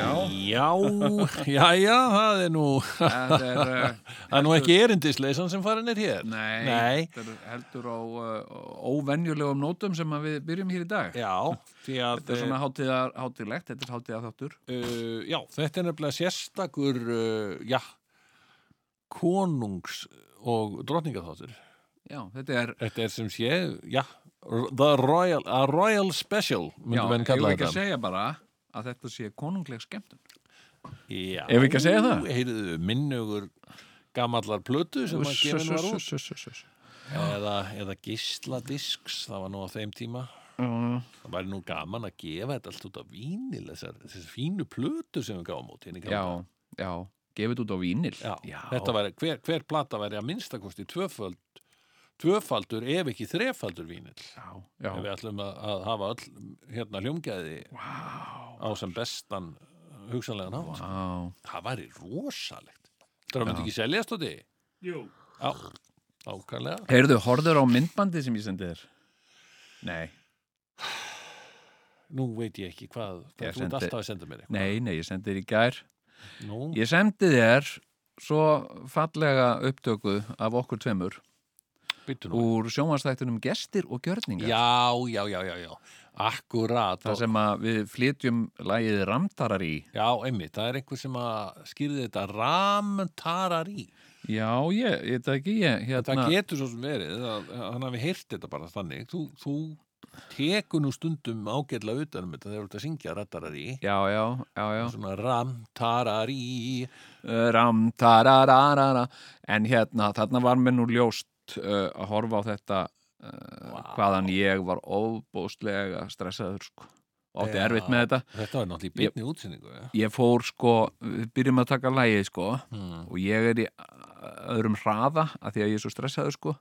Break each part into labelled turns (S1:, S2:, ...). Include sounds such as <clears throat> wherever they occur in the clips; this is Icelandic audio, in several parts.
S1: Já,
S2: Já, já, já, það er nú
S1: þetta er... eh,
S2: Það er nú ekki erindisleisan sem farin er hér
S1: Nei,
S2: Nei.
S1: þetta er heldur á uh, óvenjulegum nótum sem að við byrjum hér í dag.
S2: Já, því að
S1: Þetta er svona hátíðar, hátíðlegt, þetta er hátíðar þáttur.
S2: uh, Já, þetta er nefnilega sérstakur uh, Já Konungs og drottningaþáttur
S1: Já, þetta er,
S2: Þetta er sem sé, já The Royal, a Royal Special
S1: já,
S2: myndum menn
S1: ég
S2: kalla
S1: vil ekki að
S2: þetta
S1: segja bara að þetta sé konungleg skemmtun.
S2: Já,
S1: Eigum við ekki að segja það?
S2: Heyrðu, minnugur gamallar plötu sem að gefin var út
S1: út.
S2: eða, eða gisladisks, það var nú á þeim tíma það væri nú gaman að gefa þetta allt út á vínil þessar, þessar fínu plötu sem við gáum út hérna í gamla
S1: Já,
S2: daga.
S1: já, gefið út á vínil.
S2: Já, þetta væri, hver, hver plata væri að minnstakosti tvöföld, tvöfaldur ef ekki þrefaldur vínill
S1: Já,
S2: ef
S1: já.
S2: við ætlum að, að hafa öll hérna hljómgæði á sem bestan hugsanlegan hátt
S1: Á,
S2: það væri rosalegt það myndi ekki seljast á því Jú Ákvæmlega
S1: Heyrðu, horður á myndbandi sem ég sendi þér? Nei,
S2: Nú veit ég ekki hvað,
S1: Ég
S2: hvað þú ert
S1: sendi-
S2: alltaf að senda mér eitthvað
S1: nei, nei, ég sendi þér í gær
S2: Nú,
S1: Ég sendi þér svo fallega upptöku af okkur tveimur
S2: byttu nú
S1: úr sjónvarsþættunum gestir og gjörningar
S2: Já, já, já, já, já Akkurát
S1: Það sem að við flytjum lagið Ramtarar í
S2: Já, einmitt, það er einhver sem að skýrði þetta ramtararí
S1: Já, ég, ég þetta ekki ég,
S2: Það
S1: hérna,
S2: getur svo sem verið að að hann hafi heyrt þetta bara þannig þú, þú tekur nú stundum ágætlega utanum þetta þegar þú ert að syngja rattararí
S1: Já, já, já, já
S2: svona ramtararí
S1: Ramtarararara En hérna, þarna var mér nú ljóst uh, að horfa á þetta uh,
S2: Vá.
S1: hvaðan ég var óbóstlega stressaður sko. og átti
S2: Já.
S1: erfitt með þetta
S2: Þetta var náttúrulega í beinni útsendingu ja?
S1: Ég fór sko, við byrjum að taka lagið sko
S2: mm.
S1: og ég er í öðrum hraða að því að ég er svo stressaður sko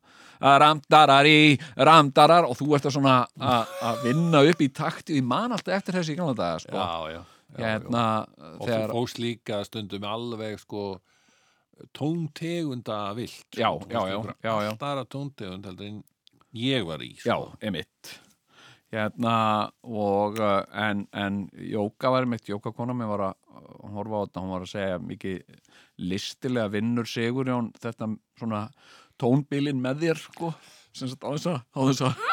S1: ramdarari, ramdarar og þú ert að svona að að vinna upp í takti og ég man alltaf eftir þessi í gamla daga sko
S2: Já, já, já,
S1: hérna,
S2: já. Og
S1: þegar,
S2: þú fóst líka stundum alveg sko tóntegunda vilt sko.
S1: Já,
S2: Þú fórst
S1: já, já,
S2: einhverja
S1: já, já.
S2: allt aðra tóntegund heldur en ég var í
S1: já,
S2: sko.
S1: emitt hérna og uh, en, en Jóka var mitt Jókakona, mér var að hún horfa á þetta, hún var að segja mikið listilega vinnur sigur Jón, þetta svona tónbílin með þér sko sem sagt á þess að á þess að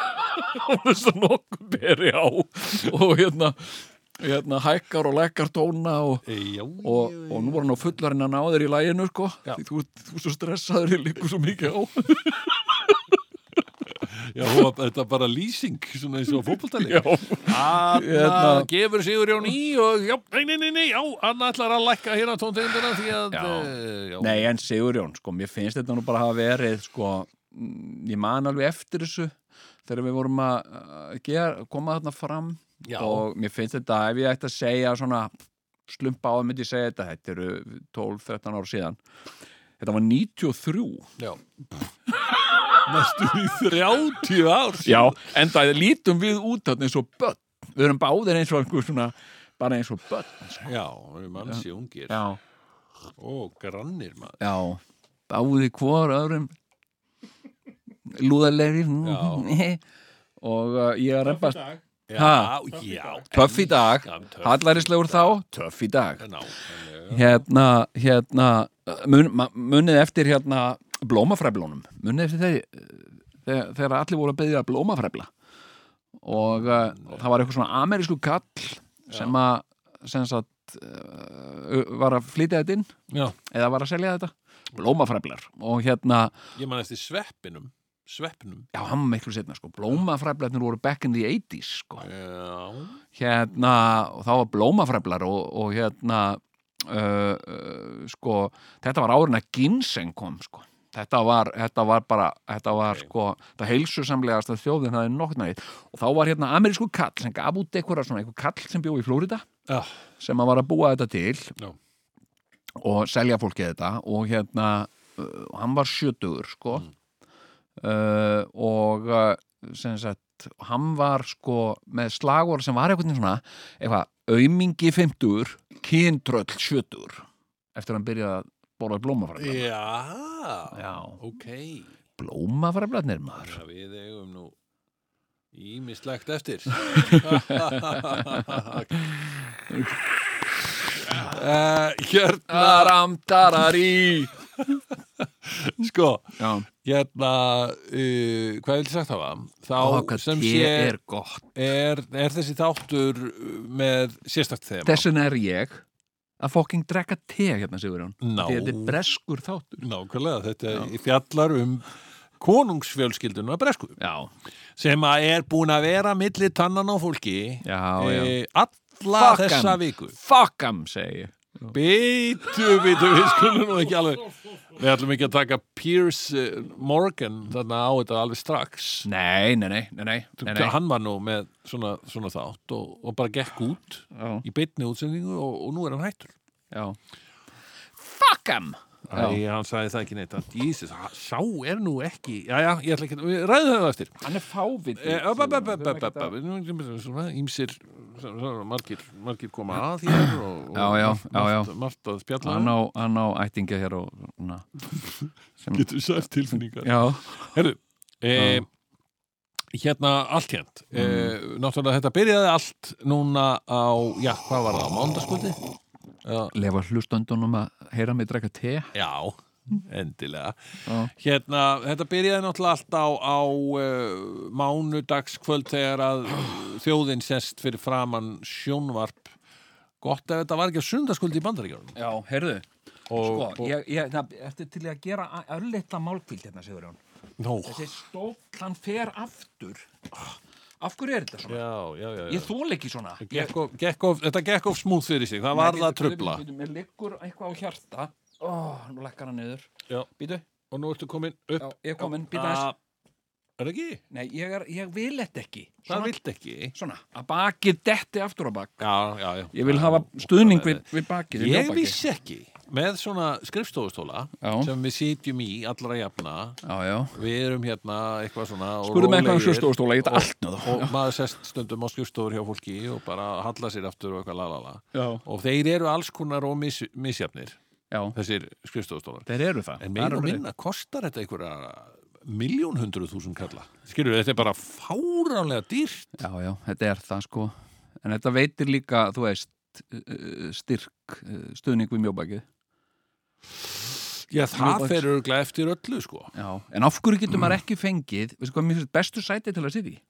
S1: <laughs> á þess að nokkuð beri á og hérna, hérna hækkar og lekkar tóna og,
S2: Eh, Já,
S1: og,
S2: já,
S1: og nú var hann á fullarinn að ná þér í læginu sko,
S2: Já.
S1: því þú, ert- þú ert svo stressaður í líku svo mikið á
S2: Já, hún var- þetta var bara lýsing svona eins og
S1: <laughs>
S2: fótboltaleik Anna
S1: Hérna.
S2: gefur Sigur Jón í og já, nei, nei, nei, nei, já, Anna ætlar að lækka hérna tóntegundina því að
S1: Já.
S2: eh, já,
S1: Nei, en Sigurjón, sko, mér finnst þetta nú bara hafa verið, sko, mm, ég man alveg eftir þessu þegar við vorum að að gera, koma þarna fram
S2: já,
S1: og mér finnst þetta, ef ég ætti að segja svona slumpa á, myndi ég segja þetta, þetta eru 12-13 ára síðan. Þetta var 93.
S2: já. Næstu í 30 ár
S1: Já, en það lítum við út þarna eins og börn. Við erum báðir eins og einhver svona, bara eins og börn. Sko.
S2: Já, við mannsi ungir
S1: Já,
S2: Ó, grannir maður
S1: já, báði hvor öðrum lúðalegri
S2: Já.
S1: <laughs> og uh, ég að reymbast
S2: Já,
S1: Ha.
S2: já
S1: Töff í dag.
S2: en- töff.
S1: Hallærislegur þá, töff í dag
S2: Ná, en, eh,
S1: Hérna, hérna mun, ma- munið eftir hérna blómafræflunum munið eftir þeir þegar, þegar allir voru að byggja blómafræfla og uh, það var eitthvað svona amerísku kall sem að sem sagt, uh, var að flytja þetta inn
S2: Já,
S1: eða var að selja þetta blómafræflar og hérna,
S2: ég man eftir sveppinum Sveppinum
S1: já hann var miklu setna sko, blómafræflarnir voru back in the 80s sko
S2: Já,
S1: hérna, og þá var blómafræflar og, og hérna uh, uh, sko, þetta var árin að ginseng kom sko Þetta var, þetta var bara, þetta var sko, það heilsusamlegast að þjóðin það er nokknaðið og þá var hérna amerísku kall sem gaf út eitthvað svona, eitthvað kall sem bjó í Flórida
S2: já,
S1: sem að var að búa þetta til
S2: Já.
S1: og selja fólki þetta og hérna uh, hann var sjötugur sko
S2: Mm.
S1: uh, og uh, sem sagt hann var sko með slagor sem var eitthvað svona eitthvað aumingi 50 kyntröll 70 eftir að hann byrjaði að borða blómafræflar
S2: já,
S1: Já,
S2: ok
S1: blómafræflarnir maður
S2: Já, við eigum nú ímislegt
S1: <laughs>
S2: eftir <laughs> uh, Hérna,
S1: Daram, darari
S2: sko
S1: Já,
S2: Hérna, uh, hvað vil ég sagt hafa? Þá
S1: Ó, hvað
S2: sem
S1: te
S2: sé
S1: er gott
S2: er, er þessi þáttur uh, með sérstakt þema
S1: Þessin er ég að fokking drekka te hérna Sigurjón
S2: Ná,
S1: Því þetta er breskur þáttur
S2: nákvæmlega, þetta fjallar um konungsfjölskylduna bresku
S1: Já,
S2: sem að er búin að vera milli tannan á fólki
S1: já, já
S2: eh, alla
S1: Fuck 'em.
S2: þessa viku
S1: Fuck'em, segi ég
S2: Bítu, bítu, við skulum nú ekki alveg Við ætlum ekki að taka Pierce eh, Morgan þarna á þetta alveg strax
S1: Nei, nei, nei, nei, nei, nei, nei.
S2: Hann var nú með svona, svona þátt og, og bara gekk út
S1: Já,
S2: í beinni útsendingu og, og nú er hann hættur
S1: já Fuck'em Já,
S2: Æ, hann sagði það ekki neitt hann, Jesus, hann- sá er nú ekki Jæja, ég ætla ekki, að- við ræðum það eftir
S1: hann er fáviti
S2: Eh, Ímsir margir, margir koma að þér og, og
S1: Já, já, já, já.
S2: margt, margt að spjalla um.
S1: Hann á, hann á ættingja hér og svona
S2: <laughs> getur sært tilfinningar
S1: Já,
S2: Herru, e, hérna allt hérnt e,
S1: Mm.
S2: Náttúrulega þetta byrjaði allt núna á, já, hvað var það, á mándaskvöldi? Já,
S1: lefa hlustandunum að heyra mig drekka te
S2: já, endilega
S1: Já.
S2: Hérna, þetta byrjaði náttúrulega allt á, á uh, mánudagskvöld þegar <clears throat> að þjóðin sest fyrir framann sjónvarp Gott ef þetta var ekki á sundarskvöldi í bandaríkjörnum
S1: Já, heyrðu
S2: og,
S1: Sko, ég, ég, það, eftir til að gera örlitla málkvíld hérna, Sigurjón
S2: Nó,
S1: Þessi stóll, hann fer aftur Af hverju er þetta svona?
S2: já, já, já, já.
S1: Oh. Ég þól ekki svona
S2: Gekk of, gekk of, þetta gekk of smúð fyrir sig, það var það að trubla
S1: Mér liggur eitthvað á hjarta Ó, nú lekkar hann niður
S2: Já,
S1: Býtu,
S2: og nú ertu komin
S1: já,
S2: upp
S1: ég er komin, býtu aðeins
S2: Er það ekki?
S1: Nei, ég, er, ég vil þetta ekki
S2: Það
S1: Svona,
S2: vilt ekki
S1: svona, að bakið detti aftur á bak
S2: Já, já, já
S1: Ég vil hafa stuðning við, við bakið við
S2: Ég
S1: mjóbakið.
S2: vissi ekki Með svona skrifstofustóla
S1: Já.
S2: sem við sitjum í allra jafna
S1: Já, já
S2: Við erum hérna eitthvað svona og
S1: Skurðu mig eitthvað um
S2: rólegir
S1: skrifstofustóla, ég get
S2: og-
S1: allt um náðu.
S2: Og maður sest stundum á skrifstofur hjá fólki og bara halla sér aftur og eitthvað lalala
S1: Já,
S2: Og þeir eru alls konar og mis, misjafnir
S1: já
S2: Þessir skrifstofustólar
S1: Þeir eru
S2: En
S1: það Það
S2: meira
S1: eru
S2: og
S1: þeir.
S2: minna kostar þetta einhverja miljón hundruð þúsund kalla Skilur, þetta er bara fáránlega dýrt
S1: Já, já, þetta er það sko En þetta veitir líka, þú veist uh, uh, styrk, uh, stuðning við mjóbakið
S2: Já, það
S1: Starbucks.
S2: fer örglega eftir öllu, sko
S1: Já, en af hverju getur maður ekki fengið veistu hvað, mér finnst bestu sæti til að sitja í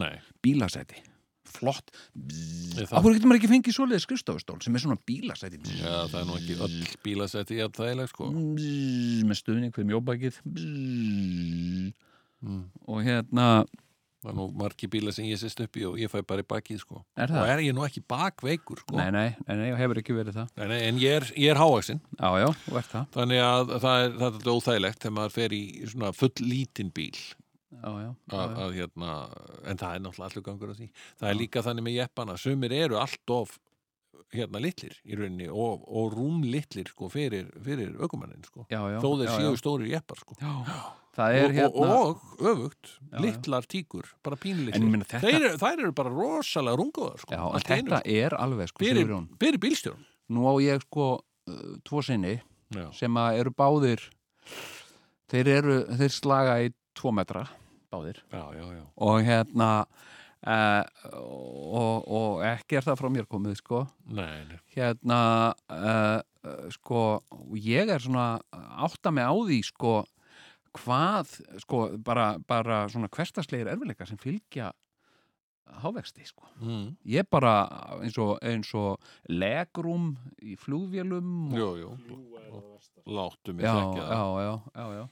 S2: Nei,
S1: bílasæti flott
S2: Ég
S1: af hverju getur maður ekki fengið svoleiðið skrifstofustól sem er svona bílasæti bzz,
S2: Já, það er nú ekki öll bílasæti jafn þægileg, sko
S1: bzz, með stuðning fyrir mjóbakið bzz,
S2: Mm.
S1: og hérna
S2: Það er nú margi bíla sem ég sest upp í og ég fæ bara í bakið, sko
S1: er
S2: Og
S1: það?
S2: er ég nú ekki bakveikur, sko
S1: Nei, nei, nei, nei, hefur ekki verið það
S2: Nei, nei, en ég er, ég er hávaxin
S1: Já, já, þú ert það
S2: Þannig að það er, það er alltaf óþægilegt þegar maður fer í svona full lítinn bíl
S1: Já, já, já,
S2: að, að hérna, en það er náttúrulega allur gangur á því það er líka þannig með jeppana sumir eru allt of hérna litlir í rauninni og, og rúm litlir sko fyrir, fyrir ökumannin sko
S1: já, já,
S2: þó þeir
S1: já,
S2: séu
S1: já.
S2: stórir jeppar sko
S1: Já, Það er
S2: og,
S1: hérna
S2: og, og öfugt,
S1: Já, já.
S2: litlar tíkur bara
S1: En ég
S2: pínlitlir,
S1: meina þetta-
S2: þeir, eru- þær eru bara rosalega rungaðar sko
S1: Já, en
S2: allt í einu,
S1: þetta er alveg
S2: sko.
S1: sko,
S2: fyrir,
S1: Sigurjón
S2: fyrir bílstjórn
S1: Nú á ég sko uh, tvo sinni
S2: já,
S1: sem að eru báðir þeir eru, þeir slaga í tvo metra, báðir
S2: já, já, já.
S1: og hérna uh, og, og ekki er það frá mér komið sko
S2: Nei, nei.
S1: hérna uh, uh, sko og ég er svona átta mig á því sko hvað sko bara, bara svona hverstaslegir erfileika sem fylgja hávexti sko.
S2: mm.
S1: ég bara eins og, eins og legrúm í flugvélum og,
S2: Jú, jú Láttu mig
S1: já,
S2: þekki
S1: já,
S2: það
S1: já, já, já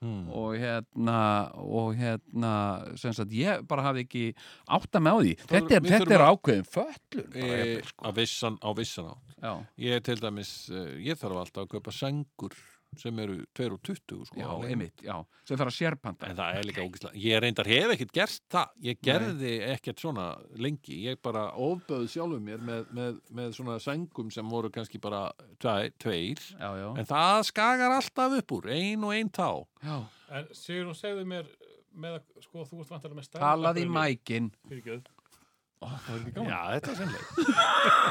S2: Mm.
S1: og hérna og hérna, sem sagt, ég bara hafi ekki átta með á því þetta er,
S2: við
S1: þetta er
S2: þurfum
S1: ákveðin föllun bara,
S2: e,
S1: jafnvel, sko.
S2: á vissan, á vissan á
S1: já,
S2: ég til dæmis, eh, ég þarf alltaf að kaupa sengur sem eru 2 og 20 sko,
S1: já,
S2: á leigu.
S1: einmitt, já sem þarf að sérpanta
S2: en það er líka ógislega ég reyndar hef ekkert gert það ég gerði ekkert svona lengi ég bara ofböð sjálfum mér með, með, með svona sengum sem voru kannski bara tve- tveir
S1: já, já,
S2: en það skagar alltaf upp úr ein og ein tá
S1: já
S3: En Sigur, hún segði mér með að, sko, þú ert vantarlega með stærð
S1: talaði í mækin
S3: Fyrirgjöð.
S2: já, þetta er
S1: <laughs>
S2: sennlega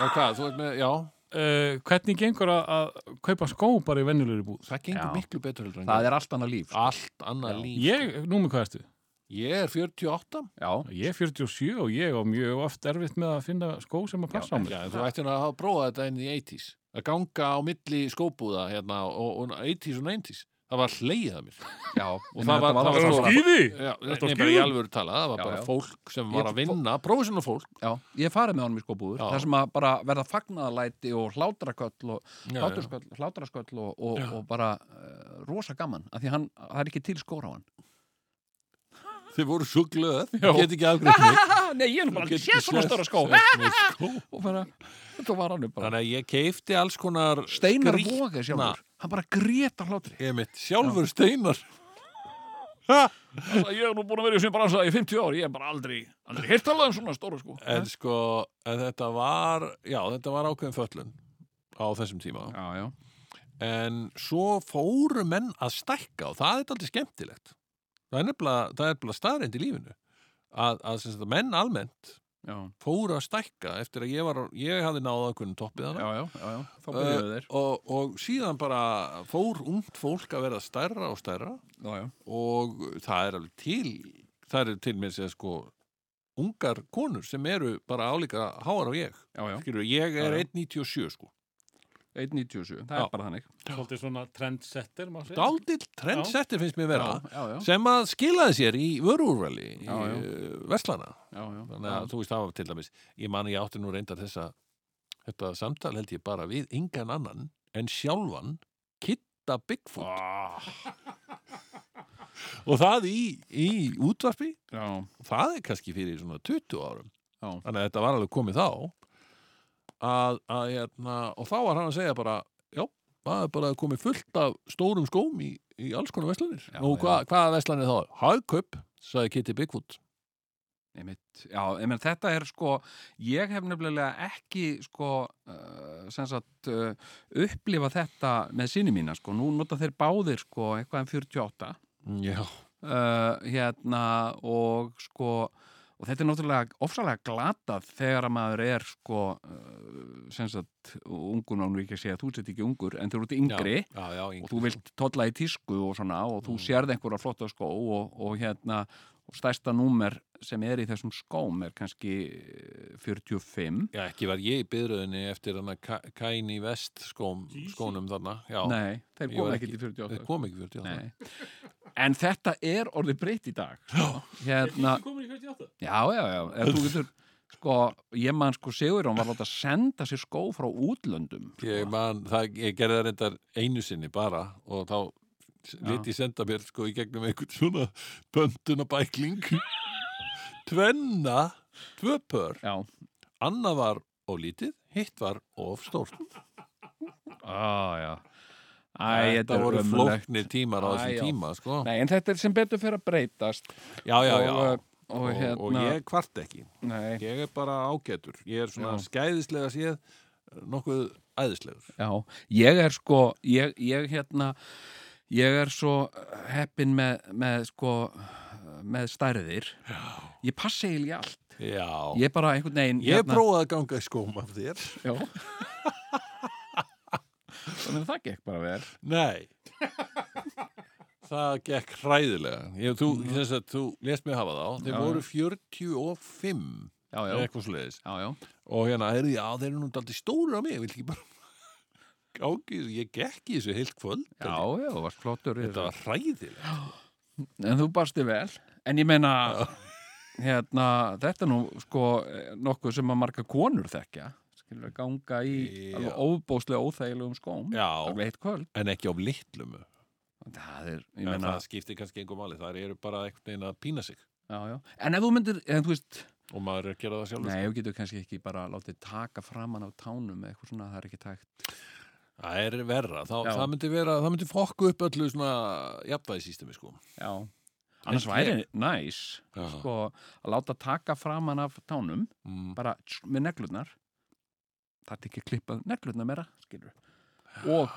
S2: og hvað, þú veit með, já,
S3: Uh, hvernig gengur að, að kaupa skó bara í venjulegri búð?
S2: það gengur
S1: Já.
S2: miklu betur heldur en
S1: það
S2: ég.
S1: er allt annað líf sko.
S2: allt annað
S1: Já.
S2: líf
S3: Ég, númi hvað ertu?
S2: ég er 48
S1: já,
S3: Ég er 47 og ég á mjög oft erfitt með að finna skó sem að passa á mig.
S2: Já, en þú ættir nú að hafa prófað þetta inn í 80s að ganga á milli skóbúða hérna, og, og 80s og 90s það var hleið að mér
S1: já
S2: Og það var- það var
S3: Það
S2: svo-
S3: er skýði!
S2: já,
S3: Þetta
S2: nei,
S3: var
S2: bara í
S3: skýðum?
S2: alvöru talað, það var
S1: Já,
S2: bara
S1: já.
S2: fólk sem
S1: Ég-
S2: var að vinna, prófisinn og fólk
S1: Já, ég hef farið með honum í skóbúður
S2: Já.
S1: þar sem að bara verða fagnaðalæti og hlátraköll og
S2: Já,
S1: hlátrasköll, hlátrasköll og, og, og bara uh, rosa gaman, af því hann, það er ekki til skóra á hann
S2: þið voru svo glöð,
S3: Já.
S2: get ekki afgreitt mig
S1: ah, <laughs> Nei, ég er
S2: Þú getur ekki séð-
S1: skó
S2: séð svona skó.
S1: <laughs> og bara, þetta var hann
S2: <laughs>
S1: bara
S2: þannig að ég keifti alls konar
S1: Steinar
S2: skrýtna-
S1: Voga sjálfur, hann bara gréta hlátri
S2: ég mitt, sjálfur steinar
S1: Ég er nú búin að vera í sem bransa í 50 ári, ég er bara aldrei aldrei hirt alveg um svona stóru sko
S2: en sko, en þetta var já, þetta var ákveðin föllun á þessum tíma
S1: Já, já,
S2: en svo fóru menn að stækka og það er aldrei skemmtilegt það er nefnilega, það er nefnilega staðreind í lífinu að, að sem sagt, menn almennt
S1: já,
S2: fóru að stækka eftir að ég var ég hafði náða okkur toppið hana
S1: já, já, já, já. þá byrjuðu þeir
S2: og, og síðan bara fór ungt fólk að vera stærra og stærra
S1: Já, já,
S2: og það er alveg til það eru til með sér sko ungar konur sem eru bara álíka háar á ég
S1: já, já,
S2: Skilur, ég er
S1: Já, já.
S2: 1.97 sko
S1: 1.97, það
S2: Já.
S1: er bara þannig
S3: Svolítið svona trendsetter, má segja.
S2: dáldill trendsetti finnst mér vera
S1: Já, já, já
S2: sem að skilaði sér í vörúrvali í
S1: Já, já.
S2: eh, verslana
S1: já, já,
S2: þannig að þú veist það var til dæmis ég man að ég átti nú reyndar þessa þetta samtal held ég bara við engan annan en sjálfan Kitta Bigfoot
S1: Ah,
S2: og það í, í útvarpi
S1: já,
S2: það er kannski fyrir svona 20 árum
S1: Já.
S2: þannig að þetta var alveg komið þá að, að hérna og þá var hann að segja bara já, það er bara komið fullt af stórum skóm í, í alls konar veslanir
S1: Já,
S2: nú
S1: já.
S2: hva, hvaða veslanir þá? Hagkaup sagði Kitty Bigfoot
S1: einmitt, já, ég menn þetta er sko ég hef nefnilega ekki sko, uh, sem sagt uh, upplifa þetta með sinni mína sko, nú nota þeir báðir sko eitthvað en 48
S2: Mm, já,
S1: uh, hérna og sko og þetta er náttúrulega ofsalega glatað þegar að maður er sko uh, sem sagt, ungur nánur ekki að segja þú sett ekki ungur, en þú eru út yngri
S2: já, já, já,
S1: og þú vilt tolla í tísku og svona og þú
S2: Mm.
S1: sérð einhverja flotta skó og, og hérna og stærsta númer sem er í þessum skóm er kannski eh, 45
S2: Já, ekki var ég í byrðuðinni eftir hann að Kæni Vest skóm, skónum þarna. Já,
S1: Nei, þeir
S2: Ég
S1: koma
S2: var
S1: ekki til
S2: þeir
S1: 48
S2: kom ekki fyrir til það.
S1: Nei. <laughs> En þetta er orðið breytt í dag hérna,
S2: <laughs>
S3: komin í 48.
S1: Já, já, já ef þú getur, sko, Ég man sko Sigur hún var látt að senda sér skó frá útlöndum sko.
S2: Ég, man, það, ég gerði það reyndar einu sinni bara og þá lit ég senda mér sko í gegnum einhvern svona pöntunabækling. Tvenna, tvö pör,
S1: Já,
S2: annað var of lítið, hitt var of stórt.
S1: ah, já Æ, þetta
S2: Þetta
S1: er
S2: voru
S1: ömurlegt.
S2: flóknir tímar á
S1: Æ, já.
S2: þessum tíma, sko.
S1: Nei, en þetta er sem betur fyrir að breytast
S2: Já, já, já.
S1: Og,
S2: Og,
S1: og,
S2: og,
S1: hérna,
S2: ég kvart ekki.
S1: Nei,
S2: Ég er bara ágætur. Ég er svona
S1: Já.
S2: skæðislega séð nokkuð æðislegur.
S1: já, ég er sko ég, ég hérna ég er svo heppin með, með sko með stærðir já. ég passi eiginlega í allt
S2: Já.
S1: ég er bara einhvern veginn hérna,
S2: Ég prófaði að ganga í skóm af þér.
S1: já. <laughs> þannig að það gekk bara vel
S2: Nei. <laughs> það gekk hræðilega. Ég, þú, þess að þú lest mig hafa þá. Þeir voru 45
S1: Mm. Já, já,
S2: eða
S1: já,
S2: eitthvað sliðis.
S1: já, já.
S2: Og hérna, heyrðu, já, þeir eru nú daldið stóru á mig. Ég vil ekki bara <laughs> gangi. Ég gekk í þessu heilt kvöld.
S1: Já, já, þú varst flottur í
S2: Þetta
S1: þessu.
S2: var hræðilega.
S1: En þú barsti vel En ég meina hérna, þetta er nú sko eh, nokkuð sem að marga konur þekkja skilur að ganga í
S2: Já.
S1: alveg óbóðslega óþægilegum skóm
S2: Já,
S1: alveg eitt kvöld
S2: en ekki af litlum
S1: það er, ég
S2: en
S1: meina,
S2: það skiptir kannski einhver máli, það eru bara einhvern veginn að pína sig
S1: já, já. en ef þú myndir, en þú veist
S2: og maður er að gera það sjálfur
S1: nei, þú getur kannski ekki bara látið taka framan á tánum eða eitthvað svona, það er ekki tækt
S2: það er verra, þá,
S1: Já.
S2: það myndi vera það myndi fokku upp öllu svona jafnvæðisýstemi sko
S1: já, annars væri næs
S2: Já.
S1: sko, að láta taka framan af tánum
S2: mm.
S1: bara tss, með neglurnar það er ekki að klippa neglurnar meira skilur og,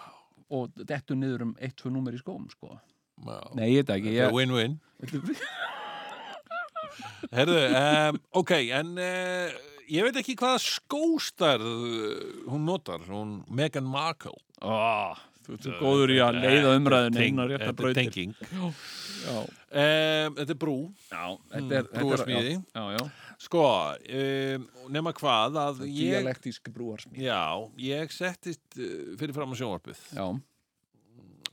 S1: og dettu niður um eitt, tvö númer í skóm sko.
S2: Já.
S1: nei, ég veit ekki
S2: Þetta er win-win Herðu, um, ok, en uh, ég veit ekki hvaða skóstarð eh, hún notar, hún Meghan Markle Eh,
S1: <laughs> Ó, þú ert svo góður í að leiða umræðinu inn á rétta
S2: Þetta er
S1: brautir
S2: tenging
S1: já,
S2: um, Þetta er brú,
S1: já, þetta er, þetta er
S2: brúarsmíði
S1: já, já,
S2: Sko, um, nema hvað að ég,
S1: dialektísk brúarsmíð
S2: já, ég settist uh, fyrir fram á sjónvarpið
S1: já,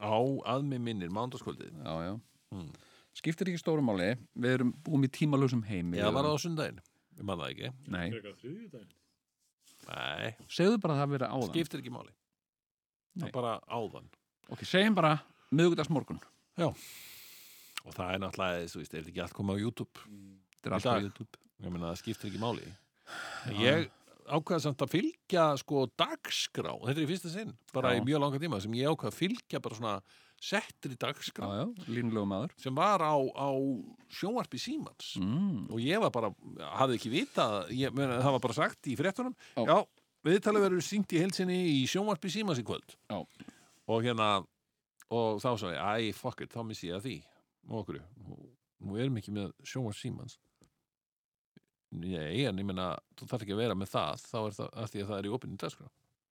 S2: á að mig minnir mándaskvöldið
S1: já, já
S2: Mm.
S1: skiptir ekki stóru máli, við erum búum í tímalösum heimi
S2: Já, var það á sundaginn, ég man það ekki
S1: nei,
S2: Nei,
S1: segðu bara að það verið áðan
S2: skiptir ekki máli Það
S1: Nei.
S2: er bara áðan
S1: ok, segjum bara miðugudagsmorgun
S2: Og það er náttúrulega, þú veist, er þetta ekki allt komið á YouTube?
S1: þetta er
S2: Í
S1: allt á
S2: dag.
S1: YouTube
S2: Ég meina, það skiptir ekki máli. Ég ákvaða samt að fylgja, sko, dagskrá. Þetta er í fyrsta sinn, bara í
S1: Já.
S2: mjög langa tíma, sem ég ákvaða að fylgja bara svona settri
S1: já,
S2: dagskrá
S1: já, línulegu maður
S2: sem var á, á sjónvarpi Símans.
S1: mm.
S2: Og ég var bara, hafði ekki vitað, ég, meina, það var bara sagt í fréttunum,
S1: Já.
S2: já, viðtalið verður syngt í helsinni í sjónvarpi Símans í kvöld.
S1: Já.
S2: Og hérna, og þá sagði ég, æ, fuck it, þá missi ég að því. Og okkur, nú erum ekki með sjónvarp Símans. Nei, en ég meina, þú þarf ekki að vera með það, þá er það að því að það er í opinni dagskrá.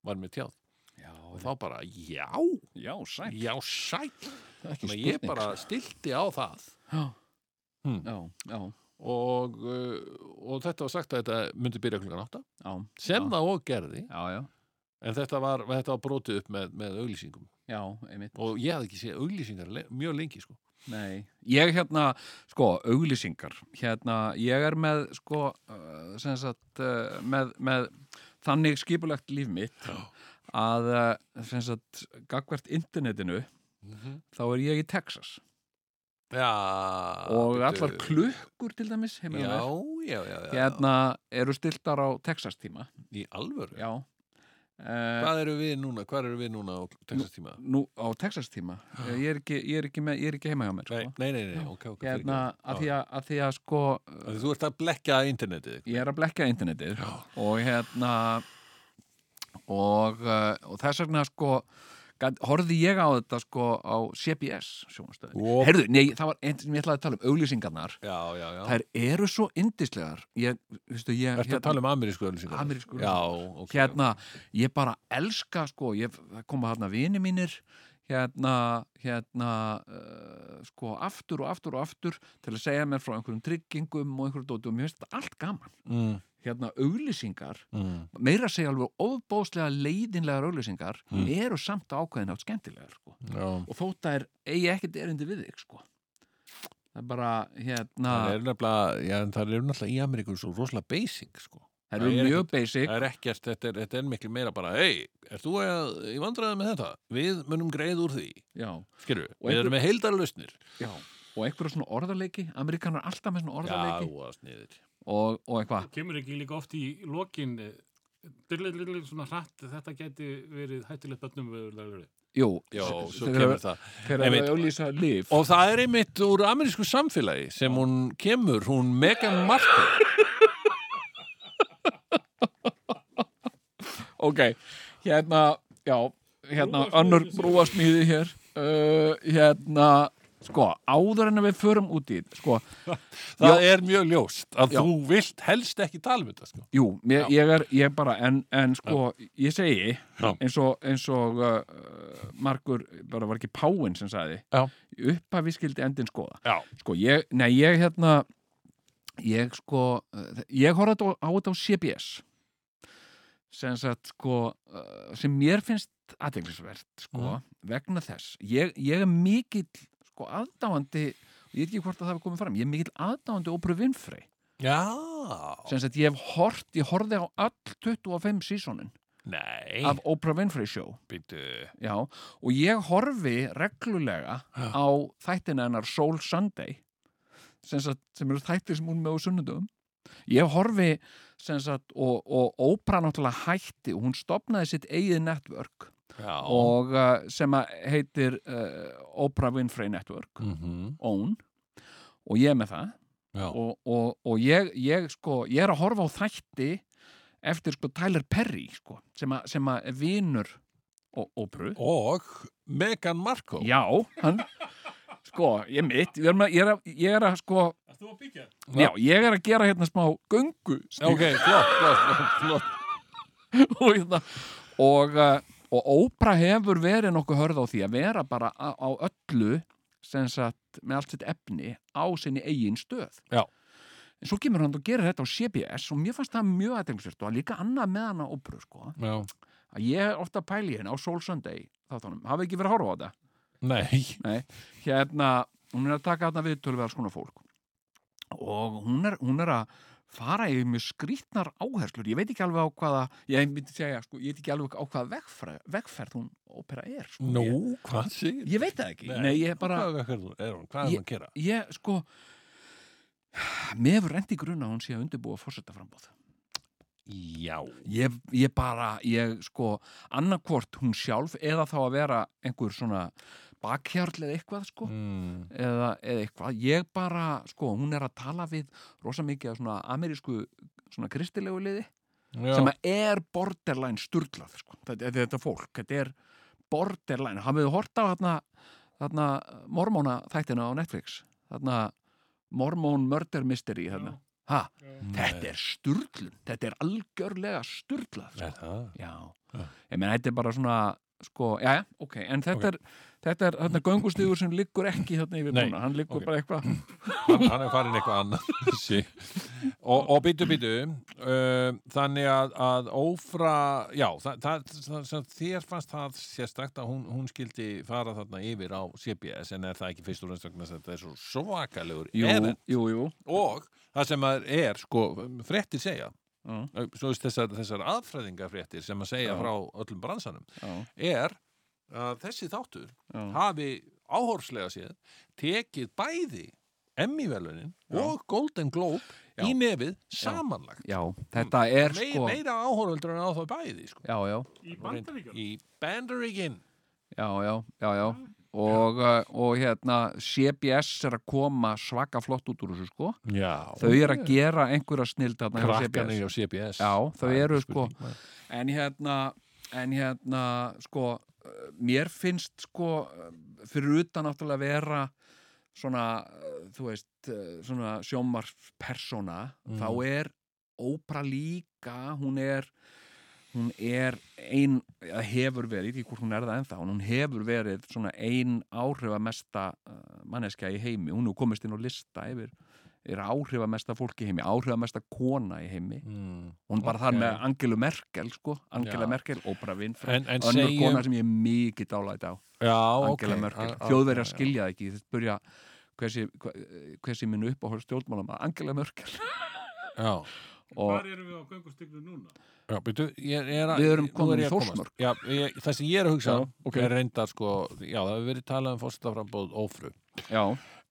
S2: Var mér tjáð.
S1: já,
S2: Og þá bara, já,
S1: já, sæl
S2: já, sæl.
S1: það er ekki
S2: Þannig að ég
S1: spurning.
S2: bara stilti á það.
S1: já,
S2: Hmm.
S1: já, já,
S2: Og, uh, og þetta var sagt að þetta myndi byrja klukkan átta.
S1: já,
S2: Sem
S1: Já.
S2: það og gerði.
S1: já, já,
S2: En þetta var, þetta var brotið upp með, með auglýsingum
S1: já, einmitt
S2: og ég hafði ekki séð auglýsingar le- mjög lengi sko.
S1: Nei, ég hérna, sko, auglýsingar, hérna, ég er með, sko, uh, sem sagt, uh, með, með þannig skipulegt líf mitt
S2: Já.
S1: að, uh, sem sagt, gagvert internetinu, þá er ég í Texas
S2: Já
S1: og
S2: Ah, bíddu.
S1: allar klukkur til dæmis, heim
S2: Já,
S1: með,
S2: já, já, já.
S1: hérna, eru stiltar á Texas tíma,
S2: Í alvöru?
S1: já. Uh,
S2: Hvað eru við núna? Hvað eru við núna á Texas tíma?
S1: nú, á Texas tíma, Eh, ég er ekki, ég er ekki, með, ég er ekki heima hjá mér,
S2: Ah. Nei,
S1: sko.
S2: nei, nei, nei ok, ok
S1: Hérna, að
S2: að
S1: því að, að því að, sko, uh,
S2: Þú ert að blekja internetið
S1: ég er að blekja internetið
S2: Já.
S1: og hérna og, uh, og þess vegna sko gat- horfði ég á þetta sko á CBS sjónastöðinni.
S2: Og-
S1: Herðu, nei, það var einn sem ég ætlaði að tala um auglýsingarnar.
S2: Já, já, já
S1: Þær eru svo indislegar. Ég, veistu, ég,
S2: Ertu að tala um amerísku auglýsingar?
S1: hérna- Amerísku
S2: Já, ok
S1: hérna, ég bara elska sko, ég það koma hérna vini mínir hérna, hérna uh, sko aftur og aftur og aftur til að segja mér frá einhverjum tryggingum og einhverjum dóti og mér finnst þetta allt gaman
S2: mm,
S1: hérna auglýsingar
S2: mm.
S1: meira að segja alveg ofbóðslega leiðinlegar auðlýsingar
S2: Mm.
S1: eru samt á ákveðin átt skemmtilegar sko.
S2: Já
S1: og þótt það er eigi ekkert erindi við þig sko. það er bara hérna,
S2: Það eru nefnilega, já, en það eru náttúrulega í Ameríku svo rosalega basic, sko.
S1: það eru
S2: það er
S1: mjög basic
S2: Það er ekkert, þetta er, þetta er miklu meira bara, hei, ert þú að, ég vandræði með þetta, við munum greið úr því,
S1: já,
S2: skilur,
S1: Og
S2: við
S1: einhver-
S2: erum með heildarlausnir.
S1: já. og einhverja svona orðarleiki Amerikanar er alltaf með svona orðarleiki
S2: Já, sniður.
S1: og, og eitthvað
S3: Kemur ekki líka oft í lokin dyrlega svona hratt þetta geti verið hættilegt bönnum við
S1: Jú,
S2: Já,
S1: s-
S2: svo
S1: þegar-
S2: kemur það.
S1: þegar það
S2: Einmitt.
S1: er auðlýsa líf
S2: Og það er einmitt úr amerísku samfélagi sem hún kemur, hún Megan Markle.
S1: ok, hérna já, hérna önnur brúasmíði hér uh, hérna sko, áður en að við förum út í þetta, sko,
S2: Það er mjög ljóst að
S1: Já.
S2: þú vilt helst ekki tala um þetta, sko.
S1: Jú, mér, ég er ég bara, en, en sko, ég segi
S2: Já.
S1: eins og, eins og uh, margur, bara var ekki Páin sem sagði,
S2: Já.
S1: upp að við skildi endin skoða.
S2: Já.
S1: Sko, ég, nei, ég hérna, ég sko, uh, ég horfði þetta á- á þetta á CBS, sem sagt, sko, uh, sem mér finnst aðeinsvert, sko,
S2: Mm.
S1: vegna þess. Ég, ég er mikill, sko, aðdáandi, ég veit ekki hvort að það hafi komið fram, ég er mikill aðdáandi ópröfinfrey.
S2: Já.
S1: sem sagt ég hef hort, ég horfði á all 25 sísonin
S2: Nei.
S1: af Oprah Winfrey Show
S2: Býtu.
S1: já, og ég horfi reglulega
S2: Já.
S1: á þættin hennar Soul Sunday sem, sagt, sem eru þættir sem hún er með á sunnudum ég horfi sem sagt, og, og Oprah náttúrulega hætti og hún stopnaði sitt eigið network
S2: Já.
S1: og uh, sem að heitir uh, Oprah Winfrey Network
S2: Mhm.
S1: Own og ég er með það
S2: Já.
S1: og, og, og ég, ég sko ég er að horfa á þætti eftir sko Tyler Perry sko, sem, a, sem að er vinur og, og brú
S2: Og Megan Markle.
S1: já, hann sko, ég mitt, ég er, með, ég er, að, ég er að sko,
S3: Ert þú að byggja?
S1: já, ég er að gera hérna smá göngu
S2: Ok, flott, flott, flott, flott.
S1: og, hérna, og, uh, og Oprah hefur verið nokkuð hörð á því að vera bara á, á öllu sem sagt með allt sitt efni á sinni eigin stöð
S2: Já.
S1: en svo kemur hann og gerir þetta á CBS og mér fannst það mjög aðteglisvert og líka annað með hana Oprah sko
S2: Já.
S1: að ég er ofta að pæla í henni á Soul Sunday þáttunum, hafi ekki verið að horfa á þetta
S2: Nei.
S1: hérna, hún er að taka þarna við tölveðar skona fólk og hún er, hún er að fara yfir með skrýtnar áherslur ég veit ekki alveg á hvaða ég, myndi segja, sko, ég veit ekki alveg á hvaða vegferð, vegferð hún ópera er sko.
S2: Nú,
S1: ég,
S2: hvað segir?
S1: ég veit það ekki
S2: Nei.
S1: Nei. ég bara,
S2: Hvað er hún? Er hún? Hvað er hún að gera?
S1: ég sko mér hefur rendi grunna hún sé að undirbúa fórsetaframbóð
S2: Já.
S1: ég, ég bara, ég sko annarkvort hún sjálf eða þá að vera einhver svona bakhjarl eða eitthvað sko
S2: Mm.
S1: eða, eða eitthvað, ég bara sko, hún er að tala við rosa mikið af svona amerísku svona kristilegu liði
S2: Já.
S1: sem að er borderline sturglað sko. þetta, þetta fólk, þetta er borderline, hafið þið hort á þarna, þarna mormóna þættina á Netflix þarna mormón murder mystery þarna. Ha, þetta er sturglun, þetta er algjörlega sturglað sko.
S2: Er það?
S1: Já,
S2: Já.
S1: ég meina þetta er bara svona sko, já, já, ok, en
S2: Ok.
S1: þetta er þetta er þarna göngustígur sem liggur ekki þarna yfir
S2: Nei,
S1: búna, hann liggur
S2: ok.
S1: bara eitthvað
S2: hann, hann er farin eitthvað annað <laughs> sí. og, og býtu býtu uh, þannig að, að ófra, já það, það, það, það, þér fannst það sérstakt að hún, hún skildi fara þarna yfir á CBS en er það ekki fyrst úr einstakna þetta er svo svakalegur
S1: Jú,
S2: erinn.
S1: jú, jú
S2: og það sem maður er sko, fréttir segja
S1: Já,
S2: uh, svo veist þessar, þessar aðfræðingafréttir sem að segja
S1: Já.
S2: frá öllum bransanum
S1: já,
S2: er að þessi þáttur
S1: já,
S2: hafi áhórslega séð tekið bæði Emmy-velunin
S1: Já.
S2: og Golden Globe
S1: Já.
S2: í nefið samanlagt.
S1: já þetta er
S2: Mei,
S1: sko
S2: Meira áhórveldur en á það bæði, sko.
S1: Já, já,
S3: Í bandaríkjum?
S2: Í Bandaríkin.
S1: já, já, já, já og, uh, og hérna CBS er að koma svaka flott út úr þessu sko
S2: Já.
S1: þau eru að gera einhverja snild þarna hjá
S2: Krakkanir
S1: CBS.
S2: á CBS.
S1: Já, þau
S2: Það er
S1: eru sko
S2: spurning, maður.
S1: en hérna en hérna sko eh, mér finnst sko eh, fyrir utan náttúrulega vera svona, eh, þú veist eh, svona sjómarpersona
S2: Mm.
S1: þá er ópra líka hún er hún er ein, eða hefur verið ég veit ekki hvort hún er það ennþá, en hún hefur verið svona ein áhrifamesta eh, manneskja í heimi, hún er komist inn á lista yfir, er áhrifamesta fólk í heimi, áhrifamesta kona í heimi
S2: Mm.
S1: hún er bara þar
S2: Ok.
S1: með Angelu Merkel sko, Angela
S2: Já.
S1: Merkel, Oprah Winfrey
S2: En, en
S1: önnur
S2: segjum...
S1: kona sem ég er mikið dálæt á
S2: já,
S1: Angela
S2: ok.
S1: Merkel,
S2: A- a-
S1: þjóðverja
S2: já, já.
S1: skilja það ekki þetta spurja hversi, hversi minn uppáhör stjórnmálum að Angela Merkel
S2: <laughs> Já,
S1: og
S3: Hvar erum við á göngustiglu núna?
S2: já, byrju, ég er að...
S1: Við erum
S2: nú er
S1: komin í
S2: ég að komast.
S1: Þórsmörk.
S2: Já, ég, það sem ég er að hugsa
S1: Já, ok.
S2: er reynda, sko, já, það hefur verið talað um fórstaframbóð ófru.
S1: já,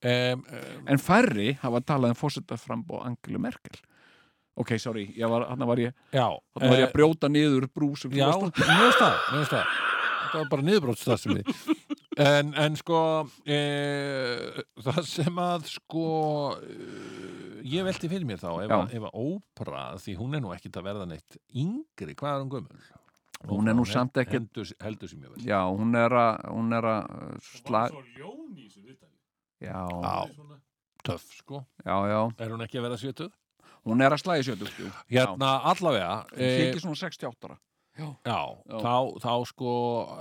S2: Um,
S1: en færri hafa talað um fórsetaframbóð Angelu Merkel ok, sorry, ég var, hann var ég
S2: já,
S1: hann var ég
S2: eh,
S1: að brjóta niður brú sem þú
S2: Já,
S1: varst
S2: mér finnst það, mér finnst það Það var bara niðurbrótstað sem við En, en sko e, það sem að sko e, ég velti fyrir mér þá ef,
S1: Já.
S2: að- ef að ópra, því hún er nú ekkit að verða neitt yngri, hvað er hún gömul?
S1: Hún er nú samt ekkit-
S2: heldur, heldur sem ég
S1: að-
S2: vel
S1: já, hún er að hún er að uh,
S3: Það
S1: slag
S3: var svo ljón í þessu viðtali.
S1: já,
S2: Já.
S3: Svona-
S2: Töff, sko,
S1: já, já,
S2: er hún ekki að verða sjötuð?
S1: hún er að slagi sjötu sko.
S2: Hérna, allavega
S1: hún
S2: eh,
S1: þykir svona 68 ára
S2: Já,
S1: Já.
S2: Þá, þá sko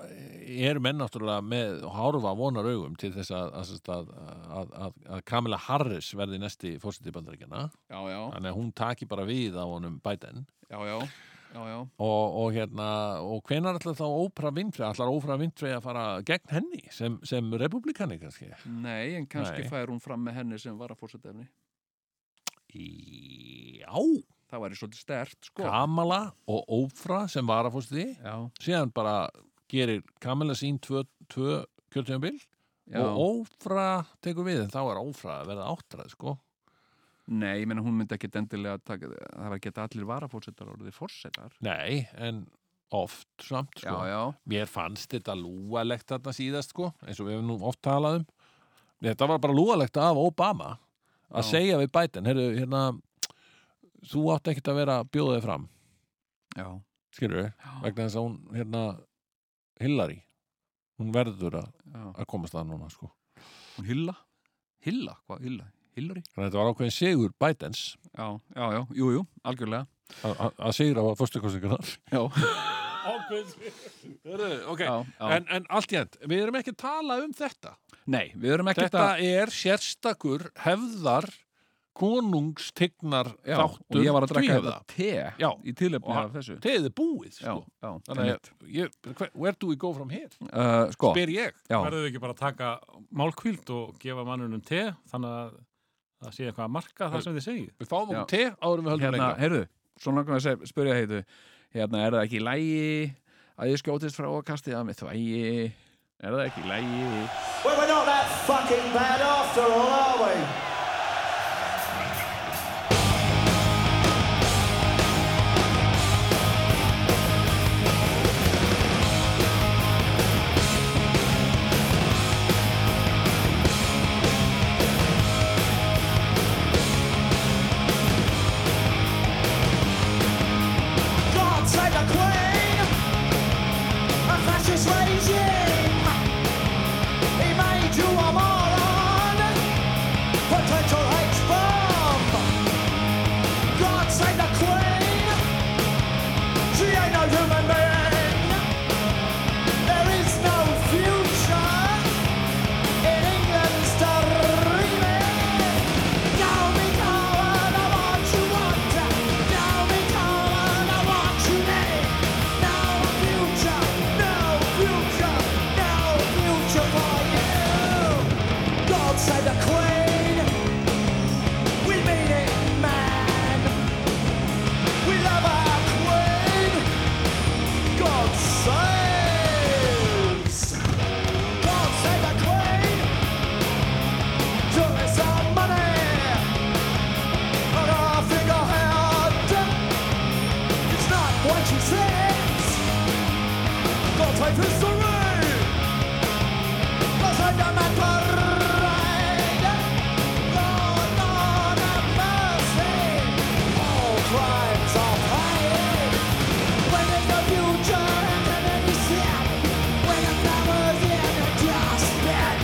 S2: er menn náttúrulega með hárfa vonar augum til þess að, að, sem sagt að, að, að, að Kamila Harris verði næsti fórseti bandaríkjana
S1: já, já,
S2: þannig að hún taki bara við á honum Biden
S1: já, já, já, já.
S2: og, og hérna og hvenar ætlar þá Ópra Vinfrey ætlar Ópra Vinfrey að fara gegn henni sem, sem republikani kannski
S1: Nei, en kannski
S2: Nei.
S1: fær hún fram með henni sem var að fórseta efni.
S2: í Já,
S1: það væri svolítið stert sko
S2: Kamala og Ófra sem var að fórst því
S1: já,
S2: síðan bara gerir Kamala sín tvö, tvö kjörtjömbil
S1: já.
S2: og Ófra tekur við en þá er Ófra að verða áttrað sko
S1: nei, ég menna hún myndi ekki endilega taka, það var ekki allir varafórsetar orðið fórsetar
S2: Nei, en oft samt sko
S1: já, já,
S2: Mér fannst þetta lúalegt þarna síðast sko eins og við hefum nú oft talað um Þetta var bara lúalegt af Obama að
S1: Já.
S2: segja við Biden heyrðu, hérna, þú átt ekkert að vera að bjóða þig fram
S1: já,
S2: skilur við,
S1: já,
S2: vegna þess að hún hérna, Hillary hún verður að,
S1: já.
S2: að komast það núna sko
S1: hún hylla hylla, hvað hylla, hillari
S2: Þannig að þetta var ákveðin sigur Bidens
S1: já, já, já, jú, jú, algjörlega
S2: að- að að sigra á fyrstakostingarnar
S1: já,
S3: Ákveðs-
S2: Ok,
S1: <laughs> já, já.
S2: <laughs> en, en allt í end við erum ekki að tala um þetta
S1: nei, við erum ekki
S2: Þetta er sérstakur hefðar konungstignar
S1: já, og
S2: þáttur
S1: ég var að drakka
S2: tvíhöfða.
S1: þetta te
S2: Já.
S1: í tilefni
S2: Og
S1: af þessu
S2: Þið er búið
S1: já,
S2: sko.
S1: já,
S2: Þannig
S1: einmitt.
S2: að ég, hver, where do we go from here?
S1: uh, sko,
S2: Ber ég
S1: já,
S3: Verður þið ekki bara að taka málkvíld og gefa mannunum te þannig að það sé eitthvað að marka það sem þið segið
S2: Við fáum
S1: Já.
S2: okkur te árum við höldum
S1: hérna,
S2: lengra
S1: heyrðu svo langar við að spyrja heitu hérna, er það ekki í lægi að ég skjótist frá að kastið að með þvægi er það ekki í lægi
S4: Well, we're not that fucking bad after all, are we? God save the Queen! A fascist regime! He made you a moron, potential H-bomb. God save the Queen. She ain't no human being. There is no future in England's dreaming. Now be calling on what you want. Now be calling on what you need. No future, no future, no future for you. God save the Queen. We mean it, man. We love our Queen. God saves. God save the Queen. Took us our money. And I think I had It's not what she says Got my history Cause I am not parade Lord, Lord, have mercy All crimes are paid When is the future happening is yet When the flowers in the dust bed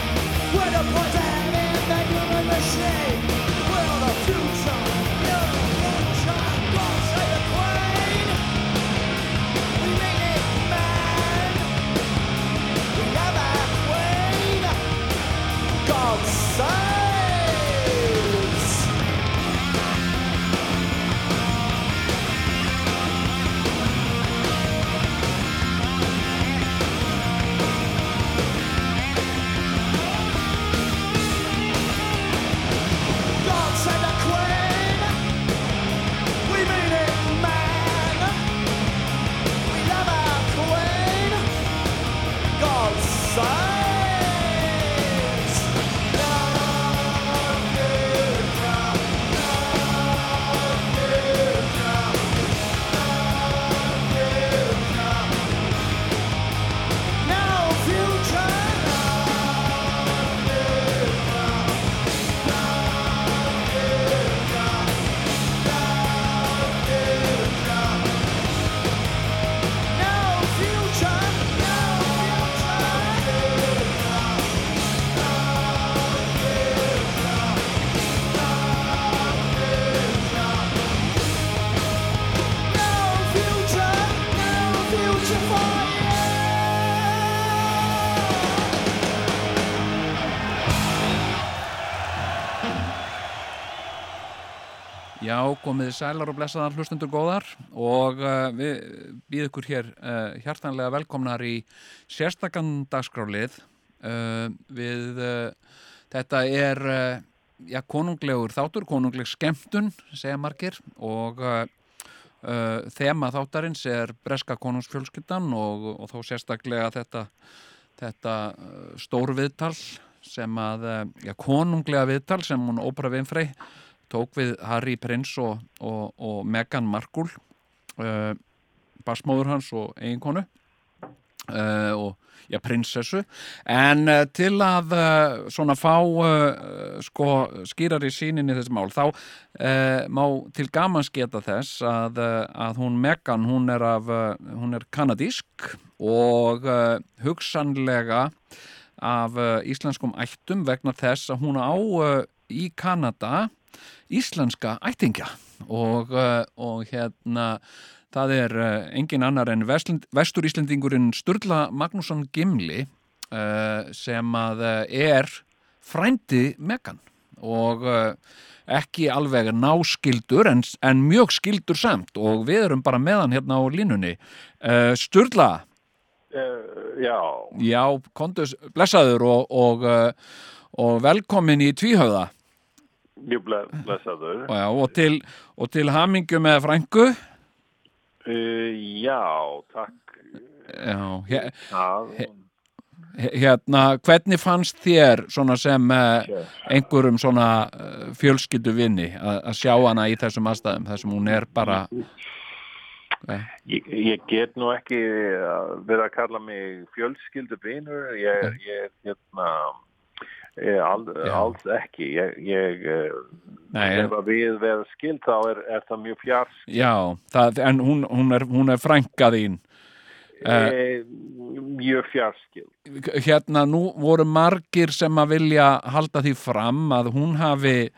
S4: When the poison in the human machine Will the future, will the future Go to the queen We made it man We have our queen God saves God save the Queen. We mean it, man. We love our Queen. God saves. Love Deirdre. Love Deirdre. Love Deirdre. No future. Love Deirdre. No future, no future.
S1: já, komið þið sælar og blessaðar hlustendur góðar og uh, við býðum ykkur hér uh, hjartanlega velkomnar í sérstakann dagskrálið uh, við uh, þetta er uh, já, konunglegur þáttur, konungleg skemmtun, segja margir og uh, uh, þema þáttarins er breska konungsfjölskyldan og, og þá sérstaklega þetta, þetta uh, stór viðtal sem að, uh, já, konunglega viðtal sem hún Ópera Winfrey tók við Harry Prins og, og, og Meghan Markle uh, basmóður hans og eiginkonu uh, og já, prinsessu en uh, til að uh, svona fá uh, sko skýrari síninni þessi mál þá uh, má til gamans geta þess að, uh, að hún Megan hún er, af, uh, hún er kanadísk og uh, hugsanlega af uh, íslenskum ættum vegna þess að hún á uh, í Kanada íslenska ættingja og, uh, og hérna það er uh, engin annar en Vestlend, vestur íslendingurinn Sturla Magnússon Gimli uh, sem að uh, er frændi Megan og uh, ekki alveg náskildur en, en mjög skildur samt og við erum bara með hann hérna á línunni uh, Sturla
S5: Uh, já,
S1: Já, kondus, blessaður og, og, uh, og velkomin í tvíhöfða
S5: mjög ble- blessaður.
S1: og, já, og til, og til hamingju með frængu
S5: Uh, já, takk.
S1: Já, he,
S5: Það,
S1: he- hérna, hvernig fannst þér svona sem uh, einhverjum svona uh, fjölskyldu vini að að sjá hana í þessum aðstæðum þessum hún er bara
S5: ég, ég get nú ekki uh, verið að kalla mig fjölskylduvinur. Ég, ég, hérna, ég all,
S1: Já.
S5: alls ekki. Ég, ég uh,
S1: Nei,
S5: ef að við verðum skild þá er, er það mjög fjarsk.
S1: já, það, en hún, hún er, hún er frænka þín Eh.
S5: Eh, mjög fjarskild.
S1: hérna nú voru margir sem að vilja halda því fram að hún hafi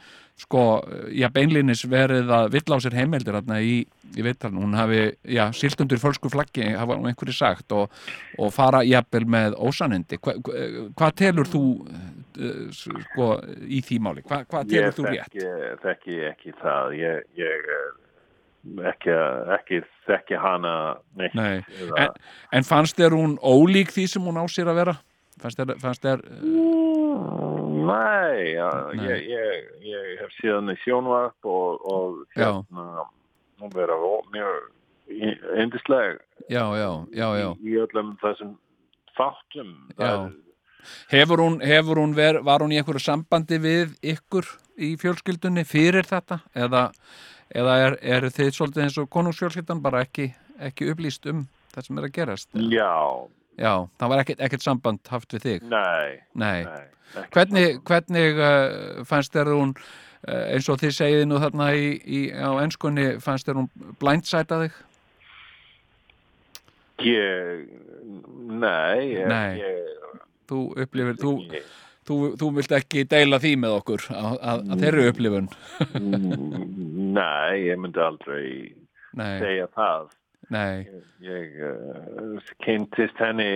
S1: sko, já beinlinis verið að vill á sér heimildir þarna í, í vittarn, hún hafi, já, silt undir fölsku flaggi, hafa nú einhverju sagt og, og fara jafnvel með ósanindi Hva, hva- hvað telur þú eh, sko, í því máli Hva, hvað telur
S5: Ég
S1: þú rétt?
S5: þekki, þekki ekki það. Ég, ég eh, ekki, ekki þekki hana neitt.
S1: Nei,
S5: eða-
S1: en, en fannst þér hún ólík því sem hún á sér að vera? Fannst þér, fannst þér eh,
S5: Mm, Nei, ja,
S1: Nei.
S5: Ég, ég, ég hef síðan í sjónvarp og, og
S1: Já.
S5: hérna, hún vera ó- mjög í- yndisleg
S1: já, já, já, já
S5: í öllum þessum þáttum. Eh, Það-
S1: Hefur hún, hefur hún ver, var hún í einhverju sambandi við ykkur í fjölskyldunni fyrir þetta? Eða, eða er, er þið svolítið eins og konungsfjölskyldan bara ekki, ekki upplýst um það sem er að gerast?
S5: Já,
S1: Já, það var ekkert, ekkert samband haft við þig?
S5: nei,
S1: Nei.
S5: nei. ekki
S1: Hvernig,
S5: svona.
S1: hvernig uh, fannst þér hún, uh, eins og þið segið nú þarna í, í, á enskunni, fannst þér hún blindsæta þig?
S5: Ég, nei, ég,
S1: Nei.
S5: Ég,
S1: Þú upplifir, þú,
S5: ég,
S1: þú, þú vilt ekki deila því með okkur að, að, að þeirri upplifun?
S5: nei, ég myndi aldrei
S1: Nei,
S5: segja það.
S1: nei.
S5: Ég uh, kynntist henni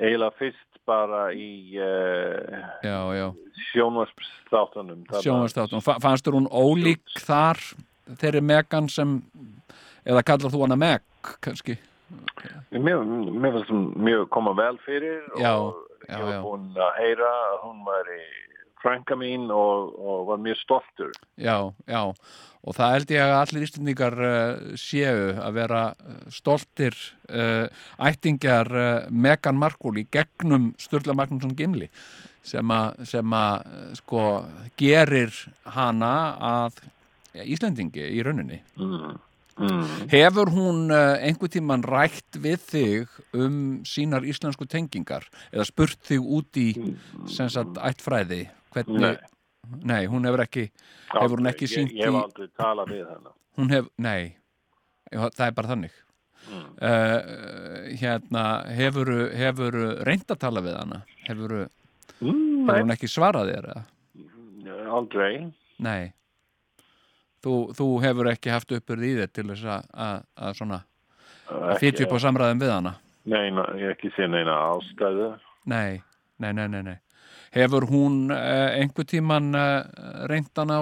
S5: eiginlega fyrst bara í uh,
S1: Já, já.
S5: sjónvarsstáttunum.
S1: sjónvarsþáttum, Fa- fannst þér hún ólík þar þeirri Megan sem eða kallar þú hana Meg kannski,
S5: Mér, mér finnst hún mjög koma vel fyrir
S1: Já,
S5: og
S1: já, já.
S5: ég var búinn að heyra að hún var í frænka mín og, og var mjög stoltur.
S1: já, já og það held ég að allir íslendingar uh, séu að vera eh, stoltir uh, ættingjar uh, Megan Markúli gegnum Sturla Magnússon Gimli sem að sem að, eh, sko gerir hana að ja, Íslendingi í rauninni
S5: Mm. Mm.
S1: Hefur hún uh, einhvern tíman rætt við þig um sínar íslensku tengingar eða spurt þig út í sem sagt ættfræði
S5: Nei.
S1: hvernig, nei. hún hefur ekki hefur hún ekki
S5: Ég-
S1: sýnt
S5: Ég hef
S1: í
S5: aldrei talað við hennar.
S1: hún hef, nei, Já, það er bara þannig mm. hérna hefur, hefur reynd að tala við hana hefur,
S5: Mm,
S1: hefur hún ekki svarað þér eða?
S5: nei, aldrei.
S1: nei þú, þú hefur ekki haft uppurð í þér til þess að, að, að svona að
S5: Ekki-
S1: fitja upp á samræðum við hana
S5: Nei, nei, ég hef ekki séð neina ástæðu.
S1: Nei, nei, nei, nei, nei. Hefur hún uh, einhver tíman uh, reyndan á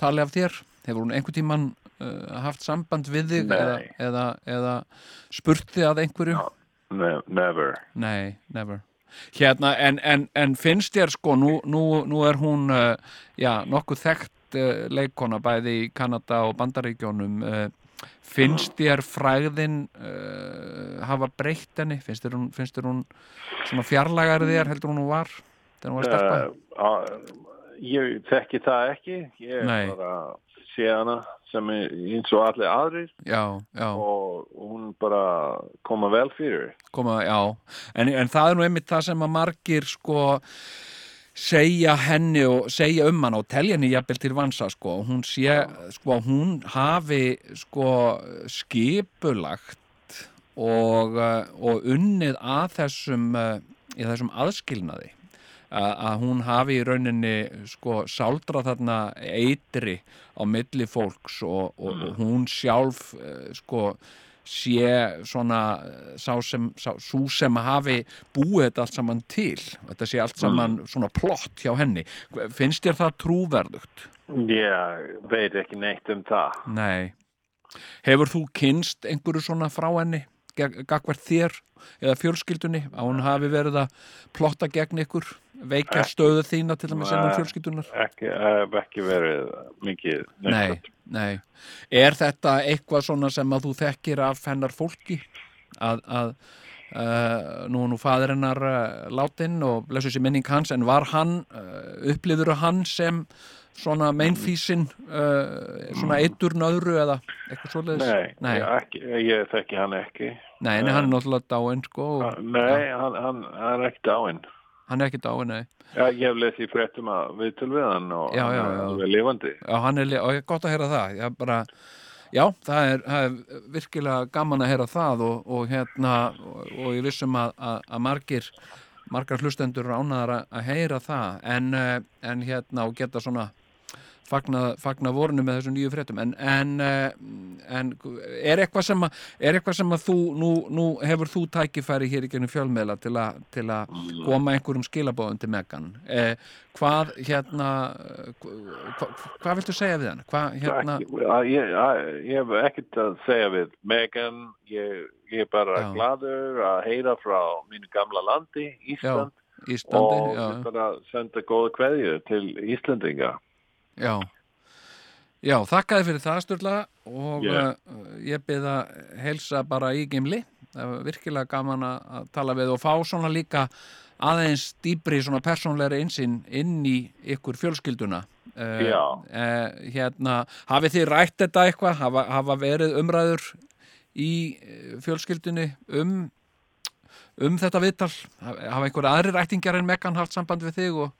S1: tali af þér? Hefur hún einhver tíman uh, haft samband við þig
S5: Nei.
S1: eða, eða, eða spurt þig að einhverju?
S5: Ne never.
S1: Nei, never. Hérna, en, en, en finnst þér sko, nú, nú, nú er hún uh, já, nokkuð þekkt uh, leikona bæði í Kanada og Bandaríkjónum uh, finnst þér fræðin uh, hafa breytt henni finnst þér hún, finnst þér hún svona fjarlægar þér heldur hún hún var þegar hún var stelpa
S5: Eh, á- ég þekki það ekki ég
S1: Nei.
S5: bara sé hana sem er eins og allir aðrir
S1: já, já,
S5: og hún bara koma vel fyrir
S1: koma, já en, en það er nú einmitt það sem að margir sko segja henni og segja um hana og telja henni jafnvel til vansa sko hún sé, sko hún hafi sko skipulagt og, eh, og unnið að þessum eh, í þessum aðskilnaði að að hún hafi í rauninni sko sáldra þarna eitri á milli fólks og, og, og hún sjálf eh, sko sé svona eh, sá sem, sá, sú sem hafi búið þetta allt saman til þetta sé allt saman svona plott hjá henni finnst þér það trúverðugt?
S5: ég veit ekki neitt um það
S1: Nei Hefur þú kynst einhverju svona frá henni geg- gagvart þér eða fjölskyldunni að hún hafi verið að plotta gegn ykkur veikja stöðu þína til dæmis ennum
S5: Nei.
S1: fjölskyldunar?
S5: ekki, hef ekki verið mikið
S1: Nei,
S5: neitt.
S1: nei. Er þetta eitthvað svona sem að þú þekkir af hennar fólki? Að, að uh, nú, nú fadir hennar uh, látin og blessu sér minning hans, en var hann, uh, upplifður hann sem svona meinfísin, uh, svona eitur nöðru eða eitthvað svoleiðis?
S5: Nei,
S1: nei,
S5: Ég, ekki, ég þekki hann ekki
S1: nei, nei hann er náttúrulega dáinn, sko, og
S5: nei, hann, hann, hann er ekki dáinn
S1: hann er ekki dáinn, nei.
S5: Já, ég hef lesið fréttum að viðtöl við hann og
S1: Já,
S5: hann
S1: já,
S5: er
S1: já.
S5: alveg lifandi.
S1: Já, hann er, li- og ég er gott að heyra það ég bara, já, það er, það er virkilega gaman að heyra það og, og hérna, og, og ég vissum að, að, að margir, margar hlustendur ránaðar að, að heyra það en, eh, en hérna, og geta svona fagna, fagna vorinu með þessum nýju fréttum en, en, eh, en er, eitthvað sem að, er eitthvað sem að þú nú, nú hefur þú tækifæri hér í gennum fjölmiðla til, a, til að koma einhverjum skilabóðum til Megan eh, hvað hérna eh, hva, hva, hvað viltu segja við hann hvað hérna
S5: Ekki, að, ég, að, ég hef ekkert að segja við Megan, ég, ég er bara
S1: Já.
S5: gladur að heyra frá mínu gamla landi, Ísland og hérna-
S1: Íslandi já,
S5: ég bara senda góða kveðju til Íslandinga.
S1: já. já, þakkaði fyrir það Sturla og
S5: Já.
S1: yeah. ég byrða heilsa bara í gimli það var virkilega gaman að að tala við og fá svona líka aðeins dýpri svona persónleira einsinn inn í ykkur fjölskylduna Eh,
S5: Já.
S1: eh, hérna, hafið þið rætt þetta eitthvað hafa, hafa verið umræður í eh, fjölskyldunni um um þetta viðtal hafa hafa einhverja aðri rættingjar en Megan haft samband við þig og,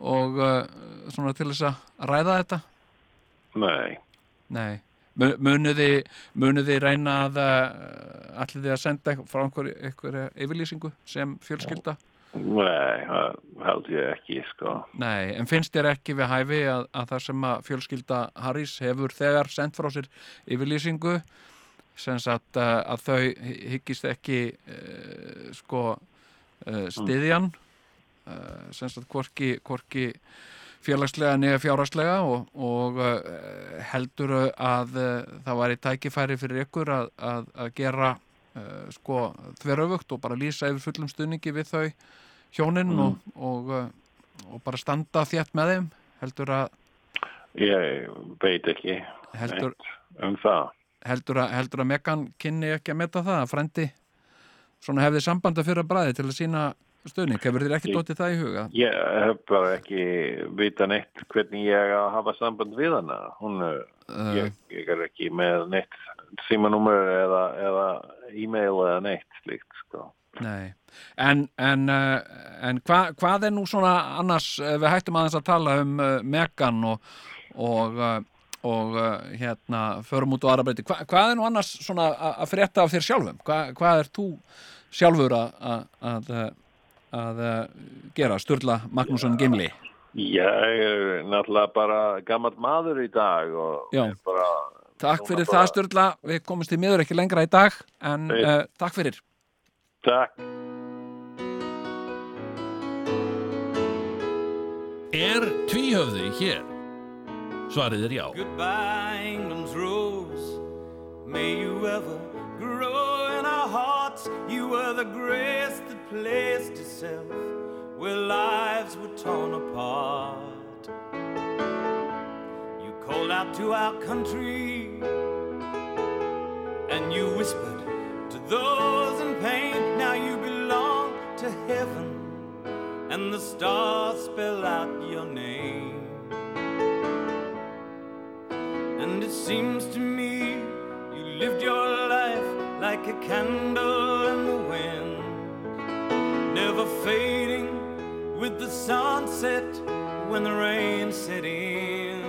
S1: og uh, svona til þess að ræða þetta
S5: Nei,
S1: Nei, Mu- munið þið, munið þið reyna að allir þið að senda eitthvað- frá einhverju einhver yfirlýsingu sem fjölskylda?
S5: nei, það held ég ekki, sko.
S1: Nei, en finnst þér ekki við hæfi að, að það sem að fjölskylda Harrys hefur þegar sendt frá sér yfirlýsingu sem sagt að, að þau hy- hyggist ekki uh, sko uh, stiðjan uh, sem sagt hvorki, hvorki félagslega nýja fjárhagslega og, og uh, heldur að uh, það væri tækifæri fyrir ykkur að, að, að gera uh, sko þveröfugt og bara lýsa yfir fullum stuðningi við þau hjónin og, og uh, og bara standa þétt með þeim heldur að
S5: Ég veit ekki
S1: heldur,
S5: um það.
S1: heldur að, heldur að Megan kynni ekki að meta það að frendi svona hefði sambanda fyrir að bræði til að sína stöðning, hefur þér ekki
S5: Ég-
S1: dóttið það í huga?
S5: Ég hef bara ekki vita neitt hvernig ég á að hafa samband við hana. Hún er
S1: Uh,
S5: ég, ég er ekki með neitt símanúmer eða, eða e-mail eða neitt slíkt sko.
S1: nei en, en, uh, en hva, hvað er nú svona annars, eh, við hættum aðeins að tala um uh, Megan og og, uh, og uh, hérna förum út á aðra breyti, hva, hvað er nú annars svona a- að frétta af þér sjálfum? Hva, hvað er þú sjálfur að- að að, eh, að eh, gera, Sturla Magnússon Gimli?
S5: Ég er náttúrulega bara gammal maður í dag og
S1: Já.
S5: er bara,
S1: Takk
S5: Núna
S1: fyrir
S5: bara-
S1: það Sturla, við komumst í miður ekki lengra í dag en
S5: Nei.
S1: uh, takk fyrir.
S5: takk
S6: Er tvíhöfði hér? Svarið er já.
S7: Goodbye, England's rose. May you ever grow in our hearts. You were the grace that replaced itself where lives were torn apart. You called out to our country and you whispered to those in pain. Now you belong to heaven, and the stars spell out your name. And it seems to me you lived your life like a candle in the wind, never fading with the sunset when the rain set in.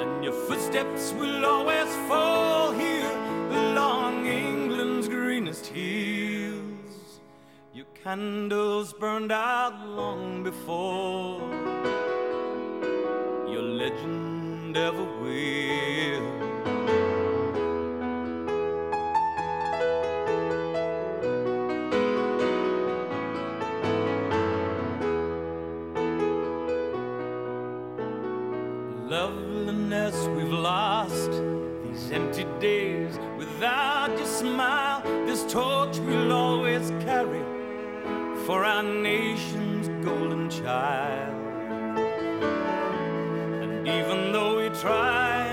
S7: And your footsteps will always fall here along England's greenest hills. Your candles burned out long before your legend ever will. loveliness we've lost. These empty days without your smile, this torch we'll always carry for our nation's golden child. And even though we try,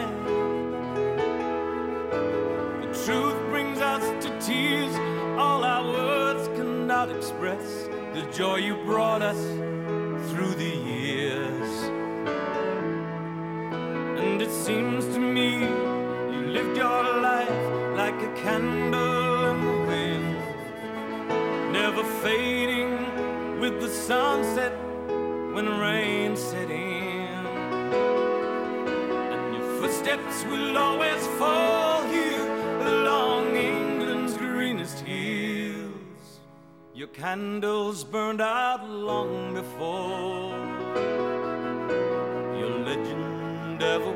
S7: the truth brings us to tears. All our words cannot express the joy you brought us through the years. And it seems to me you lived your life like a candle in the wind, never fading with the sunset when rain set in. And your footsteps will always fall here along England's greenest hills. Your candles burned out long before your legend ever will.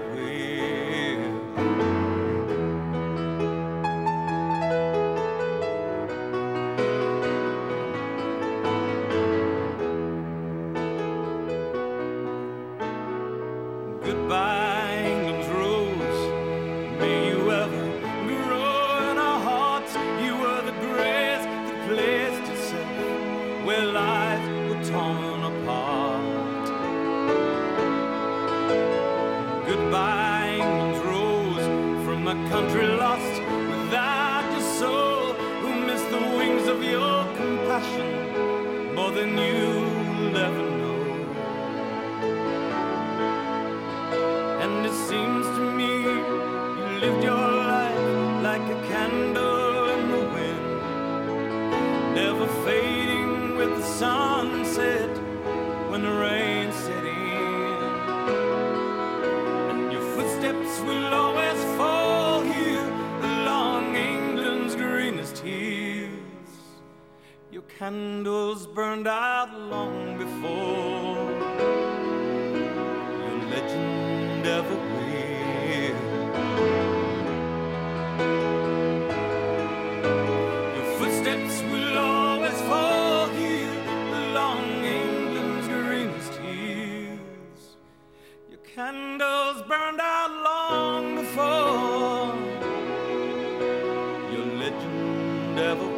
S7: Goodbye, England's rose. May you ever grow in our hearts. You were the grace that placed itself where lives were torn apart. Goodbye, England's rose from a country lost without your soul, who missed the wings of your compassion more than you'll ever know. And it seems to me you lived your life like a candle in the wind, never fading with the sunset when the rain set in. And your footsteps will always fall here along England's greenest hills. Your candles burned out long before your legend ever will. Your footsteps will always fall here along England's greenest hills. Your candles burned out long before your legend ever will.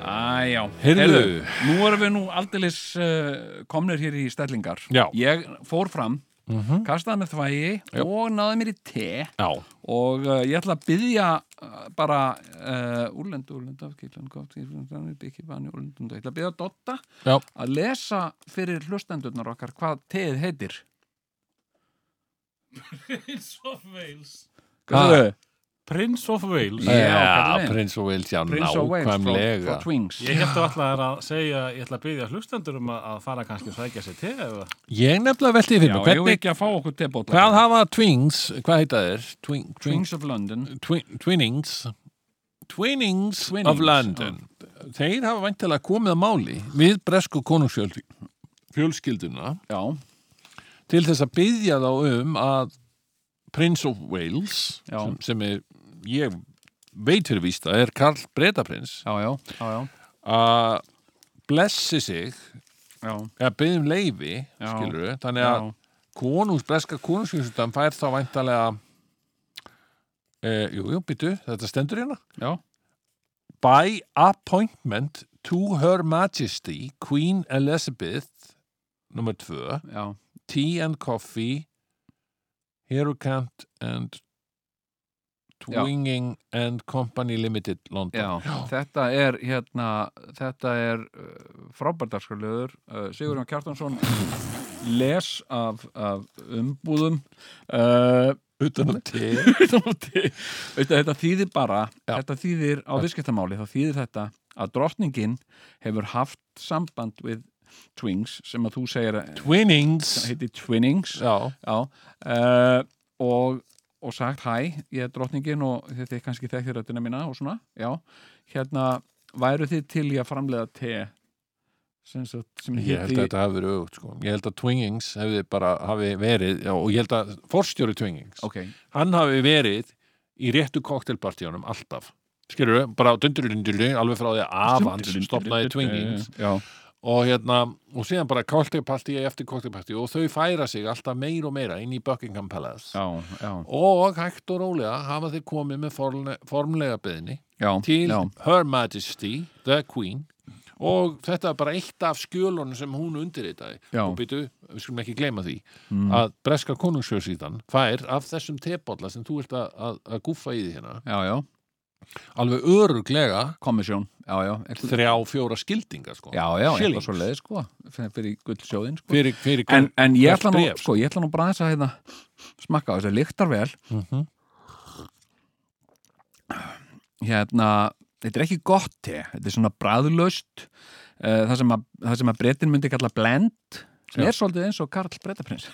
S1: Æjá,
S2: Heyrðu.
S1: nú erum við nú aldeilis uh, komnir hér í stellingar
S2: Já. Mhm.
S1: Ég fór fram, kastaði með þvægi og náði mér í te
S2: Já,
S1: og uh, ég ætla að byðja uh, bara uh, úrlendu, úrlendu, afkýrlendu, gott, kýrlendu, byggibanni, úrlendu, ég ætla að byðja Dotta
S2: Já.
S1: að lesa fyrir hlustendurnar okkar hvað teið heitir.
S3: Prince of Wales
S1: Hvað?
S3: Prince of Wales
S1: Já,
S2: já
S1: kallinn.
S2: Prince of Wales, já,
S1: Prince of Wales frá, frá
S2: nákvæmlega
S1: Twings.
S3: Ég held að alltaf er að segja, ég ætla að byggja hlustendur um að, að fara kannski að sækja sér til eða
S2: Ég nefnilega velti
S1: Já,
S2: fyrir mig,
S1: ég vil
S2: hvernig
S1: ekki að fá okkur tebóta.
S2: Hvað hafa Twings, hvað heita þeir? Twing, twing,
S1: Twings of London.
S2: twin, twinnings Twinnings
S1: Twinnings,
S2: of London Þeir hafa væntilega komið að máli við bresku konungsfjöldi fjölskylduna
S1: Já,
S2: til þess að byggja þá um að Prince of Wales
S1: Já.
S2: sem, sem er, ég veit fyrir víst að er Karl Bretaprins
S1: já, já, já, já.
S2: að blessi sig
S1: já.
S2: eða byggðum leifi,
S1: Já.
S2: skilur þannig að
S1: Já,
S2: konungs, breska konungsfjölskyldan fær þá væntalega Eh, jú, jú, býtu, þetta stendur hérna.
S1: Já.
S2: By appointment to Her Majesty Queen Elizabeth nummer tvö,
S1: já,
S2: Tea and Coffee Hero Cant and
S1: Já.
S2: Twinging and Company Limited London.
S1: já. þetta er hérna, þetta er uh, frábærdarskarlöður uh, Sigurjón Kjartansson les af, af umbúðum uh, <clears throat>
S2: Utan um að til.
S1: Veistu, þetta þýðir bara
S2: Já.
S1: þetta þýðir á viðskiptamáli þá þýðir þetta að drottningin hefur haft samband við Twings sem að þú segir að
S2: Twinnings.
S1: heiti Twinnings
S2: Já,
S1: já, uh, og, og sagt hæ, ég er drottningin og þetta er kannski þekktir röddina mína og svona, já, hérna væru þið til í að framleiða te sem, sagt, sem
S2: ég held að
S1: héti
S2: þetta hafi verið auðvitað, sko. Ég held að Twingings hefði bara hafi verið, já, og ég held að forstjóri Twingings,
S1: ok,
S2: hann hafi verið í réttu koktelpartíunum alltaf. Skilur bara dundurlundurlu, alveg frá því að avans stopnaði Twingings
S1: já,
S2: og hérna, og síðan bara koktelpartíu eftir koktelpartíu og þau færa sig alltaf meir og meira inn í Buckingham Palace.
S1: já, já,
S2: Og hægt og rólega hafa þið komið með forle- formlega beðinni
S1: já,
S2: til
S1: já.
S2: Her Majesty, the Queen og þetta er bara eitt af skjölunum sem hún undirritaði
S1: Já.
S2: og býtu, við skulum ekki gleyma því
S1: Mm.
S2: að breska konungsfjóðsíðan fær af þessum tebolla sem þú ert að, að, að gúffa í því hérna
S1: Já, já,
S2: alveg öruglega
S1: kommisjón, já, já, eitthvað,
S2: þrjá fjóra skildingar sko
S1: já, já, eitthvað
S2: Shillings.
S1: svo leiði, sko, fyrir- fyrir gullsjóðin, sko.
S2: fyrir, fyrir
S1: En, en ég ætla nú,
S2: hvert bréf,
S1: sko, ég ætla nú bara þess að hérna, smakka á þessu, lyktar vel,
S2: Mhm.
S1: hérna, þetta er ekki gott te, þetta er svona bræðlaust uh, það, sem að, það sem að brettin myndi kalla blend sem er svolítið eins og Karl Brettaprins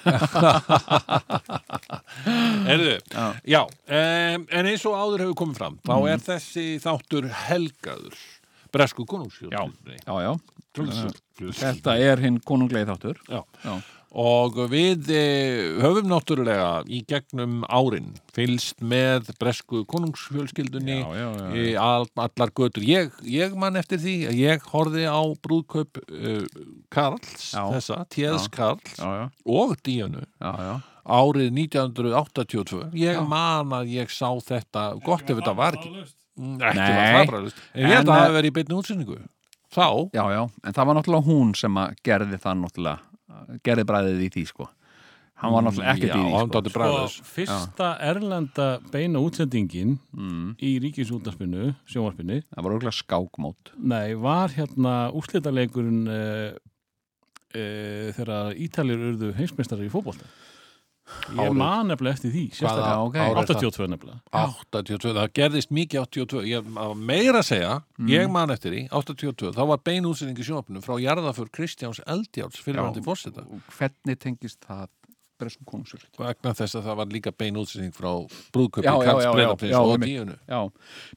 S2: Erðu,
S1: Já. Mm.
S2: já, um, en eins og áður hefur komið fram þá er þessi þáttur helgaður bresku konungsfjóðsíðan
S1: <laughs> já, já,
S2: Trúlsfjóðsíðan
S1: þetta er hinn konunglegi þáttur
S2: Já.
S1: Já.
S2: Og við eh, höfum náttúrulega í gegnum árin fylst með bresku konungsfjölskyldunni
S1: Já, já, já, já.
S2: í all, allar götur. Ég, ég man eftir því að ég horfði á brúðkaup uh, Karls,
S1: Já.
S2: þessa, Téðs Karls
S1: já, já,
S2: og Díönu
S1: já, já,
S2: árið 1982. Ég man að ég sá þetta, gott ef þetta var ekki, Mm, ekki var
S1: Nei.
S2: fabralust. En ég held að
S1: En,
S2: það
S1: eh,
S2: hafi verið í beinni útsinningu. Þá,
S1: já, já en það var náttúrulega hún sem að gerði það náttúrulega eh, gerði bræðið í því, sko hann var náttúrulega ekkert
S2: já,
S1: í því,
S2: hann
S1: sko
S2: dátti bræðis.
S3: Og fyrsta erlenda beina útsendingin í ríkisútarspinu, sjónvarpinu,
S1: það var auðvitað skákmót
S3: nei, var hérna úrslitaleikurinn uh, uh, þegar Ítalir urðu heimsmeistari í fótbolta. Ég
S2: Árið-
S3: man nefnilega eftir því, sérstaklega.
S1: Já, ok.
S2: árið er það?
S3: 82 nefnilega.
S2: 82, það gerðist mikið 82 ég var meira að segja, ég man eftir því 82, þá var bein útsending í sjónvapinu frá jarðaför Kristjáns Eldjáls fyrirvændi fórseta,
S1: og hvernig tengist það breskum konungsjóðsveit
S2: vegna þess að það var líka bein útsending frá brúðköpi
S1: Já, já,
S2: Karls
S1: já, já,
S2: Breðaprins
S1: já,
S2: og
S1: einmitt.
S2: díunu
S1: Já,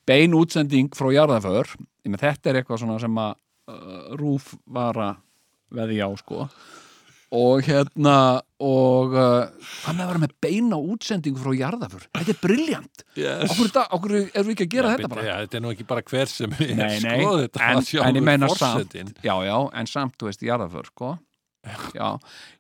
S1: bein útsending frá jarðaför Ég með þetta er eitthvað svona sem að uh, Rúf var að veðja á sko og hérna og uh, hvað með að vera með beina útsendingu frá jarðaför þetta er briljant
S2: yes.
S1: okkur, okkur erum við ekki að gera þetta bara
S2: já, þetta er nú ekki bara hver sem er
S1: Nei, nei,
S2: sko, þetta
S1: en-
S2: var
S1: en ég meina
S2: sjálfur
S1: samt.
S2: fórsetin
S1: já, já, en samt, þú veist, jarðaför sko já,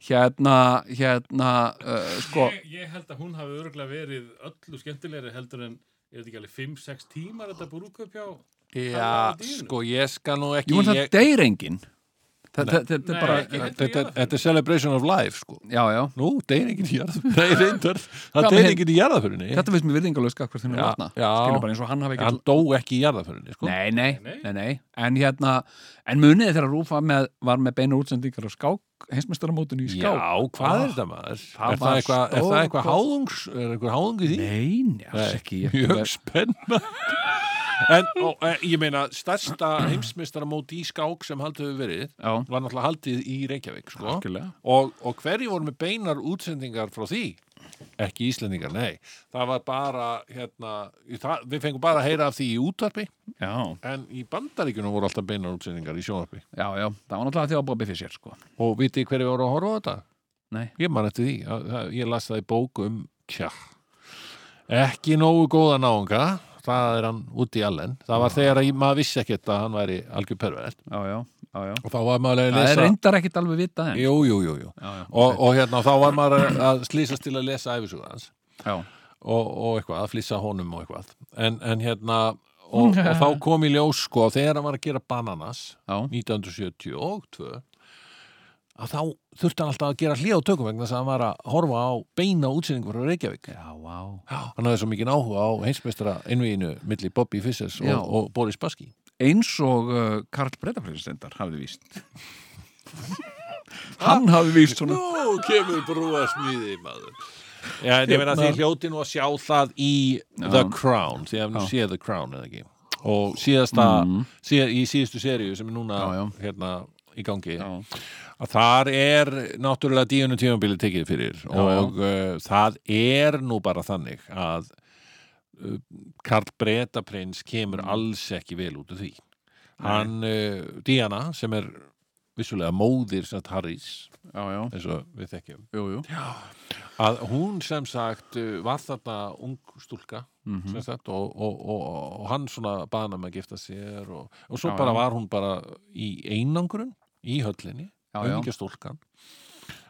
S1: hérna hérna, uh, sko
S3: Ég, ég held að hún hafi örgulega verið öllu skemmtilegri heldur en er þetta ekki alveg 5-6 tímar þetta brúðkaup hjá
S2: já,
S3: var á dýnu.
S2: sko, ég skal nú ekki
S1: jú, en það
S2: ég,
S1: deyr engin Þa- þa- þetta er
S3: Nei,
S1: bara
S3: ekki.
S2: þetta, þetta er celebration of life sko.
S1: já, já,
S2: nú, deyr ekki í jarðaför <laughs> Nei, reyndar, það
S1: Já,
S2: deyr
S1: men-
S2: ekki í jarðaförinni
S1: þetta veist mér virðingalösk akkur þinn er
S2: Já,
S1: vatna,
S2: já.
S1: skilur bara eins og hann hafi ekki
S2: hann dó ekki í jarðaförinni sko.
S1: Nei, nei,
S3: Nei, nei.
S1: nei, nei, en hérna en munið þegar Rúf var með, var með beina útsendingar á skák, heimsmeistaramótinu í skák
S2: Já, hvað
S1: Ah,
S2: er þetta maður?
S1: það
S2: er,
S1: var
S2: það eitthvað, er það eitthvað
S1: stórkostlegt.
S2: háðungs? Er eitthvað háðung í því?
S1: Nei, njás ekki ég-
S2: Mjög spenna En ó, e, ég meina, stærsta heimsmeistaramóti í skák sem haldið hefur verið
S1: Já,
S2: var náttúrulega haldið í Reykjavík sko.
S1: skilja
S2: og, og hverju voru með beinar útsendingar frá því? Ekki Íslendingar, nei Það var bara, hérna í það, Við fengum bara að heyra af því í útvarpi
S1: Já,
S2: en í Bandaríkjunum voru alltaf beinar útsendingar í sjónvarpi
S1: já, já, það var náttúrulega því að Bobby Fischer sko
S2: Og vitið hverju voru að horfa á þetta?
S1: Nei,
S2: Ég man eftir því, að- að- ég las það í bóku um, tja, ekki nógu góða náunga, það er hann út í allen. Það
S1: Ah.
S2: var þegar að ég- maður vissi ekkert að hann væri algjör pervert
S1: já, já, já, já
S2: og þá var maður að
S1: Það er
S2: lesa...
S1: reyndar ekkit alveg vitað en
S2: Jú, jú, jú, jú.
S1: Já, já,
S2: Og, og hérna, þá var maður að- að slýsast til að lesa æfisugur hans
S1: já,
S2: og, og eitthvað, að flýsa honum og eitthvað en, en hérna
S1: <laughs>
S2: og, og þá kom í ljós sko þegar hann var að gera Bananas
S1: Já.
S2: 1972 að þá þurfti hann alltaf að gera hlið á tökum vegna þess að hann var að horfa á beina útsendingu frá Reykjavík
S1: Já, vá.
S2: Já, hann hafði svo mikið áhuga á heimsmeistara innvíinu milli Bobby Fissers og,
S1: Já.
S2: og Boris Baski
S1: Eins og uh, Karl Breitafriðsendar hafði <laughs> víst. Hann hafði víst svona.
S2: Nú kemur brúa smíði maður Já, en ég meina
S1: Hérna.
S2: því hljóti nú að sjá það í The Crown, því að nú sé The Crown eða ekki og síðasta, síð, í síðustu seríu sem er núna
S1: Mhm. Já, já.
S2: hérna í gangi að þar er náttúrulega díunum tímabili tekið fyrir og uh, það er nú bara þannig að uh, Karl Bretaprins
S1: Mm.
S2: kemur alls ekki vel út af því hann, uh, Diana sem er vissulega móðir sem sagt Harrys
S1: Já, já,
S2: eins og við þekkjum
S1: jú, jú.
S2: að hún sem sagt uh, var þarna ung stúlka
S1: Mhm.
S2: sem sagt og, og, og, og hann svona bana með að gifta sér og, og svo
S1: Já,
S2: bara
S1: já.
S2: var hún bara í einangrun í höllinni,
S1: Já, já.
S2: auðvitað stúlkan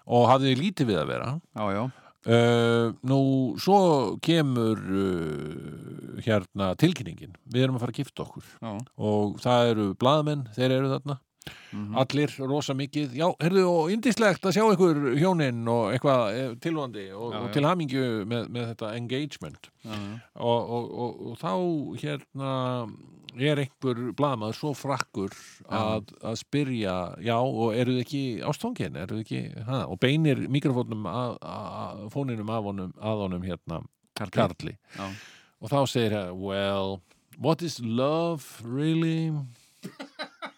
S2: og hafði lítið við að vera
S1: Já, já.
S2: Uh, nú, svo kemur uh, hérna tilkynningin við erum að fara að gifta okkur
S1: Já.
S2: og það eru blaðmenn, þeir eru þarna
S1: Mhm.
S2: allir rosa mikið já, heyrðu, og indislegt að sjá ykkur hjónin og eitthvað eh, tilvandi og,
S1: Já,
S2: og
S1: já.
S2: til hamingju með, með þetta engagement
S1: Já, já.
S2: og, og, og, og þá hérna er einhver blaðmaður svo frakkur að, að spyrja já, og eru þið ekki ástfangin eru þið ekki, ha, og beinir mikrofónum að, að, fóninum af honum að honum hérna,
S1: Karl.
S2: Karli
S1: Já.
S2: og þá segir það, well what is love really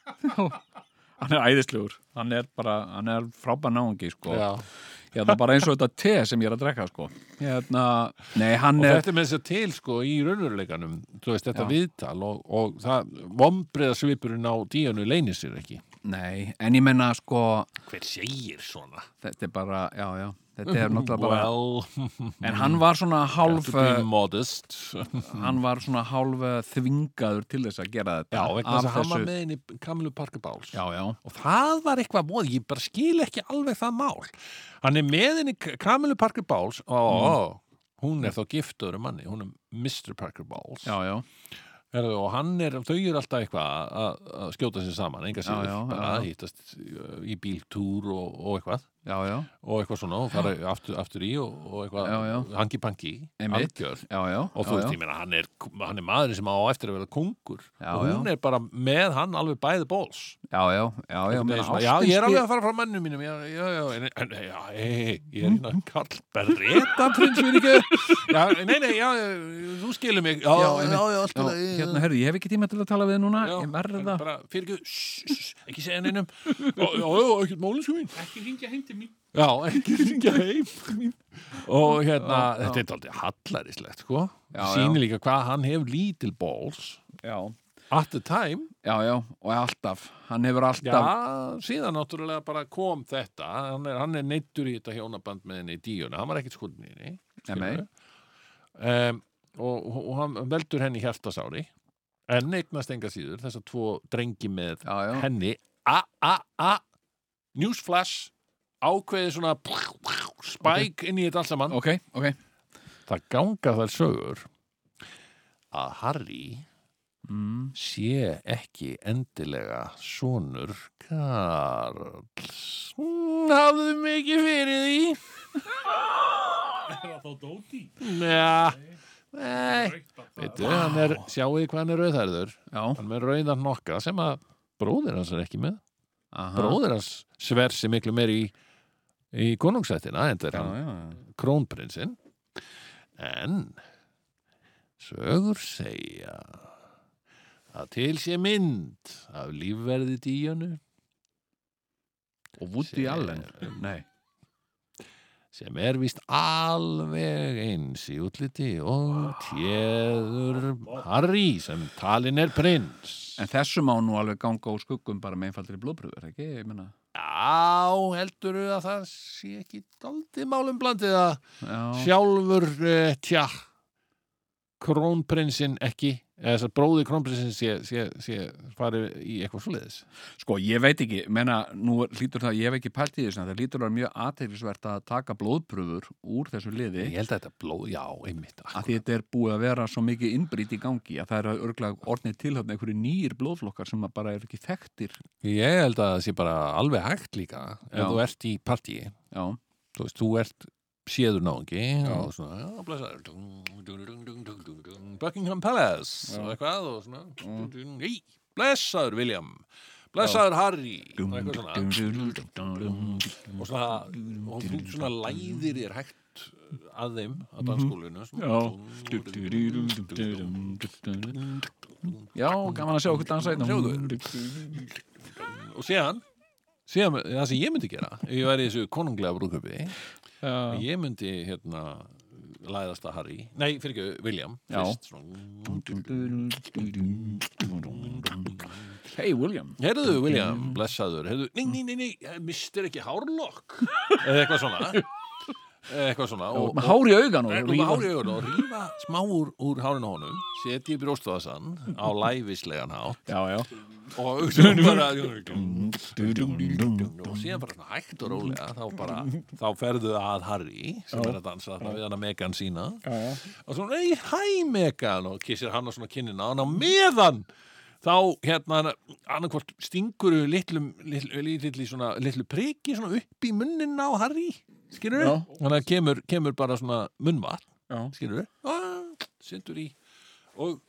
S1: Hann er æðislegur. Hann er bara, hann er frábæð náungi, sko.
S2: já.
S1: Hérna bara eins og þetta te sem ég er að drekka, sko. Hérna, nei, hann
S2: og
S1: er...
S2: þetta er með þess að til sko í raunveruleikanum þú veist þetta
S1: Já.
S2: viðtal og, og það vombriðasvipurinn á díjanu leynir sér ekki
S1: Nei, en ég menna, sko,
S2: hver segir svona?
S1: þetta er bara, já, já. Þetta er náttúrulega bara...
S2: well,
S1: En hann var svona hálf... uh,
S2: to be <laughs> modest já,
S1: hann var svona hálf eh, þvingaður til þess að gera þetta
S2: vegna
S1: af
S2: þess að hann var
S1: þessu-
S2: með henni Kamilu Parker Báls
S1: já, já,
S2: og það var eitthvað móð, ég bara skil ekki alveg það mál hann er með henni Kamilu Parker Báls og hún er þá giftur um manni, hún er Mr. Parker Báls
S1: já, já,
S2: Herðu, og hann er, þau eru alltaf eitthvað að- að skjóta sér saman, enga
S1: Já,
S2: síður
S1: já,
S2: bara
S1: já.
S2: að hýttast í bíltúr og, og eitthvað
S1: já, já,
S2: og eitthvað svona og fara aftur, aftur í og, og eitthvað
S1: Já, já.
S2: hangi-pangi,
S1: Einmitt.
S2: algjör
S1: já, já,
S2: og þú
S1: já,
S2: veist,
S1: já.
S2: ég meina, hann er, hann er maðurinn sem á eftir að vera kungur
S1: Já,
S2: og hún
S1: já.
S2: er bara með hann alveg bæði bóls
S1: já, já, já, já,
S2: Einhvern veginn
S1: meina,
S2: svona, já, ég er
S1: ástin
S2: alveg að fara frá mannum mínum já, já, já, en, en, já, hei, ég er hérna Karl Beretta prins minn ekki já, nei, nei, já, þú skilur mig já, já,
S1: Já, einmitt.
S2: já, allt í
S1: spil-
S2: lagi,
S1: <laughs> já, hérna, herru, ég hef ekki tíma til að tala við þig núna
S2: Já,
S1: ég
S2: en
S1: verða,
S2: bara fyrir ekki, ekki segja neinum já, já, já, ekkert málins mín
S6: Ekki hringja heim til mín
S2: já, ekki ringja heim til mín. og hérna, þetta er aldrei hallaríslegt sko,
S1: Já, já.
S2: sýnir líka hvað hann hefur lítil balls
S1: já,
S2: at the time,
S1: já, já og alltaf, hann hefur
S2: já,
S1: alltaf
S2: síðan náttúrulega bara kom þetta, hann er, hann er neittur í þetta hjónaband með henni í díuna, hann var ekkert skoðin í henni
S1: Nei, nei.
S2: skilurðu. Em, og, og, og hann veldur henni hjartasári en eignast enga síður þess að tvo drengi með
S1: já, já,
S2: henni a, a, a newsflash ákveði svona spæk inn í þetta allt saman
S1: ok, ok
S2: það ganga þær sögur að Harry
S1: mm.
S2: sé ekki endilega sonur Karls hafðu mikið fyrir því
S6: Er það þá Dóti?
S2: Nja, nei veitu, hann er, sjáu því hvað hann er rauðhærður
S1: já,
S2: hann er með rauðan nokka sem að bróðir hans er ekki með
S1: aha
S2: bróðir hans sver sem miklu meir í, í konungsættina en það er
S1: já,
S2: hann
S1: já,
S2: krónprinsinn en sögur segja að til sé mynd af lífverði díjanu
S1: og Woody
S2: Sem-
S1: Allen nei,
S2: sem er vist alveg eins í útliti og tjeður Harry sem talin er prins
S1: en þessu má nú alveg ganga úr skuggum bara með einfaldri blóðbröður, ekki, ég meina
S2: Já, heldur að það sé ekki daldi málum blandið að
S1: já,
S2: sjálfur, uh, tja, krónprinsinn ekki eða þess að bróði kromprinsins sé, sé, sé farið í eitthvað svoleiðis
S1: Sko, ég veit ekki, menna, nú lítur það, ég hef ekki pælt í þessu, en það lítur að vera mjög aðteglisvert að taka blóðpröfur úr þessu liði,
S2: Ég held að þetta blóð, já, einmitt
S1: að því þetta er búið að vera svo mikið innbrýtt í gangi, að það er örglega orðnið tilhöfna einhverju nýjir blóðflokkar sem að bara er ekki þekktir,
S2: Ég held að það sé bara alveg hægt líka
S1: Já.
S2: ef þú ert í partíi
S1: já,
S2: þú veist, þú ert séður náðingi og svona, já, blessaður Dung, dung, dung, dung, dung, dung, dung, Buckingham Palace og eitthvað og svona dung, dung, Í, blessaður William blessaður Harry og eitthvað svona og svona, og þú svona læðir þér hægt að þeim að danskólinu
S1: já, gaman að sjá okkur dansa einn
S2: Sjáðu. og séðan Síðan, það sem ég myndi gera, ef ég væri í þessu konunglega brúðköpi,
S3: Já,
S2: ég myndi hérna læðast að Harry, nei, fyrir ekki, William
S1: Já.
S2: fyrst, svona,
S1: Hey, William
S2: Herðu, William, blessaður, herðu, nei, nei, nei, nei, mistir ekki hárlokk, eða eitthvað svona, eða eitthvað svona, og,
S1: Með hár í augan og
S2: og, og, hár í augun og rífa smá úr, úr hárinu á honum, setja í brjóstvaðsan á læfislegan hátt
S1: Já, já
S2: og,
S1: <laughs>
S2: og bara, og síðan bara svona hægt og rólega, þá bara, þá ferðu að Harry, sem er að dansa þarna við hana Megan sína, og svona, ei, hæ Megan, og kissir hann á svona kinnina, hann á meðan, þá hérna annarkvort stingur litlu, litlu, litlu, svona, litlu priki svona upp í munninna á Harry skilur
S1: Já.
S2: þannig að kemur, kemur bara svona
S1: Já.
S2: munnvatn skilur við, sendur í og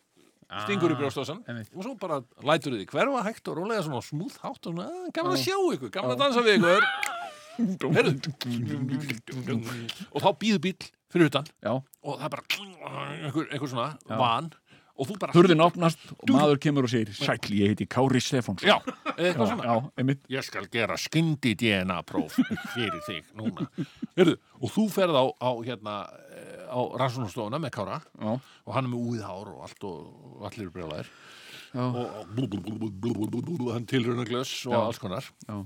S1: Ah.
S2: stingur í brjóstásan
S1: einmitt.
S2: og svo bara lætur þið hverfa hægt og rólega svona smúð hátt og svona, "Ah, gaman að sjá ykkur, gaman að dansa við ykkur Heyrðu. og þá býður bíl fyrir utan
S1: Já,
S2: og það er bara einhver, einhver svona van og þú bara
S1: hurðin opnast og maður kemur og segir Sæll, ég heiti Kári Stefánsson
S2: já, eitthvað svona
S1: já, einmitt
S2: ég skal gera skyndi DNA próf fyrir þig núna Heyrðu, og þú ferð á, á hérna eh, á rannsóknastofuna með Kára
S1: Já.
S2: og hann er með úið hár og allt og og allir brjólaðir og, og blú, blú, blú, blú, blú, blú, blú, blú, hann tilruna glöss og alls konar
S1: Já.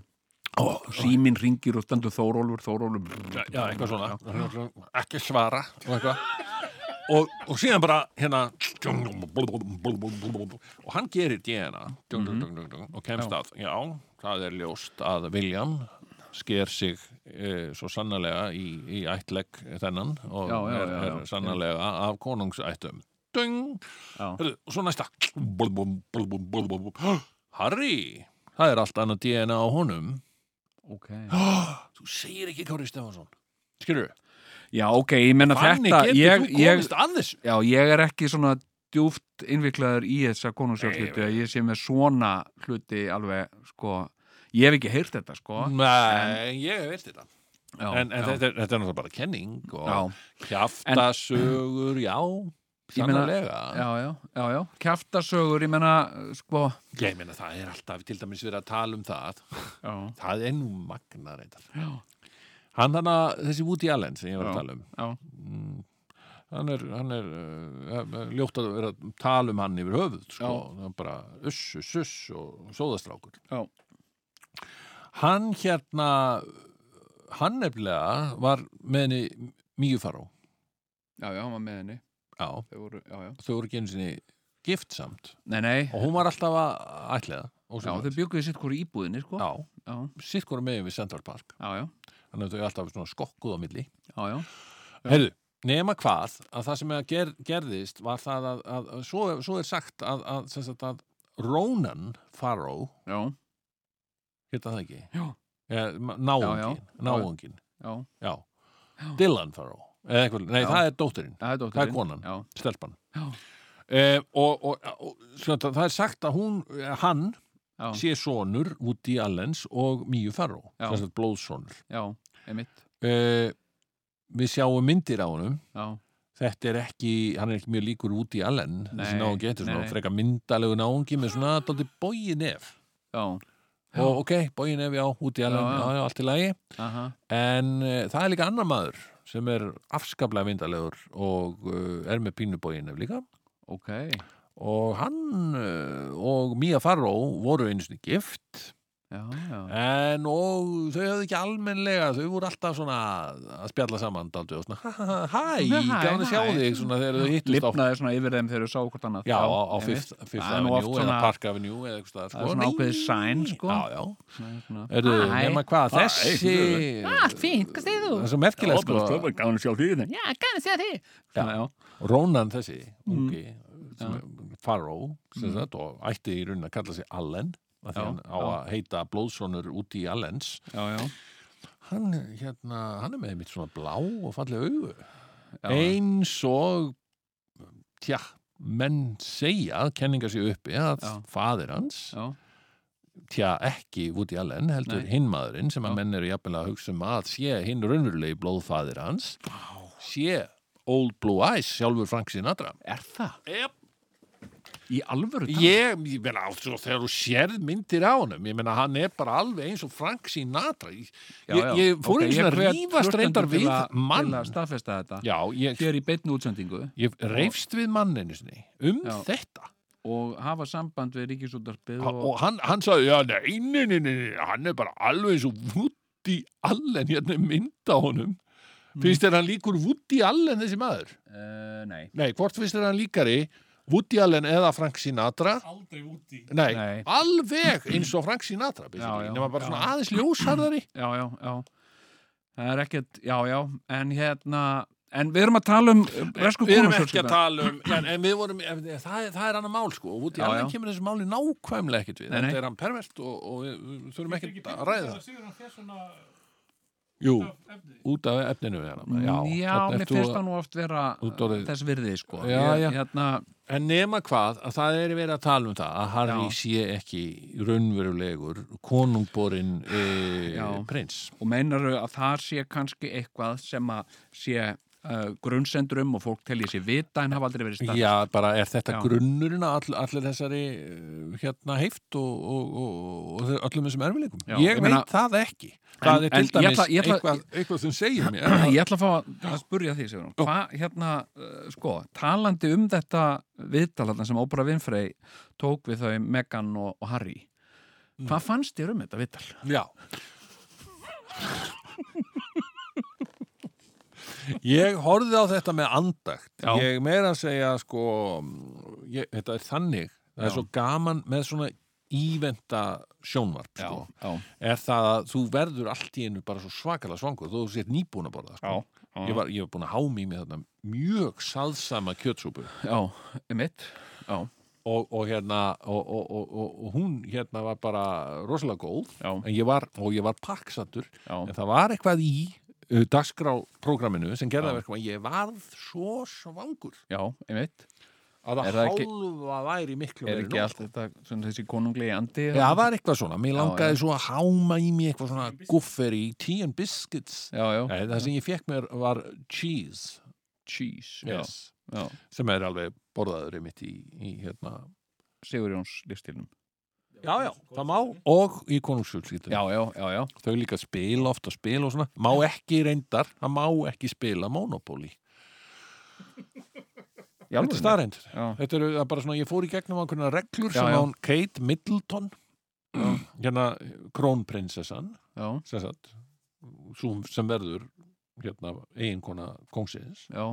S2: og
S1: Símin ringir og stendur Þórólfur, Þórólfur
S2: já, eitthvað svona ekki svara og eitthvað
S1: <laughs>
S2: og, og síðan bara hérna og hann gerir DNA og kemst
S1: Mhm.
S2: að já, það er ljóst að William sker sig e, svo sannarlega í, í ættlegg þennan og
S1: Já, já,
S2: er,
S1: já, já.
S2: er sannarlega af konungsættum Dung!
S1: Já.
S2: Heyrðu, og svo næsta Harry það er allt annað DNA á
S1: <gasps>
S2: honum
S1: Ok
S2: þú segir ekki Kári Stefansson skilur
S1: Já, ok, ég menna
S2: Þannig
S1: Hérna, þetta
S2: getur
S1: ég,
S2: þú
S1: ég,
S2: komist að þessu
S1: Já, ég er ekki svona djúft innviklaður í þessa konungsjálfluti að ég sé með svona hluti alveg, sko Ég hef ekki heyrt þetta, sko
S2: Nei, ég hef veilt þetta
S1: já,
S2: En, en
S1: já.
S2: þetta, er, þetta er náttúrulega bara kenning
S1: Já.
S2: og kjaftasögur, já
S1: Ég meina-
S2: Sannarlega
S1: Já, já, já, já, kjaftasögur, ég menna, sko
S2: Ég meina það er alltaf til dæmis verið að tala um það
S1: Já,
S2: Það er nú magna reyndar
S1: já,
S2: Hann hann að þessi Woody Allen sem ég var að
S1: Já.
S2: tala um
S1: já,
S2: mm, Hann er, hann er uh, ljótt að vera að tala um hann yfir höfuð sko. Það er bara uss, uss, uss og sóðastrákur
S1: já.
S2: Hann hérna hann nefnilega var með henni mjög faró
S1: Já, já, hann var með henni
S2: Já,
S1: Þau voru, já, já
S2: þau voru ekki einu sinni gift samt
S1: Nei, nei,
S2: og hún var alltaf að ætliða og
S1: já,
S2: svo
S1: þau bjugguðu sitt hvori íbúðinni, sko
S2: já,
S1: já,
S2: sitt hvora megin við Central Park
S1: já, já,
S2: þannig að þau alltaf svona skokkuð á milli
S1: já, já.
S2: Heyrðu, nema hvað að það sem að ger, gerðist var það að, að, að svo, svo er sagt að, að, sem sagt að Ronan Farrow
S1: já.
S2: hérna það ekki
S1: Já.
S2: Eh, ma- náunginn náunginn,
S1: Já,
S2: já Dylan Farrow, eða eitthvað, nei
S1: Já.
S2: það er dóttirinn,
S1: það er dóttir
S2: Það er konan.
S1: Já,
S2: stelpan
S1: Já.
S2: Eh, og, og, og svona, það er sagt að hún, eh, hann
S1: já,
S2: sé sonur Woody Allens og Míu Farró
S1: Já.
S2: þess að blóðsonur
S1: já, einmitt
S2: uh, við sjáum myndir á honum
S1: Já,
S2: þetta er ekki, hann er ekki mjög líkur Woody Allen þessi
S1: Nei,
S2: náungi, þetta er
S1: nei.
S2: svona freka myndalegu náungi með svona dálítið bógin ef
S1: já,
S2: og ok, bógin ef, já, Woody Allen
S1: Já,
S2: já,
S1: já.
S2: já, allt í lagi
S1: aha,
S2: en uh, það er líka annar maður sem er afskaplega myndalegur og uh, er með pínubógin ef líka eh,
S1: ok
S2: og hann uh, og Mia Farrow voru einu sinni gift
S1: já, já,
S2: En og þau höfðu ekki almennlega, þau voru alltaf svona að spjalla saman daldið og svona "Ha, ha, ha, hæ,
S1: Hæ,
S2: gafan að sjá
S1: hæ."
S2: þig svona þegar þau hittust á,
S1: lifnaði svona yfir þeim þegar þau sá hvort annað
S2: já, á, á
S1: einmitt.
S2: Fifth, Fifth
S1: Það er nú
S2: Avenue
S1: oft
S2: eða
S1: svona-
S2: Park Avenue eða eitthvað staðar,
S1: það er svona
S2: Nei.
S1: ákveðið sæn, sko.
S2: Já, já,
S1: Svona- svona-
S2: eru
S1: Hæ.
S2: nema hvað,
S1: Hæ,
S2: þessi
S1: allt Ah, fínt, hvað segir þú?
S2: Það er svo merkilegt sko,
S1: gafan að sjá því þeim já, gafan að sjá því já, já,
S2: Ronan þessi, ungi
S1: Mm.
S2: sem er Farrow, sem sagt og ætti í raunin að kalla sig Allen af því
S1: Já,
S2: hann á að heita blóðsonur úti í Allens
S1: já, já,
S2: hann, hérna, hann er með mitt svona blá og fallega augu
S1: já.
S2: eins og tja, menn segja kenningar sér uppi að
S1: Já.
S2: faðir hans
S1: já,
S2: tja ekki Woody Allen heldur
S1: Nei.
S2: hinn maðurinn sem að
S1: Já.
S2: menn eru jafnilega að hugsa um að sé hinn raunverulegi blóðfaðir hans sé Old Blue Eyes sjálfur Frank Sinatra
S1: er það?
S2: yep.
S1: í alvöru talað?
S2: ég, ég meina á- svo þegar þú sérð myndir á honum ég meina hann er bara alveg eins og Frank Sinatra ég,
S1: Já, já.
S2: ég fór
S1: Ok,
S2: okay, einu svona
S1: hvet
S2: rífast
S1: hlustendur
S2: reyndar
S1: til
S2: við
S1: að-
S2: mann
S1: til að staðfesta þetta
S2: já, ég,
S1: hér í beinni útsendingu
S2: ég reyfst við manninu sinni um
S1: Já.
S2: þetta
S1: og hafa samband við Ríkisúttarpið
S2: Ha-
S1: og,
S2: og hann, hann sagði, já, nei, nei, nei, nei, nei, hann er bara alveg eins og Woody Allen hérna er mynd á honum finnst þér hann líkur Woody Allen þessi maður?
S1: uh, nei,
S2: Nei, hvort finnst þér hann líkari Woody Allen eða Frank Sinatra?
S3: Aldrei úti
S2: Nei,
S1: Nei.
S2: alveg eins og Frank Sinatra
S1: Já, já,
S2: basically, nema bara
S1: já.
S2: svona aðeins ljósharðari
S1: já, já, já það er ekkert, já, já en hérna, en við erum að tala um uh, Bresku
S2: Við erum ekki
S1: konungsfjölskyldan.
S2: að tala um en, en við vorum, en, það, er- það er annar mál sko og Woody
S1: Já,
S2: Allen
S1: já.
S2: kemur þessu máli nákvæmlega ekkert við
S1: Nei, nei.
S2: þetta er hann pervert og, og við, við þurfum ekkert að ræða það
S3: Sigur hann þér svona
S2: Jú, út af efninu hérna.
S1: Já,
S2: þarna
S1: mér
S2: ert þú
S1: finnst
S2: að-
S1: það nú oft vera
S2: Út orðið-
S1: þess virði, sko.
S2: Já,
S1: Ég-
S2: já.
S1: Hérna,
S2: En nema hvað, að það er verið að tala um það að Harry
S1: Já.
S2: sé ekki raunverulegur konungborinn e,
S1: Já.
S2: prins.
S1: og meinaru að það sé kannski eitthvað sem að sé uh, grunnsendur um og fólk telji sér vita en hafa aldrei verið stað.
S2: Já, bara er þetta
S1: Já.
S2: grunnurinn að all, allir þessari eh, hérna heift og, og, og, og þeir- öllum þessum erfileikum?
S1: Já,
S2: ég
S1: ég
S2: veit
S1: meina-
S2: það ekki. Það
S1: En-
S2: er
S1: en
S2: til
S1: ég
S2: dæmis
S1: ætla- ég ætla-
S2: eitthvað, eitthvað sem
S1: <clears throat>
S2: segir mér. að-
S1: Ég ætla að fá að- að spurja því, Sigurðan. Hvað, hérna, uh, sko, talandi um þetta viðtalarna sem Óbra Winfrey tók við þau Megan og, og Harry,
S2: Mm.
S1: hvað fannst þér um þetta viðtal?
S2: Já. Ég horfði á þetta með andakt.
S1: Já.
S2: Ég meira að segja, sko, ég, þetta er þannig. Það er svo gaman með svona íventa sjónvarp, sko.
S1: já,
S2: Er það að þú verður allt í einu bara svo svakalega svangur þó þú sétt nýbúin að borða, sko. Ég var, ég var búin að hámi í mig þarna mjög saðsama kjötsúpu
S1: já, emitt, já,
S2: og, og hérna og, og, og, og, og hún hérna var bara rosalega góð
S1: Já.
S2: en ég var, og ég var pakksattur
S1: Já.
S2: en það var eitthvað í uh, dagskráprógramminu sem gerða verkum að ég varð svo svangur
S1: já, emitt.
S2: að
S1: Er
S2: það
S1: það
S2: hálfa
S1: ekki-
S2: væri miklu
S1: Er
S2: meiri
S1: ekki
S2: nóg.
S1: allt þetta, svona þessi konungli andi?
S2: Já, það var eitthvað svona, mér
S1: Já,
S2: langaði
S1: já.
S2: svo að háma í mig eitthvað svona gufferi í tea and biscuits
S1: Já, já.
S2: Nei, það sem ég fekk mér var cheese
S1: cheese
S2: yes,
S1: já, já.
S2: sem er alveg borðaður einmitt í, í hérna
S1: Sigur Jóns listilnum
S2: Já, já, það má og í konungsfjölskyldinu
S1: já, já, já, já,
S2: þau líka spila ofta spila og svona má ekki reyndar, það má ekki spila Monopoly,
S1: já,
S2: þetta er staðreind
S1: já,
S2: þetta eru það er bara svona, ég fór í gegnum ákveðna reglur
S1: Já,
S2: sem
S1: já.
S2: já. hún Kate Middleton <clears throat> hérna krónprinsessan
S1: já,
S2: sem sagt, sú sem verður hérna eiginkona kongsins
S1: já,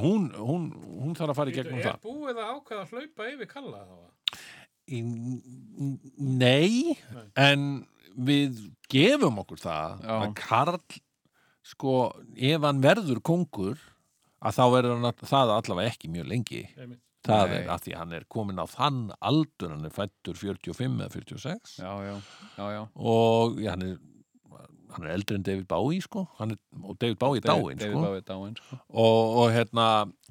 S2: hún, hún, hún þarf að fara í gegnum
S3: Er
S2: það
S3: búið að ákveða að hlaupa yfir kalla þá?
S2: Í- Nei, en við gefum okkur það
S1: Já.
S2: að Karl sko, ef hann verður kongur að þá verður hann að, það allavega ekki mjög lengi
S3: Einmitt.
S2: það
S1: Nei.
S2: er að því hann er komin á þann aldur, hann er fættur 45 eða 46
S1: já, já, já, já.
S2: og já, hann er hann er eldri en David Bowie sko hann er, og David Bowie er dáin
S1: David
S2: sko
S1: Bowie dáin sko.
S2: og, og hérna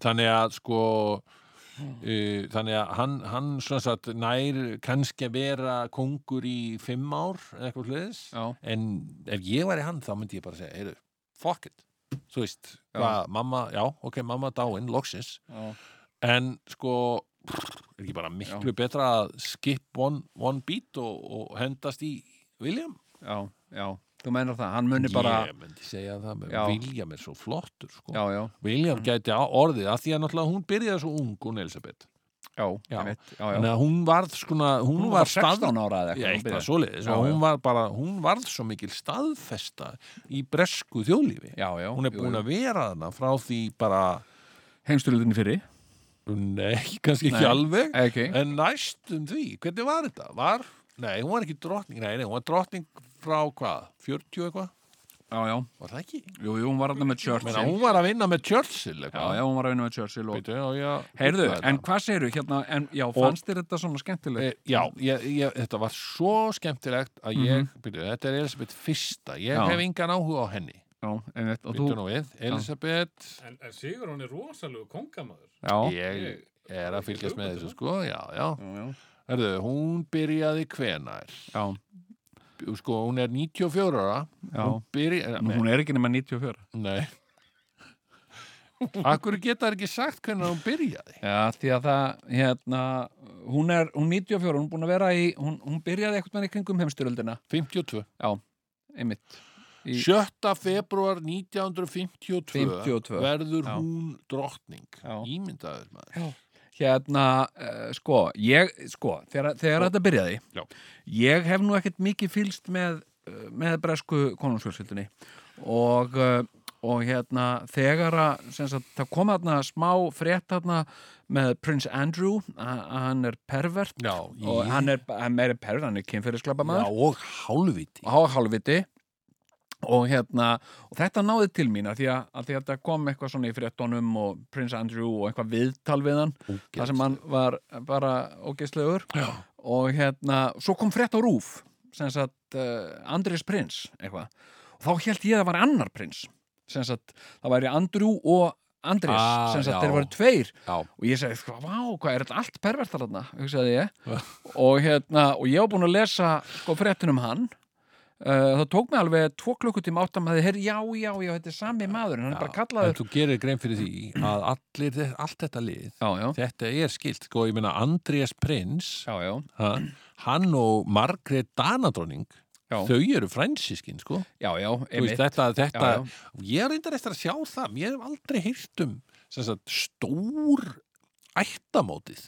S2: þannig að sko uh, þannig að hann, hann svona sagt nær kannski að vera kongur í fimm ár eða eitthvað hlutis
S1: já,
S2: en ef ég væri hann þá myndi ég bara segja heyru, fuck it, þú veist
S1: Já.
S2: hvað, mamma, já, ok, mamma dáin, loksins
S1: já,
S2: en sko er ekki bara miklu betra að skip one, one beat og, og hendast í William?
S1: já, já þú menir það, hann muni bara
S2: Ég myndi segja það,
S1: Já.
S2: William er svo flottur sko.
S1: já, já, Mm.
S2: William gæti á orðið að því að náttúrulega hún byrjaði svo ung hún Elisabeth
S1: já,
S2: Já.
S1: einmitt, já, já.
S2: Þannig að hún varð skona, hún,
S1: hún
S2: var
S1: var 16
S2: Já,
S1: ára eða eitthvað, hún
S2: eitthvað
S1: byrjaði.
S2: svoleiðis
S1: Já,
S2: og
S1: já.
S2: hún var bara, hún varð svo mikil staðfesta í bresku þjóðlífi
S1: já, já,
S2: hún er búin að vera þarna frá því bara
S1: heimsturlutinni fyrri Eh,
S2: nei, <laughs> kannski ekki
S1: Nei.
S2: alveg
S1: okay.
S2: en næstum því, hvernig var þetta? Var, nei, hún var ekki drottning nei, nei, hún var drottning frá hvað? 40 eitthvað?
S1: já, já,
S2: Var það ekki?
S1: jú, jú, hún var alltaf með
S2: Meina,
S1: Churchill
S2: hún var að vinna með Churchill
S1: já,
S2: eitthvað
S1: já, hún var að vinna með Churchill og...
S2: Bíddu, já, já,
S1: heyrðu,
S2: þetta.
S1: en hvað segirðu hérna, en já, fannst þér þetta svona skemmtilegt
S2: Eh, Já, ég, ég, þetta var svo skemmtilegt að ég, byrju, þetta er Elisabeth fyrsta, ég
S1: Mhm. Já.
S2: hef engan áhuga á henni
S1: já, einmitt, og
S2: Býttu
S1: þú,
S2: nú við, Elisabeth
S6: En, en Sigur hún er rosalegu kongamaður.
S1: já,
S2: Ég er að fylgjast með þessu sko, já, já
S1: já, já,
S2: Herðu, hún byrjaði hvenær
S1: já,
S2: Sko, hún er 94 ára
S1: já.
S2: Hún byrjaði,
S1: Nú,
S2: nei,
S1: hún er ekki nema 94
S2: nei <laughs> Akkur geta þær ekki sagt hvenær hún byrjaði
S1: Já, því að það, hérna, hún er, hún 94, hún er búin að vera í, hún, hún byrjaði eitthvað með í kringum heimstyröldina,
S2: 52
S1: einmitt. Í,
S2: 7. februar 1952
S1: 52.
S2: verður
S1: Já.
S2: hún drottning
S1: Já.
S2: Ímyndaður maður
S1: Hérna, uh, sko, ég, sko, þegar, þegar þetta byrjaði,
S2: Já.
S1: ég hef nú ekkert mikið fylst með, eh, með bresku konungsfjölskyldunni og, eh, og hérna, þegar að, sem sagt, það kom þarna smá frétt þarna með Prince Andrew, að, að hann er pervert
S2: Já,
S1: og hann er, hann er pervert, hann er kynferðisklapamaður.
S2: Já, og hálfviti
S1: á hálfviti og hérna, og þetta náði til mín að því að, að því að þetta kom eitthvað svona í fréttonum og Prince Andrew og eitthvað viðtal við hann, þar sem hann var bara ógeðslegur
S2: Já.
S1: og hérna, svo kom frétt á rúf sem sagt uh, Andrés Prins eitthvað, og þá held ég að það var annar prins, sem sagt það væri Andrew og Andrés
S2: Ah,
S1: sem sagt
S2: já.
S1: þeir voru tveir
S2: Já.
S1: og ég segi, sko, vá, hvað er þetta allt pervertar þarna, hugsaði ég og hérna, og ég var búin að lesa sko fréttin um hann Uh, það tók mig alveg tvo klukkutíma átt að maður heyr, já, já, já, þetta er sami maður hann er bara
S2: En
S1: kallaður
S2: þú gerir grein fyrir því að allir, þe- allt þetta lið
S1: já, já,
S2: Þetta er skilt, sko, ég meina Andrés Prins,
S1: já, já,
S2: ha, hann og Margrét Danadroning,
S1: Já.
S2: þau eru fransískin, sko.
S1: já, já,
S2: Þú veist,
S1: einmitt
S2: þetta, þetta,
S1: Já,
S2: ég er reyndar eftir að sjá það, mér hef aldrei heyrt um sem sagt, stór ættamótið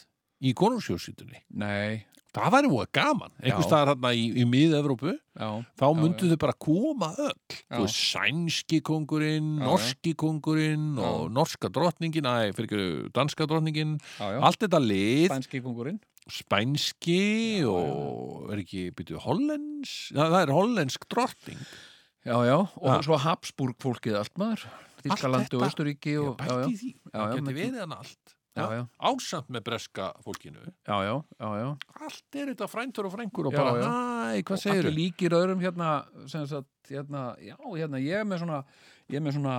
S2: í konungsjóðsýtunni.
S1: nei,
S2: Það væri múið gaman, einhvers
S1: Já.
S2: staðar þarna í, í mið-Evrópu,
S1: já,
S2: þá
S1: Já,
S2: myndu þau bara koma öll
S1: Já.
S2: þú veist, sænski kongurinn,
S1: Já, já.
S2: norski kongurinn og norska drottningin, næ, fyrir ekki danska drottningin,
S1: já, já
S2: allt þetta lið
S1: spænski kongurinn
S2: spænski og er ekki, byrju, hollens það, það er hollensk drottning
S1: já, já, og
S2: Já.
S1: svo Habsburg fólkið allt maður Þýskalandi og
S2: þetta.
S1: Östuríki
S2: Já,
S1: og, já, já,
S2: pælti í því,
S1: Já, já,
S2: það geti
S1: með-
S2: verið hann allt
S1: já, já,
S2: ásamt með breska fólkinu
S1: já, já, já, já.
S2: allt er þetta fræntur og frængur og
S1: Já,
S2: bara,
S1: já.
S2: næ, hvað
S1: og
S2: segir
S1: allir líkir öðrum hérna, sem sagt, hérna, já, hérna, ég er með svona, ég er með svona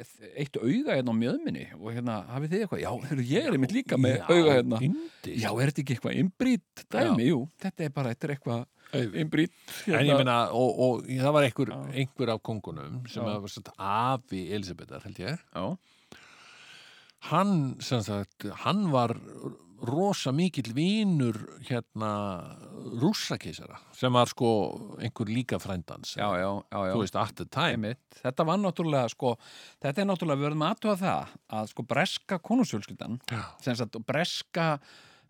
S1: eh, eitt auga hérna á mjöðminni og hérna, hafið þið eitthvað, já, heyrðu, ég er einmitt líka með auga hérna. Já, er þetta ekki eitthvað innbrýtt dæmi? Jú, þetta er bara, þetta er eitthvað hérna. innbrýtt.
S2: En ég meina, og, og það var einhver,
S1: Já.
S2: einhver af kongunum sem
S1: Já.
S2: að var sagt afi Elisabethar, held ég.
S1: Já.
S2: Hann, sem sagt, hann var rosa mikill vinur hérna rússakeisara sem var sko einhver líka frændans.
S1: Já, já, já, já.
S2: Þú veist, at the time.
S1: Einmitt. Þetta var náttúrulega, sko, þetta er náttúrulega, við verðum að aðtuga það að sko breska konusjölskyldan, sem sagt, og breska,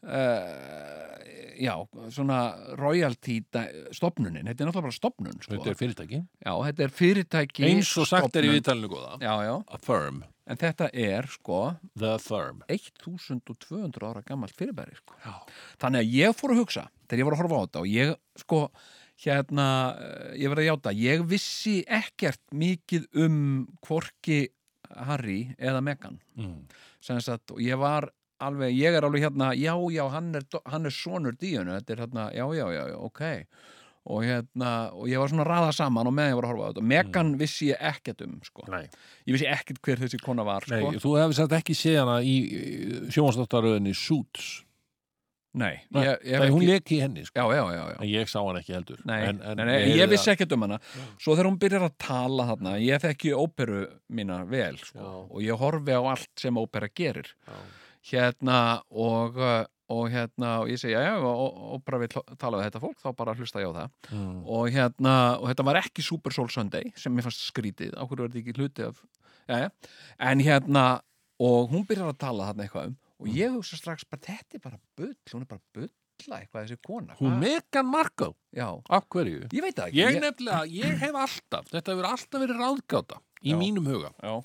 S1: uh, já, svona royalty dæ- stofnunin, þetta er náttúrulega bara stofnun, sko.
S2: Þetta er fyrirtæki.
S1: Já, þetta er fyrirtæki.
S2: Eins og sagt er í
S1: stofnun.
S2: viðtalinu góða.
S1: Já, já,
S2: A firm.
S1: en þetta er, sko,
S2: The firm.
S1: 1200 ára gammalt fyrirbæri, sko.
S2: Já.
S1: Þannig að ég fór að hugsa, þegar ég var að horfa á þetta og ég, sko, hérna, eh, ég verið að játa, ég vissi ekkert mikið um hvorki Harry eða Meghan.
S2: Mm.
S1: Sem sagt, og ég var alveg, ég er alveg hérna, já, já, hann er, do- hann er sonur díunu, þetta er hérna, já, já, já, já, ok. Og hérna, og ég var svona að raða saman og meðan ég var að horfa á þetta. Meghan vissi ég ekkert um, sko.
S2: Mm. Nei.
S1: Ég vissi ekkert hver þessi kona var,
S2: Nei,
S1: sko.
S2: þú hefði sagt ekki séð hana í sjónastáttaröðinni Suits.
S1: Nei,
S2: Nei,
S1: ég, ég hef
S2: Nei, hún
S1: ekki...
S2: leki henni, sko.
S1: Já, já, já, já.
S2: En ég sá hann ekki heldur.
S1: Nei,
S2: en, en
S1: nei, nei,
S2: heyrði
S1: ég
S2: að-
S1: vissi ekkert um hana Svo þegar hún byrjar að tala þarna Ég þekki óperu mína vel sko,
S2: Já.
S1: og ég horfi á allt sem ópera gerir hérna og, uh, og hérna og ég segi, já, já, ó- ópera vil tala við þetta fólk, þá bara hlusta ég á það
S2: Mm.
S1: og hérna, og þetta var ekki Super Soul Sunday sem mér fannst skrítið, á hverju var þetta ekki hluti af, já, já, en hérna og hún byrjar að tala þarna eitthvað um
S2: Mm.
S1: og ég hugsa strax bara þetta er bara bull, hún er bara bulla eitthvað þessi kona
S2: Hún
S1: Hvað-
S2: Megan Markle,
S1: Já,
S2: af hverju?
S1: Ah. ég veit það ekki
S2: Ég nefnilega, ég hef alltaf, þetta hefur alltaf verið ráðgáta í
S1: Já.
S2: mínum huga.
S1: Já,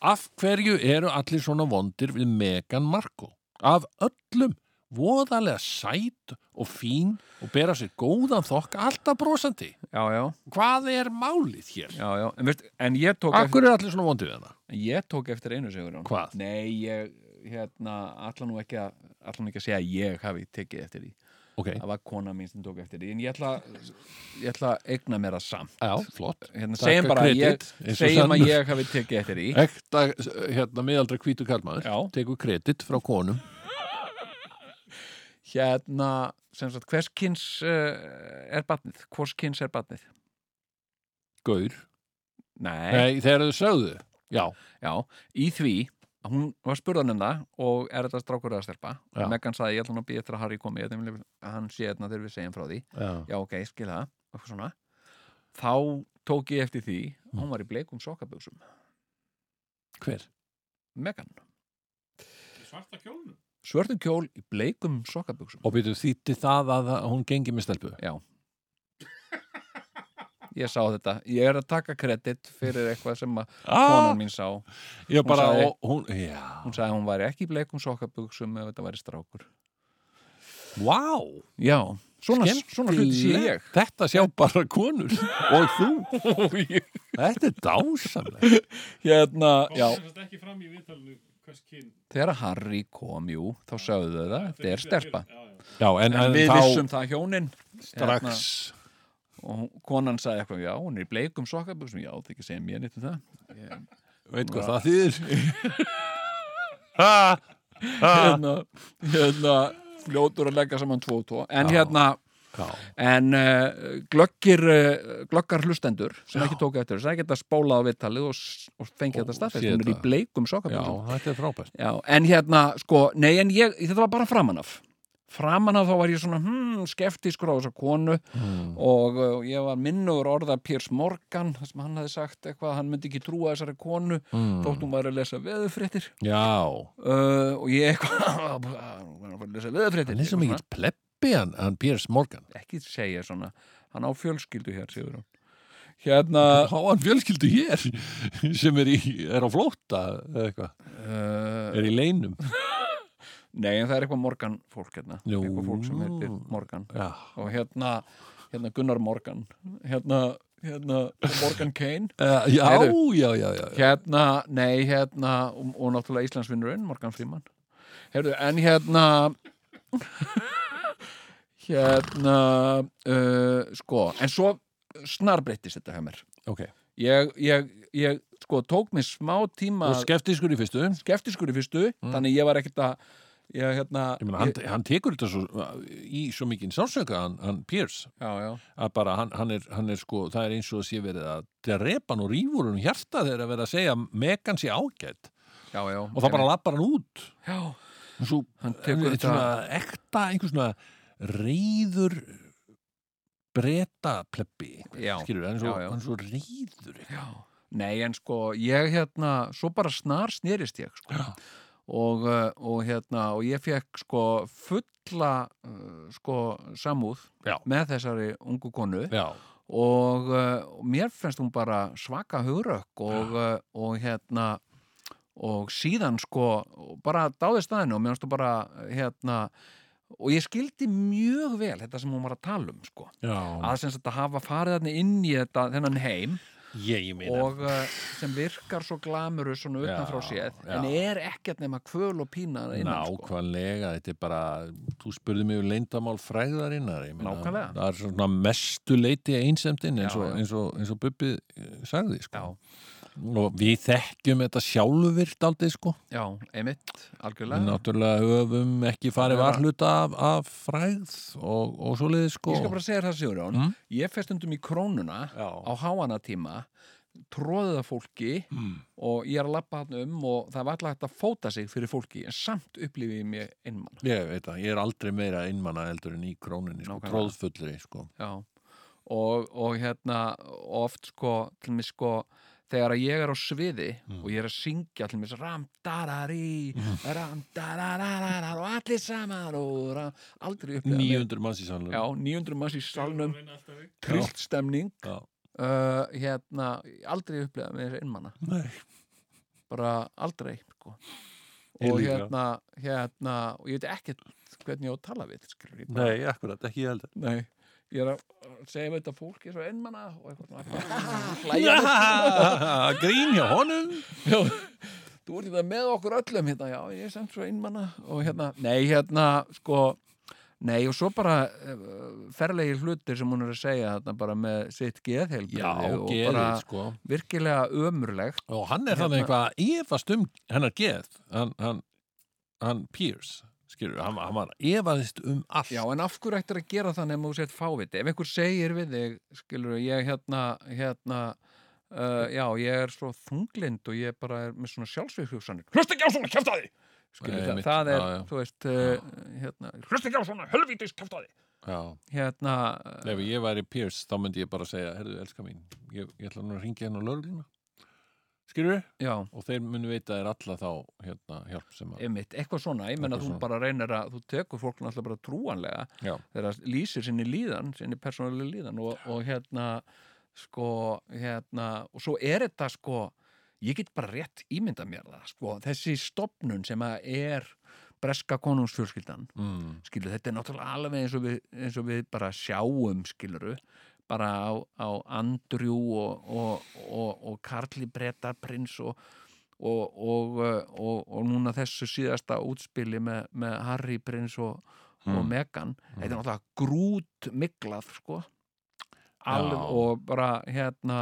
S2: Af hverju eru allir svona vondir við Megan Markle? Af öllum, voðalega sæt og fín og bera sér góðan þokk, alltaf brosandi.
S1: já, já,
S2: Hvað er málið hér?
S1: já, já. En, veist, en ég tók
S2: Af hverju eru allir svona vondir við hana?
S1: eftir, ég tók eftir einu sigur
S2: Hvað?
S1: Nei, ég, hérna, allan nú ekki að allan ekki að segja að ég hafi tekið eftir því
S2: Ok,
S1: það var kona mín sem tók eftir því en ég ætla, ég ætla að eigna mér það samt
S2: já, flott.
S1: hérna,
S2: Taka
S1: segjum bara að ég,
S2: kredit, eins og
S1: segjum að
S2: sannur.
S1: ég hafi tekið eftir
S2: <laughs>
S1: því
S2: Ekta, hérna, miðaldra hvítu karlmaður,
S1: Já.
S2: tekur kredit frá konum.
S1: hérna, sem sagt, hvers kyns uh, er batnið, hvers kyns er batnið
S2: Gaur.
S1: nei,
S2: Nei, þegar þau sögðu. Já,
S1: já, í því að hún var spurðan um það og er þetta strákur eða stelpa
S2: Já.
S1: Megan sagði ég ætla hann að býja eftir að Harry komi ég ætla að hann sé hérna þegar við segjum frá því
S2: já.
S1: já ok, skil það, eitthvað svona þá tók ég eftir því að hún var í bleikum sokkaböksum
S2: Hver?
S1: Megan,
S3: Svarta kjólnum?
S1: svörðum kjól í bleikum sokkaböksum
S2: Og byrju þýtti það að hún gengi með stelpu?
S1: ég sá þetta, ég er að taka kredit fyrir eitthvað sem að
S2: Ah,
S1: konan mín sá
S2: ég bara,
S1: sagði-
S2: og, hún, já,
S1: hún sagði að hún væri ekki í bleikum sokkabuxum ef þetta væri strákur
S2: vá,
S1: já, svona,
S2: Skemmtilegt.
S1: svona hluti sé ég
S2: þetta sjá bara konur og þú,
S1: <laughs>
S2: þetta er dásamlega.
S1: hérna, já,
S3: Það er ekki fram í viðtalinu hvers kyn
S1: þegar Harry kom jú, þá sögðu þau það, þetta er stelpa
S2: Já, en,
S1: en við
S2: þá Hérna.
S1: vissum það hjónin Hérna,
S2: strax,
S1: og hún- konan sagði eitthvað, já, hún er í bleikum sokkabuxum já, það ekki segja mér nýtt um það
S2: veit hvað það þýðir,
S1: <laughs> hérna, hérna fljótur að leggja saman tvo og tvo en hérna
S2: Já.
S1: en uh, glöggir uh, glöggar hlustendur sem ekki tók eftir þess að geta spólað á vittalið og, s- og fengið þetta staðfæst,
S2: sé
S1: hún er í
S2: þetta.
S1: bleikum
S2: já,
S1: sokkaböksum
S2: þetta er frábært.
S1: Já, en hérna, sko, nei, en ég, þetta var bara framan af. Framan af þá var ég svona, hmm, skeftiskur á þessa konu
S2: Hmm.
S1: og uh, ég var minnugur orða Piers Morgan, þar sem hann hafði sagt eitthvað, hann myndi ekki trúa þessari konu,
S2: Hmm.
S1: mm. þótt hún var að lesa veðufréttir
S2: Já,
S1: uh, og ég eitthvað, <laughs> hún var að fara að lesa veðufréttir.
S2: hann er svo mikill pleppi hann, hann Piers Morgan.
S1: Ekki segja svona, hann á fjölskyldu hér, sigur hann. Hérna,
S2: Há hann fjölskyldu hér sem er, í, er á flótta eða eitthvað,
S1: uh,
S2: er í leinum.
S1: nei, en það er eitthvað Morgan fólk hérna,
S2: Nú.
S1: eitthvað fólk sem heitir Morgan.
S2: Já,
S1: og hérna, hérna Gunnar Morgan hérna, hérna Morgan
S2: <laughs>
S1: Kane
S2: Eh, já,
S1: Heyrðu.
S2: já, já, já.
S1: hérna, nei, hérna og, og náttúrulega Íslandsvinnurinn, Morgan Freeman Heyrðu, en hérna <laughs> hérna uh, sko, en svo snarbreyttist þetta hjá mér
S2: Ok,
S1: ég, ég, ég sko tók mér smá tíma
S2: og skeftiskur í fyrstu.
S1: skeftiskur í fyrstu, þannig ég var ekkert að ég hérna
S2: Ég meina, hann, hann tekur þetta svo, í svo mikinn sásöka, hann, hann Pierce,
S1: já, já,
S2: að bara hann, hann, er, hann er sko, það er eins og að sé verið að drepa hann og rífur hann hjarta þegar að vera að segja megan sé ágætt
S1: já, já
S2: og það bara lappar hann út.
S1: já,
S2: Og svo
S1: hann tekur
S2: þetta...
S1: þetta
S2: svona ekta, einhver svona reyður breyta plebbi,
S1: Já,
S2: skilur, hann er svo,
S1: já, já.
S2: Hann er svo reyður.
S1: Já, nei en sko ég hérna, svo bara snar snerist ég sko.
S2: Já.
S1: og, uh, og hérna og ég fekk sko fulla uh, sko samúð
S2: Já.
S1: með þessari ungu konu
S2: Já,
S1: og uh, og mér finnst hún bara svaka hugrökk og, uh, og hérna og síðan sko og bara dáði staðinu og mér finnst hún bara hérna og ég skildi mjög vel þetta sem hún var að tala um sko
S2: já.
S1: að sem sagt að hafa farið þarna inn í þetta þennan heim
S2: Ég meina.
S1: og uh, sem virkar svo glamuru svona utan frá
S2: Já,
S1: séð en er ekkert nema kvöl og pína þarna innan sko.
S2: Nákvæmlega, þetta er bara þú spurði mig um leyndamál fræðarinnar ég meina,
S1: Nákvæmlega.
S2: Það er svona mestu leiti einsemdin eins og,
S1: Já, já.
S2: eins og, eins og Bubbi eh, sagði sko.
S1: Já.
S2: og við þekkjum þetta sjálfvirt aldrei sko
S1: Já, einmitt,
S2: við
S1: algjörlega
S2: náttúrulega höfum ekki farið
S1: Nákvæmlega.
S2: varhluta af, af fræð og, og svoleiði sko
S1: Ég skal bara segja þér það Sigurjón
S2: Mm.
S1: ég fer stundum í krónuna
S2: Já.
S1: á háana tíma tróðið að fólki
S2: Mm.
S1: og ég er að lappa hann um og það var alltaf hægt að fóta sig fyrir fólki en samt upplifið ég um mér einmann
S2: Ég veit það, ég er aldrei meira einmanna eldur en í króninni, sko,
S1: Nákvæmlega.
S2: tróðfullri sko.
S1: Já, og, og hérna oft sko, til mig sko þegar að ég er á sviði
S2: Mm.
S1: og ég er að syngja allir mér ramdarari, ramdararara og allir saman og ra- aldrei upplifað meira.
S2: 900 manns í salnum
S1: Já, 900 manns í salnum trillt stemning
S2: Já.
S1: Uh, hérna, aldrei upplega með þessi innmanna
S2: Nei.
S1: bara aldrei sko.
S2: Ég
S1: og
S2: líka.
S1: hérna, hérna og ég veit ekkert hvernig ég á að tala við skilur, ég, bara-
S2: Nei, akkurat, ekki ég heldur
S1: Nei. ég er að segja við þetta fólki svo innmanna og
S2: <laughs>
S1: eitthvað svona hérna, hlæja
S2: <laughs> Grín hjá honum
S1: Já, þú ert þetta með okkur öllum hérna, já, ég er samt svo einmanna og hérna, nei, hérna, sko nei, og svo bara eh, ferlegir hlutir sem hún er að segja þarna bara með sitt geðhelbrigði
S2: Já,
S1: og
S2: geðið
S1: bara
S2: sko
S1: virkilega ömurlegt
S2: Og hann er
S1: Hérna-
S2: þannig eitthvað að efast um hennar geð Hann, hann, hann Pierce, skilur, hann, hann var efaðist um allt
S1: Já, en af hverju ættir að gera það nema þú sért fáviti? Ef einhver segir við þig, skilur ég hérna, hérna, uh, já, ég er svo þunglind og ég bara er með svona sjálfsvíðhugsanir. Hlust ekki á svona kjaftaði! Skilur,
S2: Nei,
S1: það,
S2: mitt,
S1: það er,
S2: já, já.
S1: þú veist, uh, hérna, hlust ekki á svona helvítis kjaftaði!
S2: Já.
S1: Hérna,
S2: Nei, Ef ég væri Pierce, þá myndi ég bara segja Herðu, elska mín, ég, ég ætla nú að ringja henn á lögregluna Skilur
S1: já,
S2: Og þeir munu veita þér alla þá hérna, hjálp sem að
S1: einmitt, eitthvað svona, ég menna
S2: Eitthvað
S1: þú
S2: svona.
S1: bara reynir að, þú tekur fólk náttúrulega bara trúanlega
S2: Já.
S1: þegar það lýsir sinni líðan, sinni persónulega líðan og, og hérna, sko, hérna, og svo er þetta sko, ég get bara rétt ímynda mér það, sko, þessi stopnun sem að er breska konungsfjölskyldan,
S2: mm.
S1: skilur, þetta er náttúrulega alveg eins og við, eins og við bara sjáum, skiluru, bara á, á Andrew og, og, og, og Karli Breta prins og, og, og, uh, og, og núna þessu síðasta útspili með, með Harry prins og,
S2: Hmm.
S1: og Meghan þetta er náttúrulega grút miklað, sko alveg
S2: Já.
S1: og bara hérna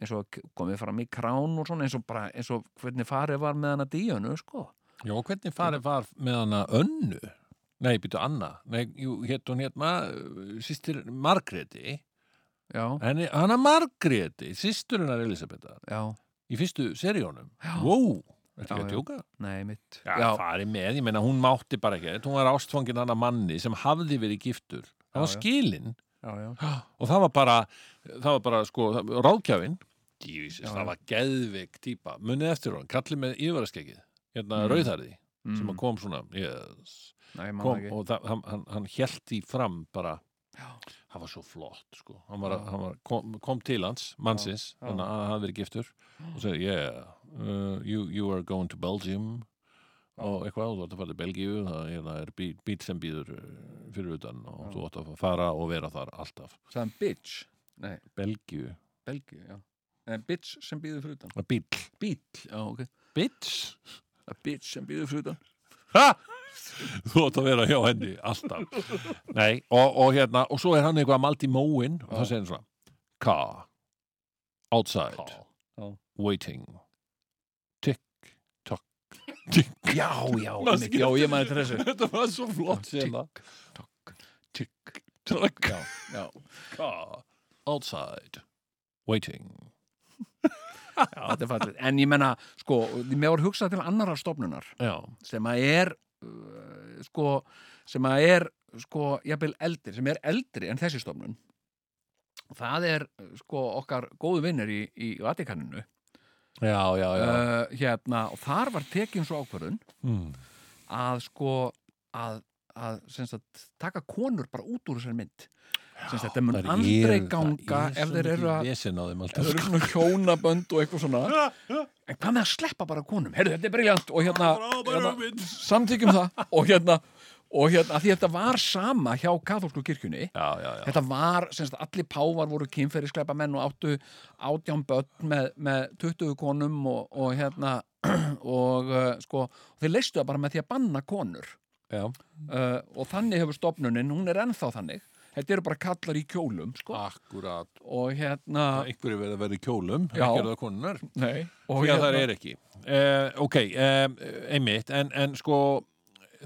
S1: eins og komið fram í krán og svona eins og bara eins og hvernig farið var með hana díunu sko
S2: Já, og hvernig farið var með hana önnu? Nei, býtu Anna. Nei, jú, hétt hún hérna, sýstir Margréti.
S1: já,
S2: Henni, hana Margréti, sýstur hennar Elisabethar,
S1: já,
S2: í fyrstu seríónum.
S1: Já.
S2: Wow, ertu
S1: Já,
S2: ekki að
S1: já.
S2: tjóka?
S1: nei mitt
S2: Já, farið með, ég meina, hún mátti bara ekki. Hún var ástfangin hana manni sem hafði verið giftur.
S1: Já,
S2: Það var
S1: já.
S2: skilinn
S1: já, já,
S2: og það var bara, það var bara, sko, það- ráðgjafinn. Jísus,
S1: Já,
S2: það
S1: já.
S2: var geðveik típa. Munið eftir hún, kallið með yfirarskegið, hérna
S1: Mm.
S2: rauðarði, sem
S1: Mm.
S2: að kom svona, yes,
S1: Nei, ég man
S2: kom
S1: það ekki.
S2: og það, hann, hann, hann held því fram bara
S1: Já.
S2: það var svo flott sko hann var,
S1: Já.
S2: hann var, kom, kom til hans, mannsins
S1: Já, já.
S2: þannig að hann hafði verið giftur og sagði, yeah, uh, you, you are going to Belgium og eitthvað, þú ætti að fara til Belgíu það hérna, er bí, bíl sem býður uh, fyrir utan og
S1: Já.
S2: þú ætti að fara og vera þar alltaf
S1: Sagði hann bitch? Nei,
S2: Belgíu,
S1: Belgíu, já. En bitch sem býður fyrir utan.
S2: að bíl
S1: Bíl, já, ok.
S2: bitch,
S1: A bitch sem býður fyrir utan.
S2: ha þú ætti að vera hjá henni alltaf nei, og, og hérna og svo er hann eitthvað að maldi móin og það segir hann svona car, outside
S1: Já.
S2: waiting tick, tock tick,
S1: Já, já, <laughs> einmitt, já, ég maður þetta <laughs> þessu.
S2: þetta var svo flott sena
S1: Tikk,
S2: tick,
S1: já, já.
S2: car, outside waiting
S1: Já, þetta er fallið. En ég menna, sko, mér var hugsað til annarar stofnunar
S2: já,
S1: sem að er, uh, sko, sem að er, sko, jafnvel eldri, sem er eldri en þessi stofnun. Það er, uh, sko, okkar góðu vinnir í, í Vatikaninu.
S2: já, já, já
S1: Uh, hérna, og þar var tekin svo ákvörðun
S2: mm.
S1: að sko að, að sem sagt, taka konur bara út úr þessari mynd sem sagt, þetta mun
S2: Þær
S1: andrei
S2: eru-
S1: ganga
S2: það er
S1: ef
S2: svo
S1: þeir eru
S2: mikið
S1: að
S2: vesen á þeim
S1: ef þeir
S2: alltaf
S1: eru svona hjónabönd og eitthvað svona en hvað með að sleppa bara konum heyrðu þetta er briljant og hérna, hérna samtíkjum það og hérna, og hérna af því þetta var sama hjá katholsku kirkjunni
S2: já, já, já,
S1: Þetta var, sem sagt, allir pávar voru kynferðiskleipa menn og áttu átján börn með, með 20 konum og, og hérna <clears throat> og uh, sko, og þeir leistu það bara með því að banna konur
S2: já.
S1: uh, og þannig hefur stopnunin, hún er ennþá þannig þetta eru bara kallar í kjólum sko.
S2: akkurat
S1: og hérna
S2: einhverju verið að vera í kjólum
S1: Já.
S2: ekki eru það konunar
S1: nei, og
S2: og já, það
S1: hérna,
S2: er ekki uh, ok, um, einmitt en, en sko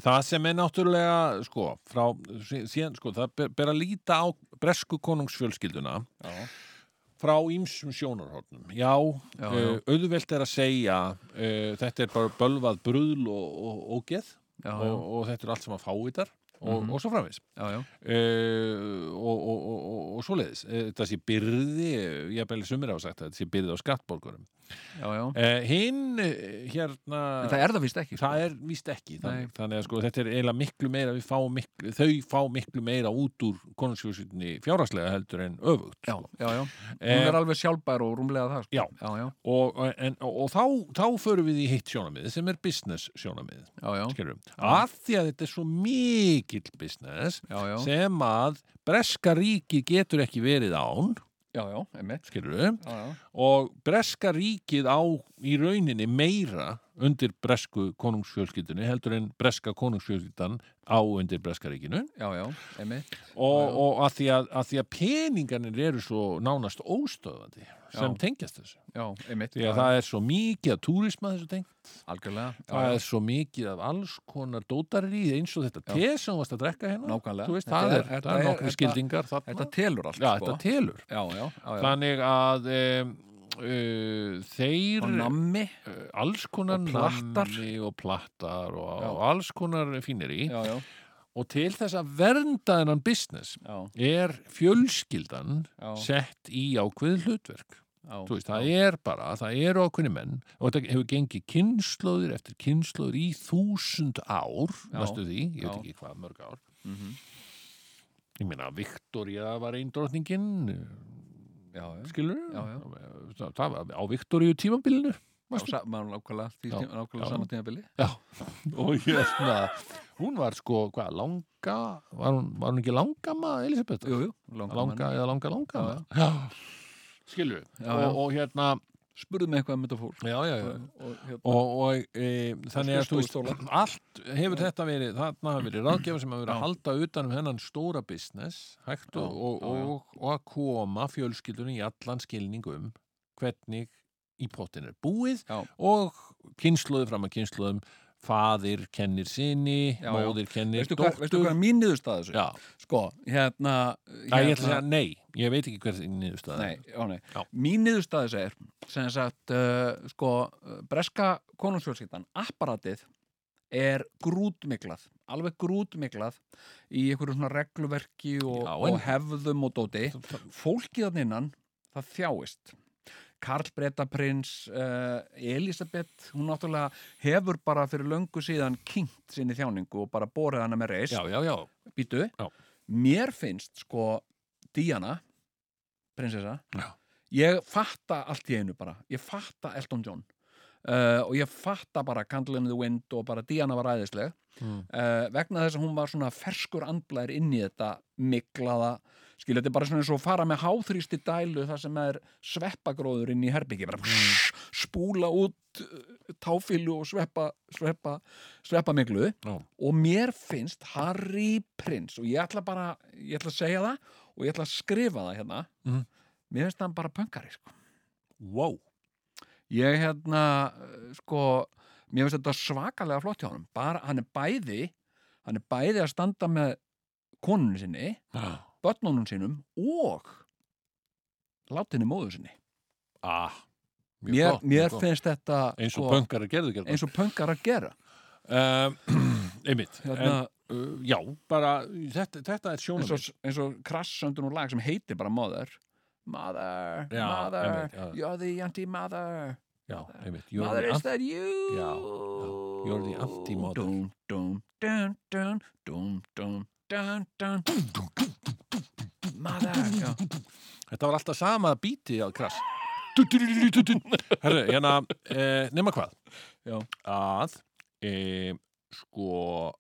S2: það sem er náttúrulega sko, frá, sí- síðan, sko það ber, ber að líta á bresku konungsfjölskylduna
S1: Já.
S2: frá ímsum sjónarhornum já, já,
S1: Já,
S2: uh, auðvelt er að segja eh, uh, þetta er bara bölvað bruðl og, og, og ógeð
S1: já, Mhm. já,
S2: og, og þetta er allt sem að fá í þar og, og svo framvegis
S1: já, já,
S2: uh, og, og, og, og, og svoleiðis uh, það sé byrði, ég bæli sumir á sagt að þetta sé byrði á skattborgurum
S1: já, já.
S2: uh, hinn eh, hérna
S1: En það er það víst ekki sko.
S2: það er víst ekki þannig, þannig að sko þetta er eiginlega miklu meira við fáum miklu, þau fá miklu meira út úr konungsfjóðsvítinni fjárhagslega heldur en öfugt
S1: já,
S2: sko.
S1: já, já, hún
S2: Eh,
S1: er alveg sjálfbær og rúmlega það sko.
S2: Já.
S1: já, já,
S2: og, en, og, og þá, þá förum við í hitt sjónamið sem er business sjónamið
S1: já, já,
S2: skilurðu. að því að þetta er svo mikill business
S1: já, já,
S2: sem að breska ríkið getur ekki verið án
S1: já, já, emitt
S2: skilurðu,
S1: já, já,
S2: og breska ríkið á í rauninni meira undir bresku konungsfjölskyldunni heldur en breska konungsfjölskyldan á undir breska ríkinu
S1: já, já, emitt
S2: og,
S1: Já.
S2: og að, því að, að því að peningarnir eru svo nánast óstöðandi sem
S1: Já.
S2: tengjast þessu
S1: já, emitt,
S2: því að það er svo mikið að túrisma þessu tengt það
S1: algjörlega já, já,
S2: er svo mikið af alls konar dótarri eins og þetta
S1: Já.
S2: te sem þú varst að drekka hérna
S1: nákvæmlega
S2: Þú veist,
S1: Þetta
S2: það er, það er nokkri
S1: þetta-
S2: skildingar þarna
S1: þetta telur allt
S2: Já,
S1: sko.
S2: þetta telur
S1: já, já, já, já.
S2: Þannig að um, uh, þeir
S1: og nammi
S2: uh, alls konar
S1: og plattar.
S2: nammi og plattar og,
S1: Já.
S2: og alls konar fínir í
S1: já, já,
S2: og til þess að vernda hennan business
S1: já,
S2: er fjölskyldan
S1: Já.
S2: sett í ákveð hlutverk
S1: já,
S2: Þú veist, það er bara, það eru ákveðni menn og þetta hefur gengið kynnslóðir eftir kynnslóðir í þúsund ár
S1: Já.
S2: næstu því, ég veit
S1: Já.
S2: ekki hvað mörg ár
S1: Mhm.
S2: Ég meina, Viktoria var einn drottningin
S1: já, já
S2: skilur
S1: Já, já.
S2: Það, það var á Viktoríu tímabilinu
S1: Já, sa- maður nákvæmlega, því
S2: Já,
S1: tíma- nákvæmlega
S2: já.
S1: saman tímabili
S2: já. og hérna hún var sko, hvað, langa var hún, var hún ekki langama Elisabeth?
S1: Jú, jú, langa,
S2: langa eða langa langa
S1: Já,
S2: já. skilur
S1: Já, já.
S2: og, og hérna
S1: spurðu mig eitthvað um þetta fólk
S2: já, já, já.
S1: og, hérna,
S2: og, og e, þannig að þú veist
S1: skrifstofustólar.
S2: allt hefur þetta verið, þarna hafa verið ráðgjafa sem hafa verið
S1: Já.
S2: að halda utan um hennan stóra business, hægt og,
S1: Já,
S2: og,
S1: já, já.
S2: og, og að koma fjölskyldunni í allan skilning um hvernig í pottin er búið
S1: Já.
S2: og kynsluðu fram að kynsluðum faðir kennir sinni,
S1: Já, já.
S2: móðir kennir
S1: veistu, hvað,
S2: dóttur
S1: veistu hvað er mín niðurstaða þessu?
S2: Já,
S1: sko, hérna,
S2: Æ, ég ætla að
S1: hérna-
S2: segja nei, ég veit ekki hver þín niðurstaða
S1: Nei, já, nei.
S2: Já.
S1: Mín niðurstaði segir sem sagt, uh, sko uh, breska konungsfjölskyldan, apparatið er grútmiklað alveg grútmiklað í einhverju svona regluverki og,
S2: Já, en-
S1: og hefðum og dóti fólkið þann innan, það þjáist Karl Bretaprins uh, Elisabeth, hún náttúrulega hefur bara fyrir löngu síðan kynnt sinni þjáningu og bara borið hana með reist
S2: Já, já, já,
S1: býtu,
S2: Já.
S1: mér finnst sko Diana prinsessa,
S2: Já.
S1: ég fatta allt í einu bara, ég fatta Elton John uh, og ég fatta bara Candle in the Wind og bara Diana var æðisleg
S2: Mm.
S1: uh, vegna þess að hún var svona ferskur andblær inn í þetta miklaða skilja, þetta er bara svona eins og að fara með háþrýsti dælu þar sem er sveppagróður inn í herbyggi,
S2: Mm.
S1: bara spúla út uh, táfílu og sveppa sveppa, sveppa miklu
S2: Já.
S1: og mér finnst Harry Prince og ég ætla bara, ég ætla að segja það og ég ætla að skrifa það hérna
S2: Mhm.
S1: mér finnst hann bara pöngari sko.
S2: wow
S1: ég hérna, eh, sko mér finnst þetta svakalega flott hjá honum bara, hann er bæði hann er bæði að standa með konunni sinni börnunum sínum og látinni móður sinni
S2: ah, mjög
S1: mér,
S2: gott, mjög
S1: mér
S2: gott.
S1: finnst þetta
S2: eins og
S1: sko,
S2: pöngar gerðu gerðu
S1: eins og pöngar að gera
S2: Um, <clears throat> einmitt,
S1: hérna,
S2: en, uh, já, bara þetta, þetta er
S1: eins,
S2: sjónum
S1: og, eins og krassöndur úr lag sem heitir bara Mother Mother,
S2: Já,
S1: Mother
S2: einmitt, já.
S1: You're the anti-mother
S2: Já, einmitt, you're
S1: Mother, is
S2: the,
S1: that you?
S2: Já, You're the anti-mother.
S1: Dun, dun, dun, dun, dun, dun, dun, dun Mother já.
S2: Þetta var alltaf sama bíti að krass <laughs> Herru, hérna, e, nema hvað
S1: Já.
S2: að e, sko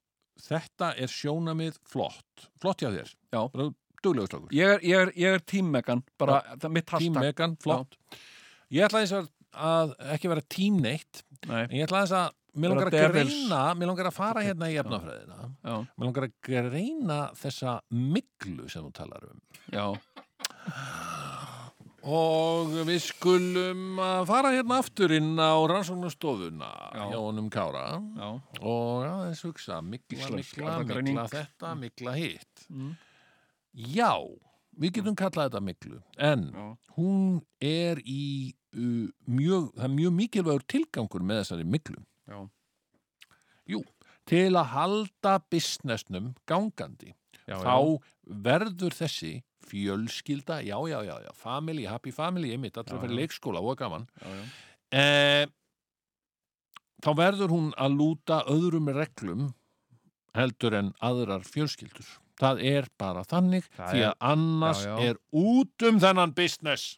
S2: þetta er sjónamið flott flott hjá þér,
S1: Já.
S2: bara duglegur strákur
S1: Ég er, ég er, ég er tímmekan bara, það er mitt
S2: Tím
S1: hashtag
S2: Megan, flott Ég ætla eins og að ekki vera tím neitt
S1: Nei,
S2: en ég ætla eins að Mér
S1: Vera
S2: langar að
S1: devils.
S2: greina, mér langar að fara hérna í efnafræðina.
S1: já,
S2: Mér langar að greina þessa miklu sem þú talar um.
S1: já
S2: Og við skulum að fara hérna aftur inn á rannsóknastofuna
S1: Já.
S2: hjá honum Kára
S1: Já,
S2: og aðeins hugsa, mikla,
S1: Slags
S2: mikla,
S1: erfðagreining.
S2: mikla þetta, mikla hitt.
S1: Mm.
S2: Já, við getum kallað þetta miklu, en
S1: já,
S2: hún er í uh, mjög, það er mjög mikilvægur tilgangur með þessari miklu.
S1: Já.
S2: Jú, til að halda businessnum gangandi
S1: já,
S2: þá verður þessi fjölskylda, já, já, já, já family, happy family, einmitt, allra
S1: Já,
S2: fyrir
S1: já.
S2: leikskóla og gaman
S1: já, já.
S2: eh, þá verður hún að lúta öðrum reglum heldur en aðrar fjölskyldur það er bara þannig
S1: Það
S2: því
S1: er-
S2: að annars
S1: já, já.
S2: er út um þennan business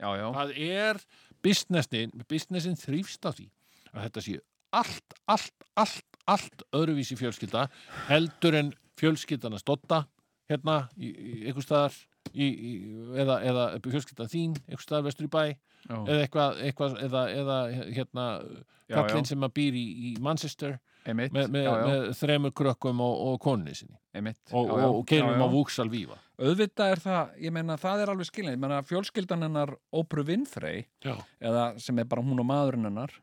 S1: já, já.
S2: það er businessin businessin þrýfst á því að þetta sé allt, allt, allt allt öðruvísi fjölskylda heldur en fjölskyldan að stotta hérna, í, í, einhvers staðar í, í, eða, eða fjölskyldan þín einhvers staðar vestur í bæ
S1: Já.
S2: eða eitthvað, eitthvað eða, eða hérna,
S1: Já,
S2: kallinn
S1: já.
S2: sem að býr í, í Manchester
S1: Einmitt,
S2: með, með,
S1: já, já,
S2: með þremur krökkum og, og konni sinni
S1: einmitt.
S2: og,
S1: Já,
S2: og,
S1: já.
S2: og keirum
S1: Já,
S2: á
S1: já.
S2: vúksal vífa
S1: Auðvitað er það, ég meina, það er alveg skilin, ég meina, fjölskyldan hennar Ópru Vinfrey,
S2: já,
S1: eða sem er bara hún og maðurinn hennar,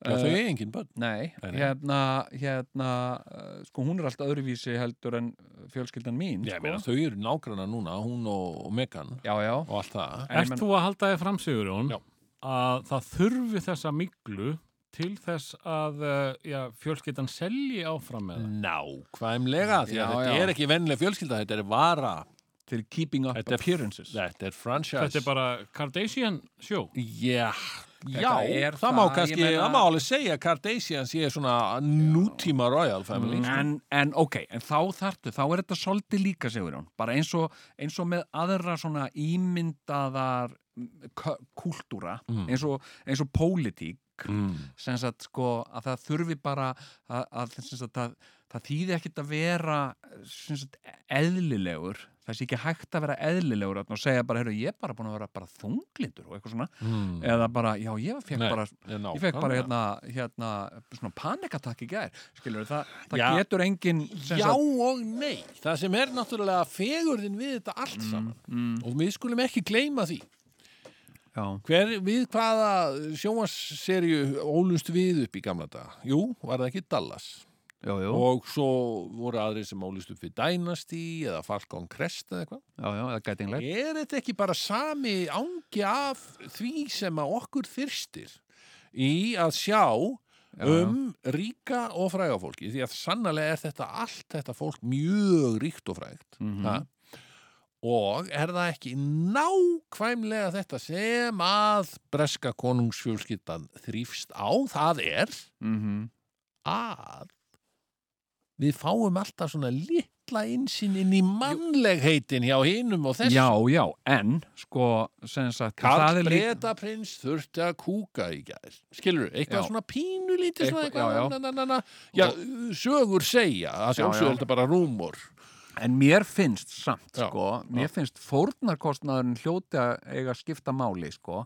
S1: Eh,
S2: já þau er engin börn
S1: Nei,
S2: Nei, nei.
S1: hérna, hérna eh, sko hún er alltaf öðruvísi heldur en eh, fjölskyldan mín
S2: ég
S1: sko.
S2: meina þau eru nágranna núna, hún og, og Megan
S1: Já, já,
S2: og allt það
S1: En ég
S3: Ert
S1: menn-
S3: þú að halda þér fram, Sigurjón,
S2: Já.
S3: að það þurfi þessa miklu til þess að eh, já, fjölskyldan selji
S1: Mm.
S3: áfram með það?
S2: Nákvæmlega, því að
S1: Já,
S2: þetta
S1: já.
S2: er ekki vennileg fjölskylda, þetta er vara
S1: til keeping up
S2: Þetta er-
S1: appearances
S2: Þetta er franchise
S3: Þetta er bara Kardashian sjó.
S2: Já, já
S1: Þetta er
S2: það,
S1: það,
S2: má
S1: ég
S2: kannski,
S1: meina-
S2: það má alveg segja að Kardashian sé svona nútíma Royal Family sko.
S1: en, en ok, en þá þartu, þá er þetta svolítið líka, segur hún, bara eins og, eins og með aðra svona ímyndaðar mm, kö- kúltúra,
S2: Mm.
S1: eins, og, eins og pólitík, sem sagt sko að það þurfi bara að, að sem sagt að það þýði ekkit að vera sem sagt eðlilegur það sé ekki hægt að vera eðlilegur þarna og segja bara, heyrðu, ég er bara búin að vera bara þunglindur og eitthvað svona,
S2: Mm.
S1: eða bara, já, ég fekk
S2: Nei,
S1: bara
S2: Mm. nákvæmlega.
S1: ég fekk bara hérna, hérna svona panikatakk í gær, skilur það, það
S2: Já.
S1: getur engin sem
S2: Já
S1: sagt,
S2: og nei, það sem er náttúrulega fegurðin við þetta allt
S1: Mm,
S2: saman og við skulum ekki gleyma því
S1: já,
S2: Hver, við hvaða sjónvarsserju ólust við upp í gamla dag? Jú, var það ekki Dallas?
S1: já, já,
S2: og svo voru aðrir sem álist upp við Dynasty eða Falcon Crest eða eitthvað.
S1: já, já, eða gæting leik
S2: Er þetta ekki bara sami ángi af því sem að okkur fyrstir í að sjá um ríka og fræga fólki því að sannlega er þetta allt þetta fólk mjög ríkt og frægt mm og er það ekki nákvæmlega þetta sem að breska konungsfjölskyldan þrýfst á, það er
S1: mm
S2: að við fáum alltaf svona litla einsinn inn í mannlegheitin hjá hinum og þess
S1: já, já, en sko, sem sagt,
S2: Karl
S1: er líka
S2: Bretaprins þurfti að kúka í gær skilur, eitthvað
S1: Já.
S2: svona pínu lítið svona
S1: Eitthvað- já, já.
S2: eitthvað, na, na, na, na. já, sögur segja, það
S1: Já, já.
S2: sjálfsögur þetta bara rúmor
S1: En mér finnst samt,
S2: Já,
S1: sko, mér finnst fórnarkostnaðurinn hljóti að eiga að skipta máli, sko.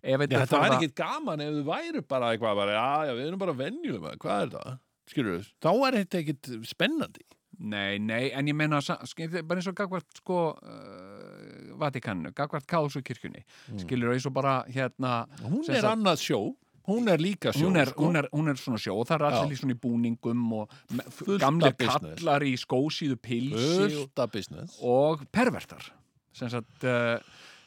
S1: Ef
S2: Já,
S1: þetta
S2: þetta
S1: fara-
S2: væri ekkit gaman ef þau væru bara eitthvað bara, já, já, við erum bara venjulega, hvað er það? Skilur þá er þetta ekkit spennandi
S1: Nei, nei, en ég meina, sa- skil- bara eins og gagvart, sko, uh, Vatikannu, gagvart Káðsú kirkjunni, skilur eins og bara, hérna...
S2: Mm. Hún
S1: sem
S2: er
S1: sagt,
S2: annað sjó, hún er líka sjó
S1: Hún er,
S2: sko.
S1: hún, er, hún er svona sjó og það er
S2: Já.
S1: allir í svona í búningum og me-
S2: Fullt
S1: gamli
S2: af business.
S1: kallar í skósíðu pilsi og,
S2: fullt af business
S1: og pervertar sem sagt uh,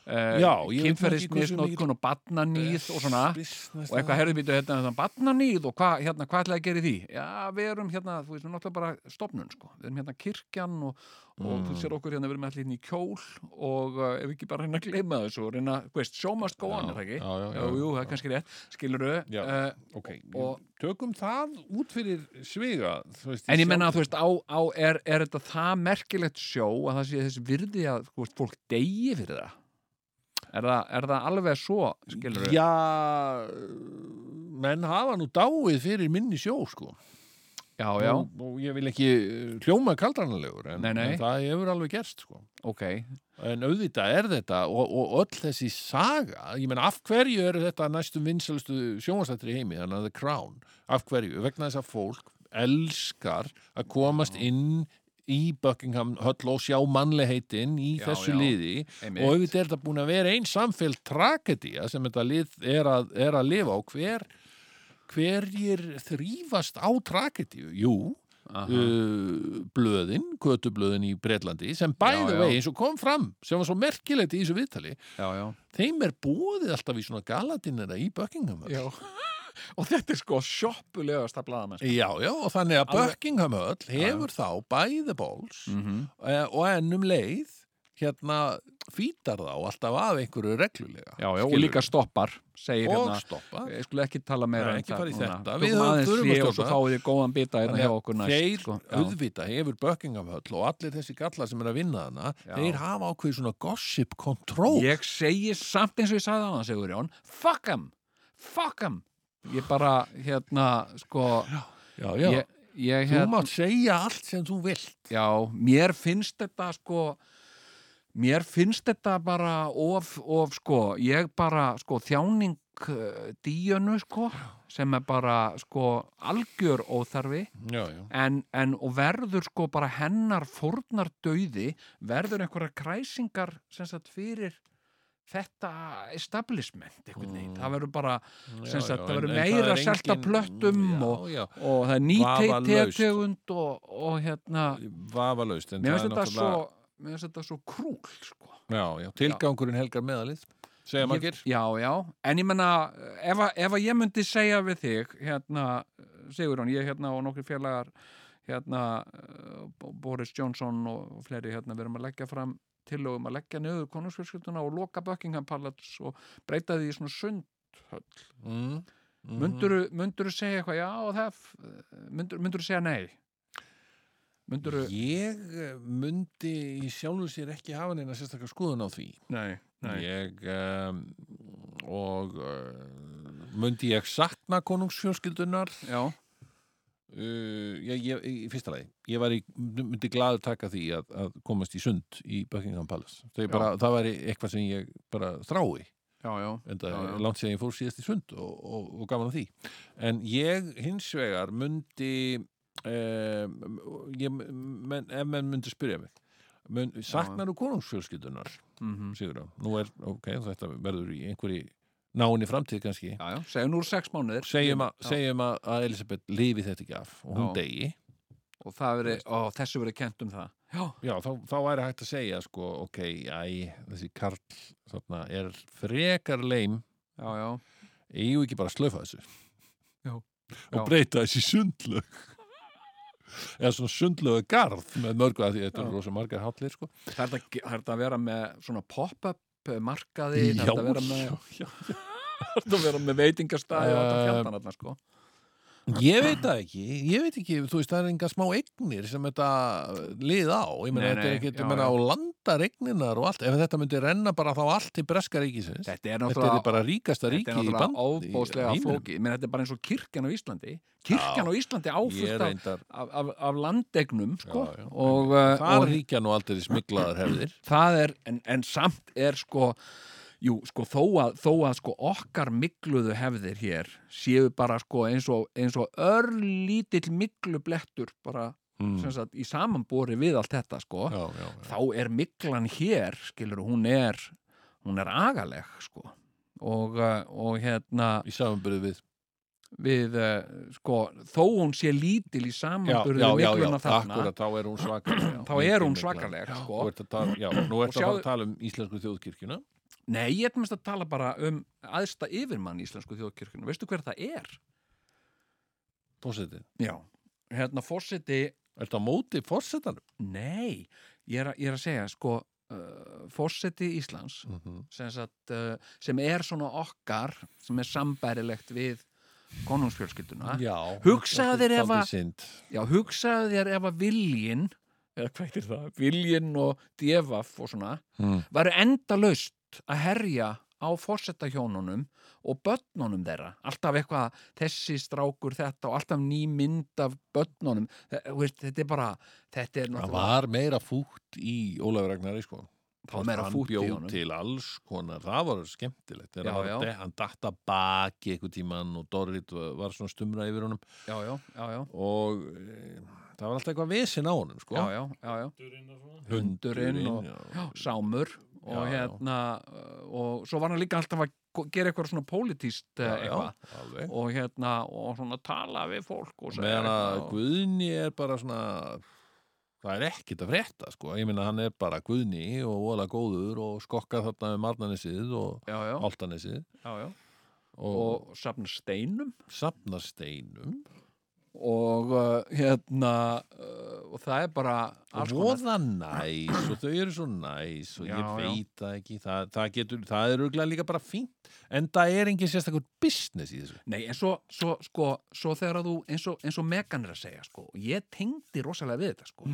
S2: Já,
S1: uh,
S2: ég veit nú ekki hversu
S1: kynferðismisnótkun og badnanýð og svona
S2: Business,
S1: og eitthvað herðu býtu hérna, hérna barnanýð og hvað hérna, hva ætlaði að gera í því? Já, við erum hérna, þú veist, við erum náttúrulega bara stofnun, sko. Við erum hérna kirkjan og, og þú
S2: Mm.
S1: sér okkur hérna, við erum allir hérna í kjól og uh, ef ekki bara reyna að gleyma þessu og reyna, þú veist, show must go on, er það ekki?
S2: já, já, já.
S1: Jú, jú, það er kannski rétt, skilur
S2: Já,
S1: þau.
S2: ok,
S1: og-
S2: tökum það út fyrir sviga þú veist, sjá-
S1: En ég menna að þú veist, á, á, er, er þetta það merkilegt sjó að það sé þessi virði að þú veist, fólk deyji fyrir það? Er það, er það alveg svo, skilur þau?
S2: Já, menn hafa nú dáið fyrir minni sjó sko
S1: já, já,
S2: og, og ég vil ekki eh, hljóma kaldranalegur en,
S1: Nei, nei.
S2: en það hefur alveg gerst sko
S1: ok,
S2: En auðvitað er þetta og, og öll þessi saga, ég menn af hverju eru þetta næstum vinsælstu sjónvarsættri heimi, þannig að The Crown, af hverju? Vegna þess að fólk elskar að
S1: Mm.
S2: komast inn í Buckingham höll og sjá mannleheitin í
S1: Já,
S2: þessu
S1: já,
S2: liði
S1: einmitt.
S2: og auðvitað er þetta búin að vera einn samfélg tragedía sem þetta lið er að, er að lifa á hver hverjir þrýfast á tragedíu? Jú, uh, blöðin, kötublöðin í Breitlandi sem
S1: Já,
S2: bæði
S1: já.
S2: vegi eins og kom fram sem var svo merkilegt í þessu viðtali
S1: já, já.
S2: <laughs> þeim er bóðið alltaf í svona galadinera í Buckingham Hall.
S1: og þetta er sko sjoppulegast að blaða með
S2: Já, já, og þannig að
S1: Alveg. Mhm.
S2: Buckingham Höll hefur þá bæði bóls mm. og ennum leið hérna fýtar þá alltaf af einhverju reglulega
S1: Já, já, og
S2: Skilurðu?
S1: líka stoppar segir
S2: og
S1: hérna,
S2: stoppa
S1: ég skulle ekki tala meira
S2: Nei,
S1: um
S2: ekki
S1: það
S2: fara í
S1: núna.
S2: þetta.
S1: Tökum
S2: Við höfum-
S1: aðeins
S2: þurfum að
S1: hlé og svo
S2: stoppa.
S1: fáið þið góðan bita hérna hjá okkur næst
S2: þeir
S1: sko. Já.
S2: auðvita hefur Buckingham Höll og allir þessi gallar sem er að vinna hana
S1: Já.
S2: þeir hafa ákveð svona gossip control
S1: Ég segi samt eins og ég sagði á hann, segur Jón Fuck 'em, fuck 'em Ég bara, hérna, sko
S2: já, já.
S1: Ég, ég
S2: þú
S1: hérna,
S2: mátt segja allt sem þú vilt
S1: já, mér finnst þetta, sko Mér finnst þetta bara of, of, sko, ég bara, sko, þjáning uh, díjönu, sko, sem er bara, sko, algjör óþarfi
S2: já, já.
S1: en, en og verður sko bara hennar fórnar döiði verður einhverja kræsingar sem sagt fyrir þetta establishment einhvern veginn,
S2: Mm.
S1: það verður bara sem sagt, það verður meira að selta plöttum og,
S2: já, já,
S1: og það er
S2: Vafalaust.
S1: nýtegund og, og hérna
S2: vafalaust en
S1: mér
S2: það er
S1: finnst þetta svo
S2: náttúrulega-
S1: mér finnst þetta svo krúl sko
S2: já, já, tilgangurinn helgar meðalið segja
S1: Ég-
S2: maður
S1: Já, já, en ég menna ef, að- ef að ég myndi segja við þig hérna, Sigurjón, ég hérna og nokkri félagar hérna eh, Bo- Boris Johnson og og fleiri hérna, við erum að leggja fram tillögum að leggja niður konungsfjölskylduna og loka Buckingham Palace og breyta því í svona sund
S2: mm, mm,
S1: Munduru, munduru segja eitthvað, já, og það munduru, munduru segja nei Munduru,
S2: Ég eh, mundi í sjálfu sér ekki hafa neina sérstakar skoðun á því.
S1: nei,
S2: Ég, um, og uh, mundi ég sakna konungsfjölskyldunar?
S1: já,
S2: Uh, ég, ég, í fyrsta lagi, ég væri, myndi glaður taka því að, að komast í sund í Buckingham Palace. Það, bara, það væri eitthvað sem ég bara þrái
S1: já, já
S2: en það
S1: Já, já.
S2: er langt sér ég fór síðast í sund og, og, og gaman að því en ég hins vegar mundi um, ég, men, ef menn mundi spyrja mig mun, saknar þú konungsfjölskyldunar
S1: mm
S2: Sigurðan, nú er, ok, þetta verður í einhverji náinni framtíð kannski
S1: Já, já, segjum nú úr sex mánuðir
S2: segjum, a,
S1: Já.
S2: segjum að, að Elisabeth lifi þetta ekki af og hún
S1: Já.
S2: degi
S1: og það veri, ó, þessu verið kent um það já,
S2: Já, þá, þá væri hægt að segja sko, ok, æ, þessi karl þarna, er frekar leim
S1: já, já,
S2: eigum við ekki bara að slöfa þessu
S1: Já.
S2: og
S1: Já.
S2: breyta þessi sundlög eða svona sundlögu garð með mörgu að því þetta
S1: Já.
S2: eru rosa margar hátlir sko
S1: það er þetta- það er þetta að vera með svona pop-up eh, markaði, það er
S2: Já,
S1: þetta að vera með
S2: já,
S1: það er þetta að vera með veitingastæði og þetta
S2: Eh,
S1: fjandan alltaf sko
S2: ég veit það ekki, ég veit ekki þú veist það er enga smá eignir sem þetta lið á, ég meina
S1: Nei,
S2: þetta er
S1: nei,
S2: ekki
S1: já,
S2: ég meina
S1: já.
S2: á landaregninar og allt ef þetta myndi renna bara þá allt til breska ríkisins
S1: þetta
S2: þetta
S1: er
S2: er
S1: náttúrulega
S2: bara ríkasta
S1: þetta
S2: ríki
S1: er
S2: í
S1: náttúrulega
S2: band í
S1: óbóðslega
S2: heiminum.
S1: flóki menn þetta er bara eins og kirkjan á Íslandi
S2: Já.
S1: kirkjan á Íslandi
S2: ég
S1: áfullt
S2: er
S1: af,
S2: reyndar
S1: af, af, af landegnum sko
S2: Já, já.
S1: og, eh,
S2: þar
S1: og
S2: ríkja nú aldrei smiklaðar hefðir
S1: <clears throat> það er, en, en samt er sko Jú, sko, þó að, þó að sko okkar mikluðu hefðir hér séu bara sko eins og, eins og örlítill miklu blettur bara sem sagt í samanbúri við allt þetta sko
S2: Mm. já, já, já.
S1: þá er miklan hér, skilur, hún er hún er agaleg sko og, uh, og hérna
S2: í samanbyrðu við
S1: við, uh, sko, þó hún sé lítil í samanburði mikluna þarna
S2: akkurat, þá er hún svakaleg
S1: <clears throat> þá er hún svakaleg
S2: Sko.
S1: sko.
S2: Tala, já,
S1: <clears throat>
S2: nú
S1: Og
S2: ertu að fara
S1: sjáðu-
S2: að tala um Íslensku þjóðkirkjuna
S1: Nei, ég er mest að tala bara um aðsta yfirmann í Íslensku þjóðkirkjunum veistu hver það er?
S2: Fórsetin,
S1: Já, hérna fórseti
S2: ertu að móti fórsetanum?
S1: Nei, ég er, að- ég er að segja sko, uh, fórseti Íslands
S2: Mm -hmm.
S1: sem, sagt, uh, sem er svona okkar sem er sambærilegt við konungsfjölskylduna
S2: Já,
S1: Hugsaðu þér ef að-
S2: Sind.
S1: Já, hugsaðu þér ef að viljin eða hvað heitir það, viljin og devaf og svona,
S2: Mm.
S1: varu endalaust að herja á fórsetahjónunum og börnunum þeirra alltaf eitthvað, þessi strákur þetta og alltaf ný mynd af börnunum Þe- þú veist, þetta er bara þetta er
S2: Það
S1: náttúrulega,
S2: var meira fútt í Ólafur Ragnari sko
S1: þá er meira
S2: Hann
S1: fút í
S2: bjó
S1: honum
S2: til alls konar, það var skemmtilegt Þegar
S1: Já,
S2: hann var
S1: já.
S2: de- Hann datta baki einhvern tímann og Dorrit var var svona stumra yfir honum
S1: já, já, já, já,
S2: og e, það var alltaf eitthvað vesinn á honum sko
S1: já, já, já, já. Hundurinn og-
S2: já.
S1: Já, sámur og
S2: Já, já.
S1: hérna og svo var hann líka alltaf að gera eitthvað svona pólitíst
S2: Já,
S1: eh,
S2: já,
S1: eitthvað
S2: alveg
S1: og hérna og svona tala við fólk og
S2: Og
S1: segja
S2: meðan að
S1: eitthvað og-
S2: Guðni er bara svona það er ekkit að frétta sko ég meina hann er bara Guðni um og vola góður og skokkar þarna með Marnanessið og
S1: já, já,
S2: Áltanessið
S1: já, já,
S2: og,
S1: og safna steinum
S2: og safnar steinum
S1: og uh, hérna uh, og það er bara
S2: og
S1: alls konar-
S2: voða næs og þau eru svo næs og
S1: Já,
S2: ég
S1: já.
S2: veit það ekki það, það, getur, það er auðvitað líka bara fínt en það er engin sérstakur business í þessu
S1: Nei, en svo, svo, sko, svo þegar að þú, eins og, eins og Megan er að segja, sko, og ég tengdi rosalega við þetta, sko,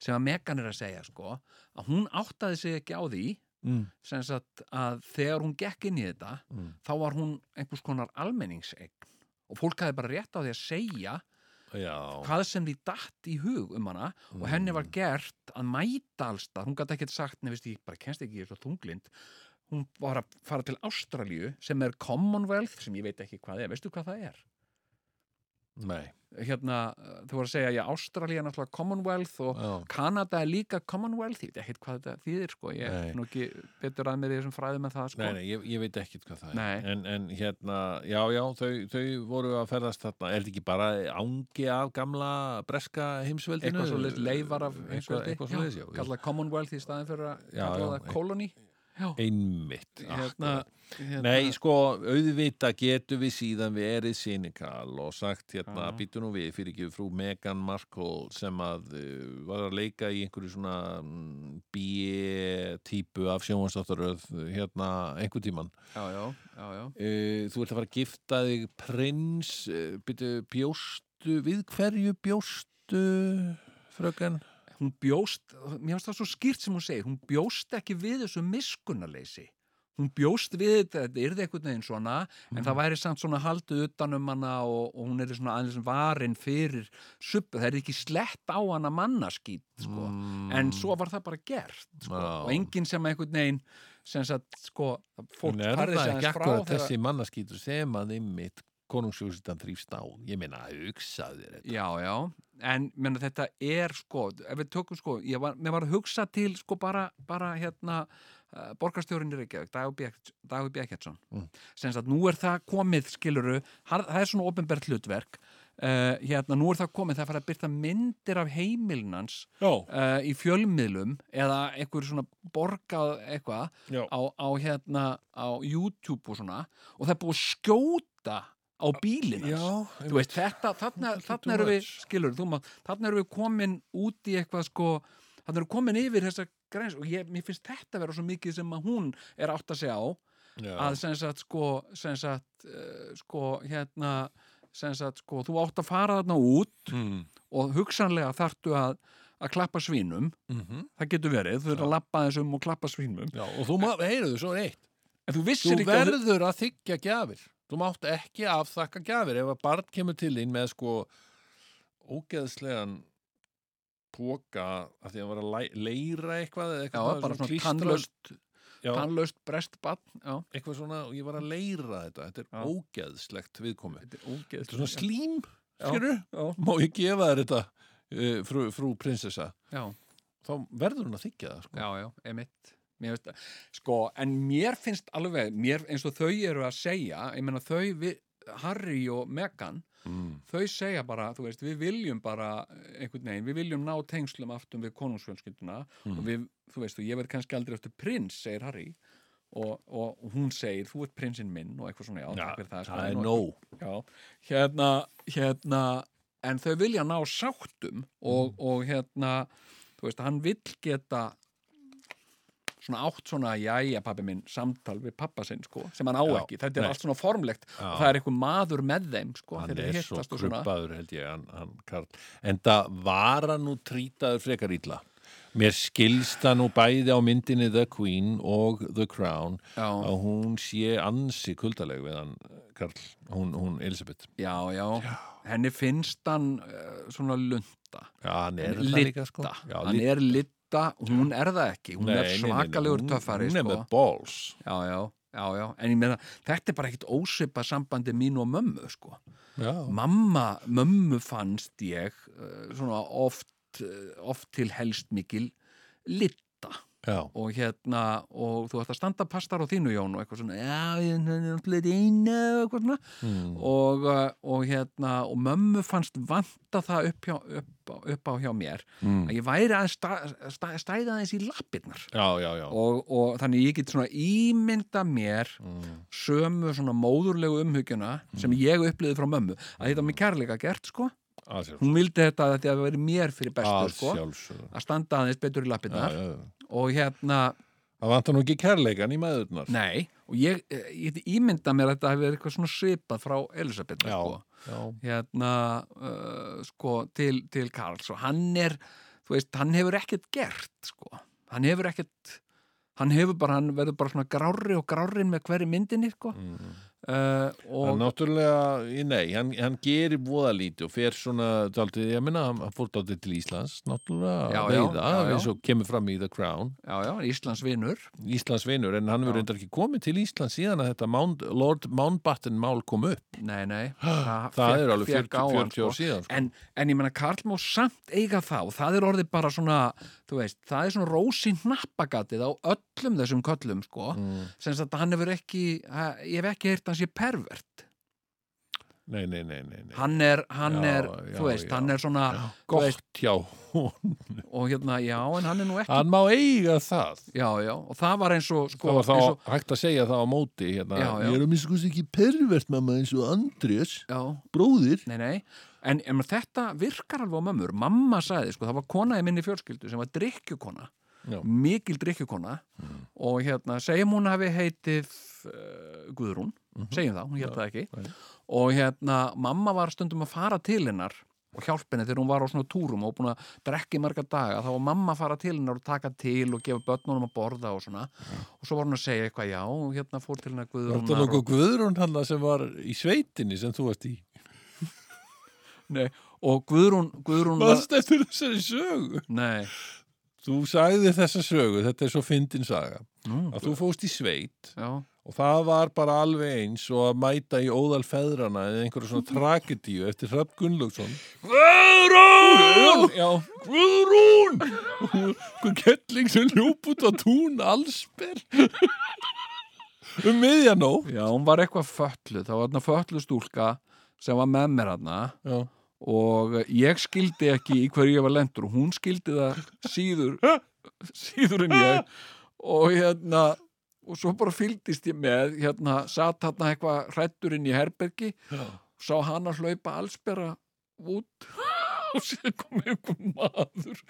S1: sem að Megan er að segja, sko, að hún áttaði sig ekki á því,
S2: mm.
S1: sem sagt að þegar hún gekk inn í þetta,
S2: Mm.
S1: þá var hún einhvers konar almenningsegn og fólk hafði bara rétt á því að segja
S2: Já,
S1: hvað sem því datt í hug um hana og henni
S2: Mm.
S1: var gert að mæta allstað, hún gæti ekkert sagt, nefnist ég bara kennst ekki, ég er svo þunglind hún var að fara til Ástralíu sem er Commonwealth, sem ég veit ekki hvað er veistu hvað það er?
S2: nei
S1: Hérna, uh, þau voru að segja, já, Ástralíu er náttúrulega Commonwealth og
S2: Já.
S1: Kanada er líka Commonwealth, ég veit ekkert hvað þetta þýðir sko, ég
S2: Nei.
S1: er nú ekki betur að mér í þessum fræðum en það sko
S2: Nei, nei, ég, ég veit ekkert hvað það
S1: Nei.
S2: er en, en hérna, já, já, þau, þau voru að ferðast þarna, er þetta ekki bara ángi af gamla breska heimsveldinu?
S1: eitthvað svo leifar af
S2: eitthvað,
S1: heimsveldi.
S2: eitthvað svo
S1: Já,
S2: leis, já, já.
S1: kalla Commonwealth í staðin fyrir að
S2: Já,
S1: kalla
S2: já,
S1: það
S2: e-
S1: koloni
S2: Einmitt
S1: hérna,
S2: akkurat.
S1: hérna,
S2: Nei, sko, auðvita getum við síðan verið sinikal og sagt hérna,
S1: Já.
S2: býtu nú við fyrir ekki frú Megan Markle sem að uh, var að leika í einhverju svona mm, B-típu af sjónvansdáttaröð hérna einhver tíman
S1: já, já, já, já.
S2: uh, þú ert að fara að gifta þig prins, uh, byrju, bjóstu við hverju bjóstu fröken?
S1: hún bjóst, mér finnst það svo skýrt sem hún segir hún bjóst ekki við þessu miskunnarleysi hún bjóst við þetta þetta yrði einhvern veginn svona
S2: Mhm.
S1: en það væri samt svona haldið utan um hana og, og hún er svona aðeins varin fyrir suppu, það er ekki slett á hana mannaskýt sko.
S2: Mm,
S1: en svo var það bara gert sko.
S2: Já.
S1: og enginn sem einhvern veginn sem sagt, sko, fólk
S2: Hún er
S1: færði
S2: það
S1: sig
S2: ekki
S1: aðeins frá
S2: akkurat
S1: þegar-
S2: þessi mannaskýtur sem að einmitt konungsjóðsittan þrýfst á ég meina, hugsaðu þér þetta
S1: Já, já, en menna, þetta er sko, ef við tökum sko, ég var, mér var að hugsa til sko bara, bara hérna uh, borgarstjórinni Reykjavík, Dagur Bjarkjartsson,
S2: Mm.
S1: sem sagt nú er það komið skiluru, har- það er svona ofinbært hlutverk, uh, hérna nú er það komið, það er farið að byrta myndir af heimilnans
S2: Já,
S1: uh, í fjölmiðlum eða einhver svona borgað eitthvað
S2: Já.
S1: á, á hérna á YouTube og svona og það er búið að skjóta á bílinans
S2: já
S1: þú veist, þetta,
S2: Ekki
S1: þarna,
S2: too
S1: þarna eru við
S2: much.
S1: skilur, þú maður, þarna eru við komin út í eitthvað sko, þarna eru komin yfir þessa græns og ég, mér finnst þetta vera svo mikið sem að hún er átt að segja á
S2: já.
S1: að sem sagt sko, sem sagt uh, sko, hérna sem sagt sko, þú átt að fara þarna út
S2: mm.
S1: og hugsanlega þartu að að klappa svínum,
S2: Mm
S1: það getur verið þú verður að lappa þessum og klappa svínum
S2: já og þú maður, heyrðu, svo er eitt
S1: en þú vissir
S2: Þú
S1: ekki að þú-
S2: verður að þykja gjafir Þú mátt ekki afþakka gjafir ef að barn kemur til þín með sko ógeðslegan póka af því að hann var að læ- leira eitthvað eða
S1: já,
S2: eitthvað
S1: bara svona
S2: klístrað-
S1: tannlaust
S2: já,
S1: tannlaust brestbann, já,
S2: eitthvað svona og ég var að leira þetta þetta er
S1: Já.
S2: ógeðslegt viðkomi
S1: þetta er
S2: Þetta er svona
S1: ógeðslega
S2: slím,
S1: Já.
S2: skilur
S1: Já.
S2: Má ég gefa þér þetta, uh, frú, frú prinsessa
S1: já,
S2: Þá verður hún að þykja það sko.
S1: já, já, emitt mér veist, sko, en mér finnst alveg, mér, eins og þau eru að segja ég meina þau, við, Harry og Meghan,
S2: mm.
S1: þau segja bara þú veist, við viljum bara einhvern veginn, við viljum ná tengslum aftum við konungsfjölskylduna og við, þú veist, og ég verð kannski aldrei eftir prins, segir Harry og, og hún segir, þú ert prinsinn minn og eitthvað svona, já,
S2: Já,
S1: takk fyrir það, sko,
S2: Það er
S1: nú-
S2: nóg
S1: Já, hérna, hérna, en þau vilja ná sáttum
S2: Mm.
S1: og, og hérna, þú veist, hann vill geta svona átt svona, jæja pappi minn, samtal við pappa sinn, sko, sem hann á
S2: Já,
S1: ekki. Þetta er
S2: nei.
S1: allt svona formlegt
S2: Já.
S1: og það er eitthvað maður með þeim, sko,
S2: hann
S1: þegar
S2: er
S1: þeir
S2: svo
S1: hittast og svona.
S2: krubbaður held ég hann, hann Karl. en það var hann nú trýtaður frekar illa mér skilst það nú bæði á myndinni The Queen og The Crown
S1: Já.
S2: að hún sé ansi kuldaleg við hann Karl, hún, hún Elisabeth
S1: Já, já, henni finnst hann uh, svona lunda,
S2: já, hann er það
S1: litta,
S2: líka sko já,
S1: hann
S2: lit-
S1: er litta, hún er það ekki, hún
S2: Nei,
S1: er
S2: nei, nei, nei,
S1: svakalegur
S2: hún-
S1: töffari, sko.
S2: hún er með balls
S1: já, já, já, já, en ég meina þetta er bara ekkit ósipað sambandi mín og mömmu sko,
S2: já,
S1: mamma mömmu fannst eh, ég uh, svona oft, uh, oft til helst mikil litta
S2: já,
S1: og hérna, og þú ætti að standa pastar á þínu Jón og eitthvað svona já, ég er náttúrulega einu og eitthvað svona
S2: mm,
S1: og, uh, og hérna, og mömmu fannst vanta það upp, hjá, upp, á- upp á hjá mér
S2: mm,
S1: að ég væri að sta, sta, stæða aðeins í lappirnar
S2: já, já, já.
S1: og, og þannig ég get svona ímynda mér
S2: Mm,
S1: sömu svona móðurlegu umhugjuna sem ég upplýði frá mömmu að þetta var mér kærleika gert sko
S2: að sjálfsögðu.
S1: hún vildi þetta að þetta veri mér fyrir bestu
S2: Að
S1: sko
S2: sjálfsögðu.
S1: að standa aðeins betur í
S2: Já,
S1: lappirnar
S2: já, já.
S1: og hérna
S2: Það vantar nú ekki kærleikan í maðurnar.
S1: Nei, og ég, eh, ég geti ímyndað mér að þetta hefur verið eitthvað svona svipað frá Elisabeth
S2: Já,
S1: sko,
S2: já,
S1: hérna, uh, sko til, til Karls og hann er þú veist, hann hefur ekkert gert sko. hann hefur ekkert hann hefur bara, hann verður bara svona grári og grárin með hverju myndinni sko.
S2: mm.
S1: uh,
S2: Hann
S1: og
S2: náttúrulega, í- nei, hann, hann gerir voða lítið og fer svona, daldið, ég meina, hann- hann fór daldið til Íslands, náttúrulega,
S1: Já,
S2: að
S1: já,
S2: veiða,
S1: já, já.
S2: eins og kemur fram í The Crown,
S1: já, já, Íslands vinur
S2: Íslands vinur, en hann
S1: Já.
S2: verður reyndar ekki komið til Íslands síðan að þetta Mount, Lord Mountbatten mál kom upp.
S1: nei, nei,
S2: <gasps> Það
S1: fékk-
S2: er alveg 40,
S1: fékk á hann,
S2: 40
S1: sko.
S2: ár síðan, sko.
S1: En, en ég menna, Karl má samt eiga það og það er orðið bara svona, þú veist, það er svona rósi hnappagatið á öllum þessum köllum, sko,
S2: Mm.
S1: sem sagt að hann hefur ekki, að, ég hef ekki heyrt hans ég pervert.
S2: Nei, nei, nei, nei, nei.
S1: Hann er, hann
S2: Já,
S1: er,
S2: já,
S1: þú veist,
S2: já.
S1: hann er svona,
S2: Gott hjá hún.
S1: og hérna, já, en hann er nú ekki,
S2: Hann má eiga það.
S1: já, já, og það var eins og, sko,
S2: það var þá
S1: eins og,
S2: hægt að segja það á móti hérna,
S1: Já, já.
S2: ég er að minnst kosti ekki pervert mamma eins og Andrés
S1: já,
S2: bróðir
S1: Nei, nei, en, en þetta virkar alveg á mömmur. Mamma sagði, sko, það var kona í minni fjölskyldu sem var drikkjukona,
S2: Já. Mhm.
S1: mikil drikkjukona og hérna, segjum hún hafi heitið uh, Guðrún,
S2: Mhm.
S1: segjum það, hún hétt það ekki
S2: nei.
S1: og hérna, mamma var stundum að fara til hennar og hjálpa henni þegar hún var á svona túrum og búin að drekka í marga daga, þá var mamma að fara til hennar og taka til og gefa börnunum að borða og svona, og svo var hún að segja eitthvað já, og hérna fór til hennar
S2: Var
S1: Guðrúnar
S2: þetta
S1: og-
S2: nokkuð Guðrún hann sem var í sveitinni sem þú varst í?
S1: Nei, og Guðrún, Guðrún var-
S2: Varst eftir þessari sögu?
S1: Nei,
S2: Þú sagði þessa sögu, þetta er svo fyndin saga
S1: nú,
S2: að þú fóst í sveit
S1: já
S2: og það var bara alveg eins og að mæta í óðal feðrana eða einhverja svona tragedíu eftir Hrafn Gunnlaugsson Guðrún! Já, Guðrún! Hver kettling sem ljúp út á tún allsper um miðjanótt
S1: Já, hún var eitthvað fölluð, það var þarna fölluð stúlka sem var með mér þarna
S2: Já,
S1: og ég skildi ekki í hverju ég var lendur og hún skildi það síður, síður en ég og hérna og svo bara fylgdist ég með hérna, satt hérna eitthvað hrættur inn í herbergi
S2: já.
S1: sá hann að hlaupa allsbera
S2: <gasps>
S1: út og sér kom einhver maður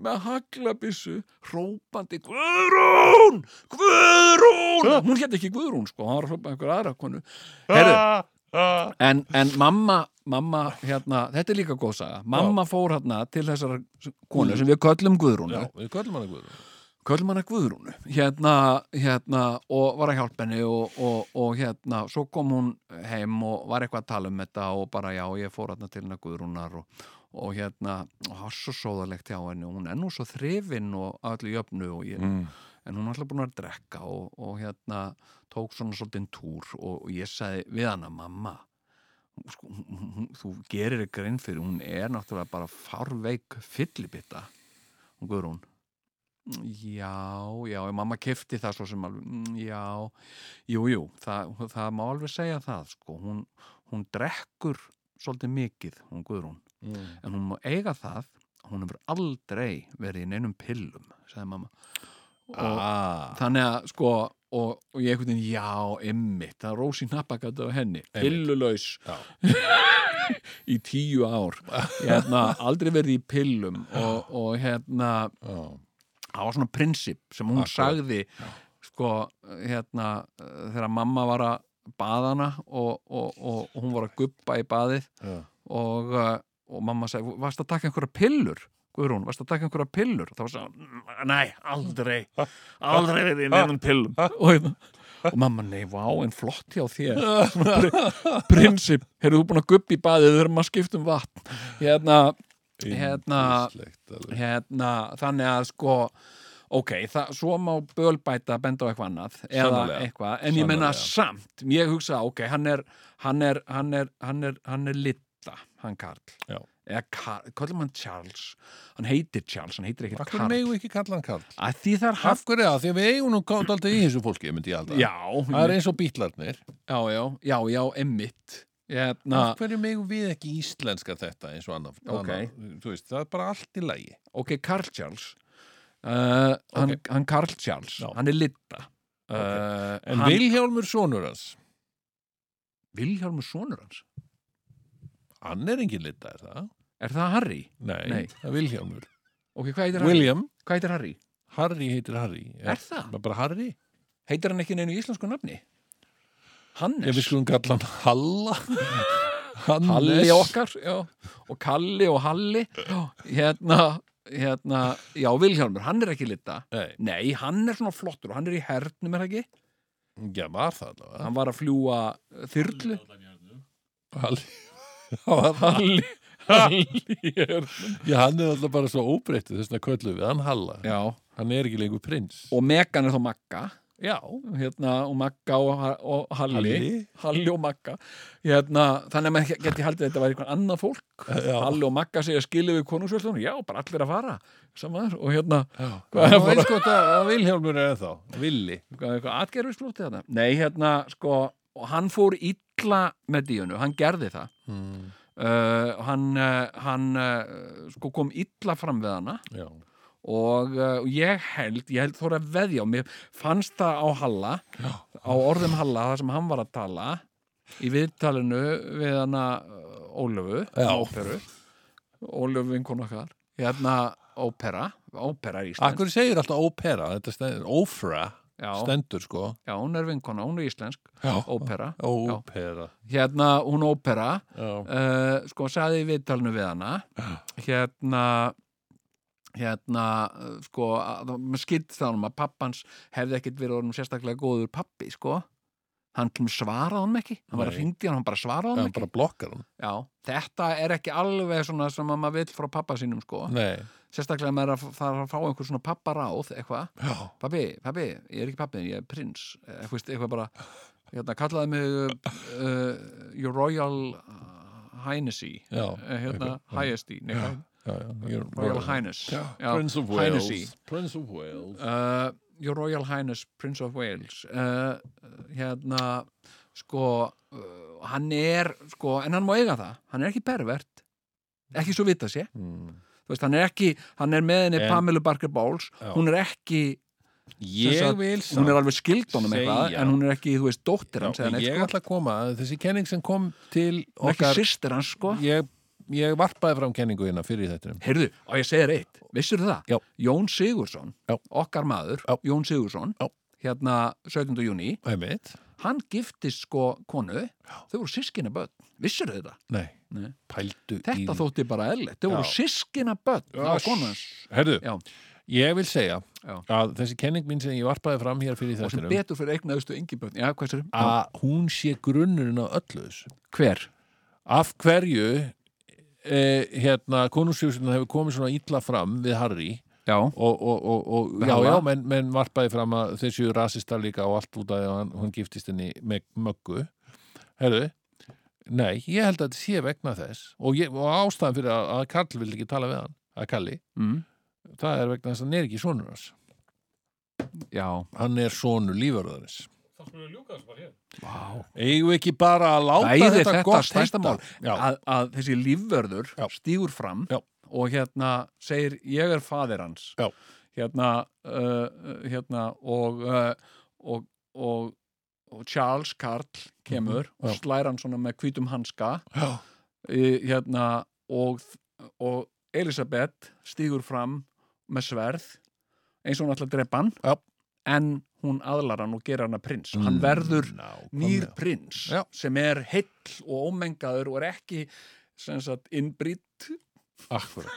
S1: með haglabissu hrópandi Guðrún! Guðrún! Hún hétt ekki Guðrún sko, hann var að hrópa einhver aðra konu Heru, en, en mamma, mamma hérna, þetta er líka góð saga mamma fór hérna til þessar konu sem við köllum Guðrúnu
S2: Já, við köllum hana Guðrún
S1: köllum hana Guðrúnu hérna, hérna, og var að hjálpa henni og, og, og hérna, svo kom hún heim og var eitthvað að tala um þetta og bara já, ég fór hérna til hennar Guðrúnar og, og hérna, og það var svo sóðalegt hjá henni og hún er nú svo þrifin og allir jöfnu og ég,
S2: mm.
S1: en hún er alltaf búin að drekka og, og hérna, tók svona svolítið en túr og, og ég sagði við hana, mamma sko, hún- hún, hún, þú gerir þér grein fyrir, hún er náttúrulega bara farveik fyllibitta hún Guðrún Já, já, en mamma kefti það svo sem alveg, mm, já, jú, jú, það, það má alveg segja það, sko, hún, hún drekkur svolítið mikið, hún Guðrún,
S2: Mm.
S1: en hún má eiga það, hún hefur aldrei verið í neinum pillum, sagði mamma. Og
S2: Ah,
S1: þannig að, sko, og, og ég einhvern veginn, já, ymmit, það er rósi nappagat á henni,
S2: Einmitt.
S1: pillulaus
S2: Já.
S1: <laughs> í tíu ár, hérna, aldrei verið í pillum og, og hérna,
S2: já,
S1: það var svona prinsip sem hún
S2: Akkurat.
S1: sagði sko, hérna eh, þegar mamma var að baða hana og, og, og, og hún var að guppa í baðið
S2: já.
S1: og, eh, og mamma sagði, varst að taka einhverja pillur? Guðrún, varst að taka einhverja pillur? Þá var það, nei, aldrei aldrei verið í nefnum pillum
S2: <laughs>
S1: og, hérna, og mamma, nei, vá, en flott hjá þér Svona prin- prinsip, heyrðu þú búin að guppa í baðið þegar maður skiptum vatn hérna, hérna
S2: Yndislegt alveg.
S1: hérna, þannig að sko ok, það, svo má bölbæta benda á eitthvað annað eða
S2: Sannarlega.
S1: eitthvað, en ég menna samt ég hugsa, ok, hann er hann er, hann er, hann er, hann er litta, hann Karl
S2: Já.
S1: eða Karl, kallum hann Charles hann heitir Charles, hann heitir ekkert
S2: Akkur
S1: Karl
S2: megu ekki kalla hann Karl
S1: að því það er
S2: Af hverju það? Því að við eigum nú gátt aldrei í þessu fólki, myndi ég alltaf
S1: já,
S2: Það er eins og bítlarnir
S1: já, já, já, já, emmitt hérna,
S2: Af hverju megum við ekki íslenska þetta eins og annaf
S1: Ok.
S2: Þú veist, það er bara allt í lagi
S1: ok, Karl Charles uh, hann, hann Karl Charles
S2: Já.
S1: hann er Eh, litta
S2: En Vilhjálmur sonur hans
S1: Vilhjálmur sonur hans
S2: Hann er engin lita, er það?
S1: er það Harry?
S2: Nei,
S1: Nei.
S2: það er Vilhjálmur
S1: ok, hvað heitir Harry?
S2: William,
S1: Hvað heitir Harry?
S2: Harry heitir Harry
S1: Er það?
S2: Bara Harry?
S1: heitir hann ekki neinu íslensku nafni?
S2: Ég
S1: Hannes
S2: við skulum kalla hann
S1: <laughs>
S2: Halla Hannes
S1: Halli okkar já. og Kalli og Halli já. hérna, hérna já, Vilhjálmur, hann er ekki lita
S2: Nei,
S1: nei, hann er svona flottur og hann er í hernum er það ekki,
S2: já, var það allavega
S1: hann var að fljúa þyrlu
S2: Halli Það var það. <laughs>
S1: Halli, Halli er
S2: Já, hann er alltaf bara svo óbreyttu þess að köllu við hann Halla
S1: já,
S2: Hann er ekki lengur prins
S1: og Megan er þá Magga
S2: Já,
S1: hérna, og Magga og, og Halli. Halli
S2: Halli
S1: og Magga hérna, þannig að maður get- geti haldið að þetta væri eitthvað annað fólk
S2: Eh, Já.
S1: Halli og Magga segja skilu við konungsvöldunum já, bara allir að fara Samar, og hérna,
S2: Hvað er það? Sko, það Vilhjálmur er þá Villi
S1: hvað er eitthvað atgerfisblóti þarna? Nei, hérna, sko, og hann fór illa með díunu, hann gerði það.
S2: mm.
S1: Uh, hann uh, hann uh, sko kom illa fram við hana
S2: Já,
S1: og uh, og ég held, ég held þóra að veðja og mér fannst það á Halla, á orðum Halla, það sem hann var að tala í viðtalinu við hana uh, Ólöfu,
S2: Já.
S1: óperu, Ólöfu vinkonu okkar, hérna ópera, ópera í Ísland.
S2: Akkur segir alltaf ópera, þetta stendur, ófra
S1: Já,
S2: stendur sko
S1: já, hún er vinkona, hún er íslensk,
S2: Já.
S1: ópera.
S2: Ópera
S1: hérna hún ópera
S2: Já.
S1: uh, sko saði í viðtalinu við hana hérna hérna uh, sko að- maður skilt það um að pappans hefði ekkit verið orðum sérstaklega góður pappi sko hann til og með svaraði hann ekki hann var
S2: Nei.
S1: að hringdi hann, hann bara svaraði hann
S2: Hann
S1: ekki
S2: bara blokkar hann
S1: Já, þetta er ekki alveg svona sem að maður vill frá pappa sínum sko
S2: Nei,
S1: sérstaklega maður er að f- þarf að fá einhver svona papparáð eitthvað
S2: já,
S1: pabbi, pabbi, ég er ekki pabbi ég er prins, eitthvað, veist, eitthvað bara hérna, kallaði mig uh, uh, your royal highnessy
S2: já,
S1: Eh, hérna, highesty, nei,
S2: já,
S1: hvað?
S2: já, You're
S1: royal
S2: royal.
S1: highness Já,
S2: Prince of Wales
S1: Highnessy.
S2: Prince of Wales
S1: Uh, your royal highness, prince of Wales uh, hérna sko, uh, hann er sko, en hann má eiga það, hann er ekki pervert ekki svo vita sé
S2: mm.
S1: Þú veist, hann er ekki, hann er með henni
S2: En-
S1: Pamela Barker Bowles,
S2: Já.
S1: hún er ekki
S2: Ég
S1: sagt,
S2: vil
S1: hún er alveg skildunum eitthvað
S2: segja-
S1: en hún er ekki, þú veist, dóttir hans
S2: Já,
S1: eða neitt,
S2: Ég
S1: sko.
S2: ætla að koma að þessi kenning sem kom til
S1: hún er ekki
S2: okkar
S1: sýstir hans sko
S2: ég, ég varpaði fram kenningu hérna fyrir þetta
S1: heyrðu, og ég segir eitt, vissir það
S2: Já.
S1: Jón Sigursson,
S2: Já.
S1: okkar maður
S2: Já.
S1: Jón Sigursson,
S2: Já.
S1: hérna 17. júni,
S2: Það er mitt
S1: hann giftist sko konu, þau voru sískina börn vissir þetta,
S2: Nei,
S1: Nei.
S2: pældu í
S1: þetta þótti bara eðlilegt, þau voru
S2: Já.
S1: sískina börn það var konu hans,
S2: Herðu,
S1: Já.
S2: ég vil segja
S1: Já.
S2: að þessi kenning mín sem ég varpaði fram hér fyrir
S1: og sem
S2: þettinum
S1: betur fyrir eignaðustu engi börn, já, hvað sér
S2: að hún sé grunnurinn á öllu þessu
S1: hver,
S2: af hverju eh, hérna, konungsfjóðsuna hefur komið svona illa fram við Harry
S1: já,
S2: og, og, og, og
S1: Með
S2: já,
S1: Halla?
S2: já, menn, menn varpaði fram að þeir séu rasistar líka og allt út af því að hann, hann giftist henni með möggu herðu nei, ég held að þetta sé vegna þess og, ég, og ástæðan fyrir að, að Karl vil ekki tala við hann að Kalli,
S1: mm,
S2: það er vegna þess að hann er ekki sonur hans
S1: já
S2: hann er sonur lífarðarins
S3: Það skulum við ljúka þessu bara hér.
S1: wow.
S2: eigum við ekki bara að láta
S1: Æði,
S2: þetta,
S1: þetta
S2: gott heita?
S1: stærsta mál.
S2: Já.
S1: að, að þessi lífvörður
S2: Já.
S1: stígur fram
S2: Já.
S1: og hérna segir ég er faðir hans
S2: Já.
S1: hérna, uh, hérna og, uh, og, og, og Charles Karl kemur
S2: Mhm. Já.
S1: og slær hann svona með hvítum hanska
S2: já,
S1: í- hérna, og, og Elisabeth stígur fram með sverð eins og hún ætla að drepa hann
S2: Já. Mm.
S1: en hún aðlar hann og gera hann að prins hann verður
S2: nákvæmlega.
S1: nýr prins
S2: Já.
S1: sem er heill og ómengaður og er ekki sem sagt innbrýtt
S2: Akkurat.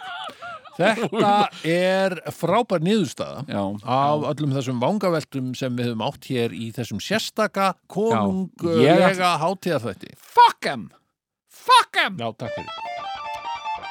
S2: Þetta er frábær niðurstaða
S1: já,
S2: af öllum þessum vangaveltum sem við höfum átt hér í þessum sérstaka konunglega
S1: Ég
S2: ætl... hátíðarþætti.
S1: fuck em fuck em
S2: Já, takk fyrir.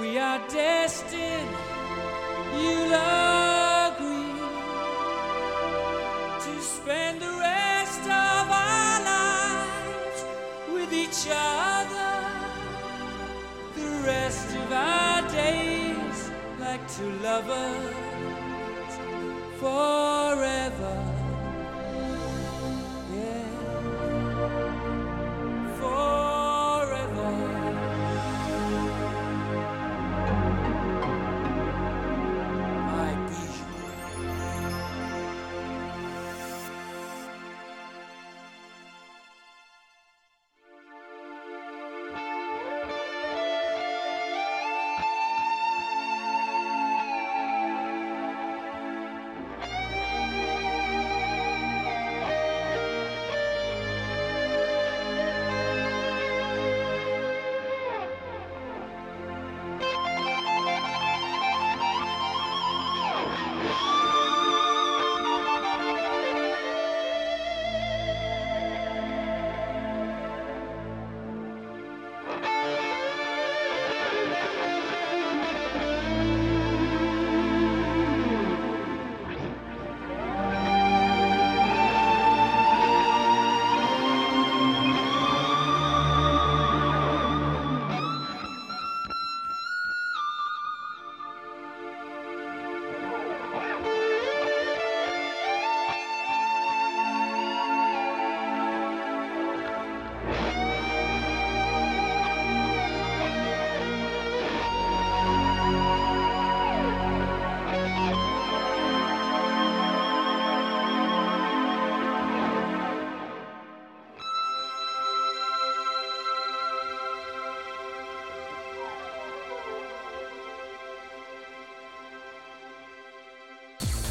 S7: We are destined, you'll agree, to spend the rest of our lives with each other. The rest of our days, like two lovers, forever. Yeah, forever. I be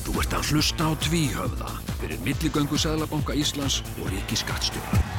S8: Þú ert að hlusta á tvíhöfða fyrir milligöngu Sæðlabanka Íslands og Ríkiskattstjóra.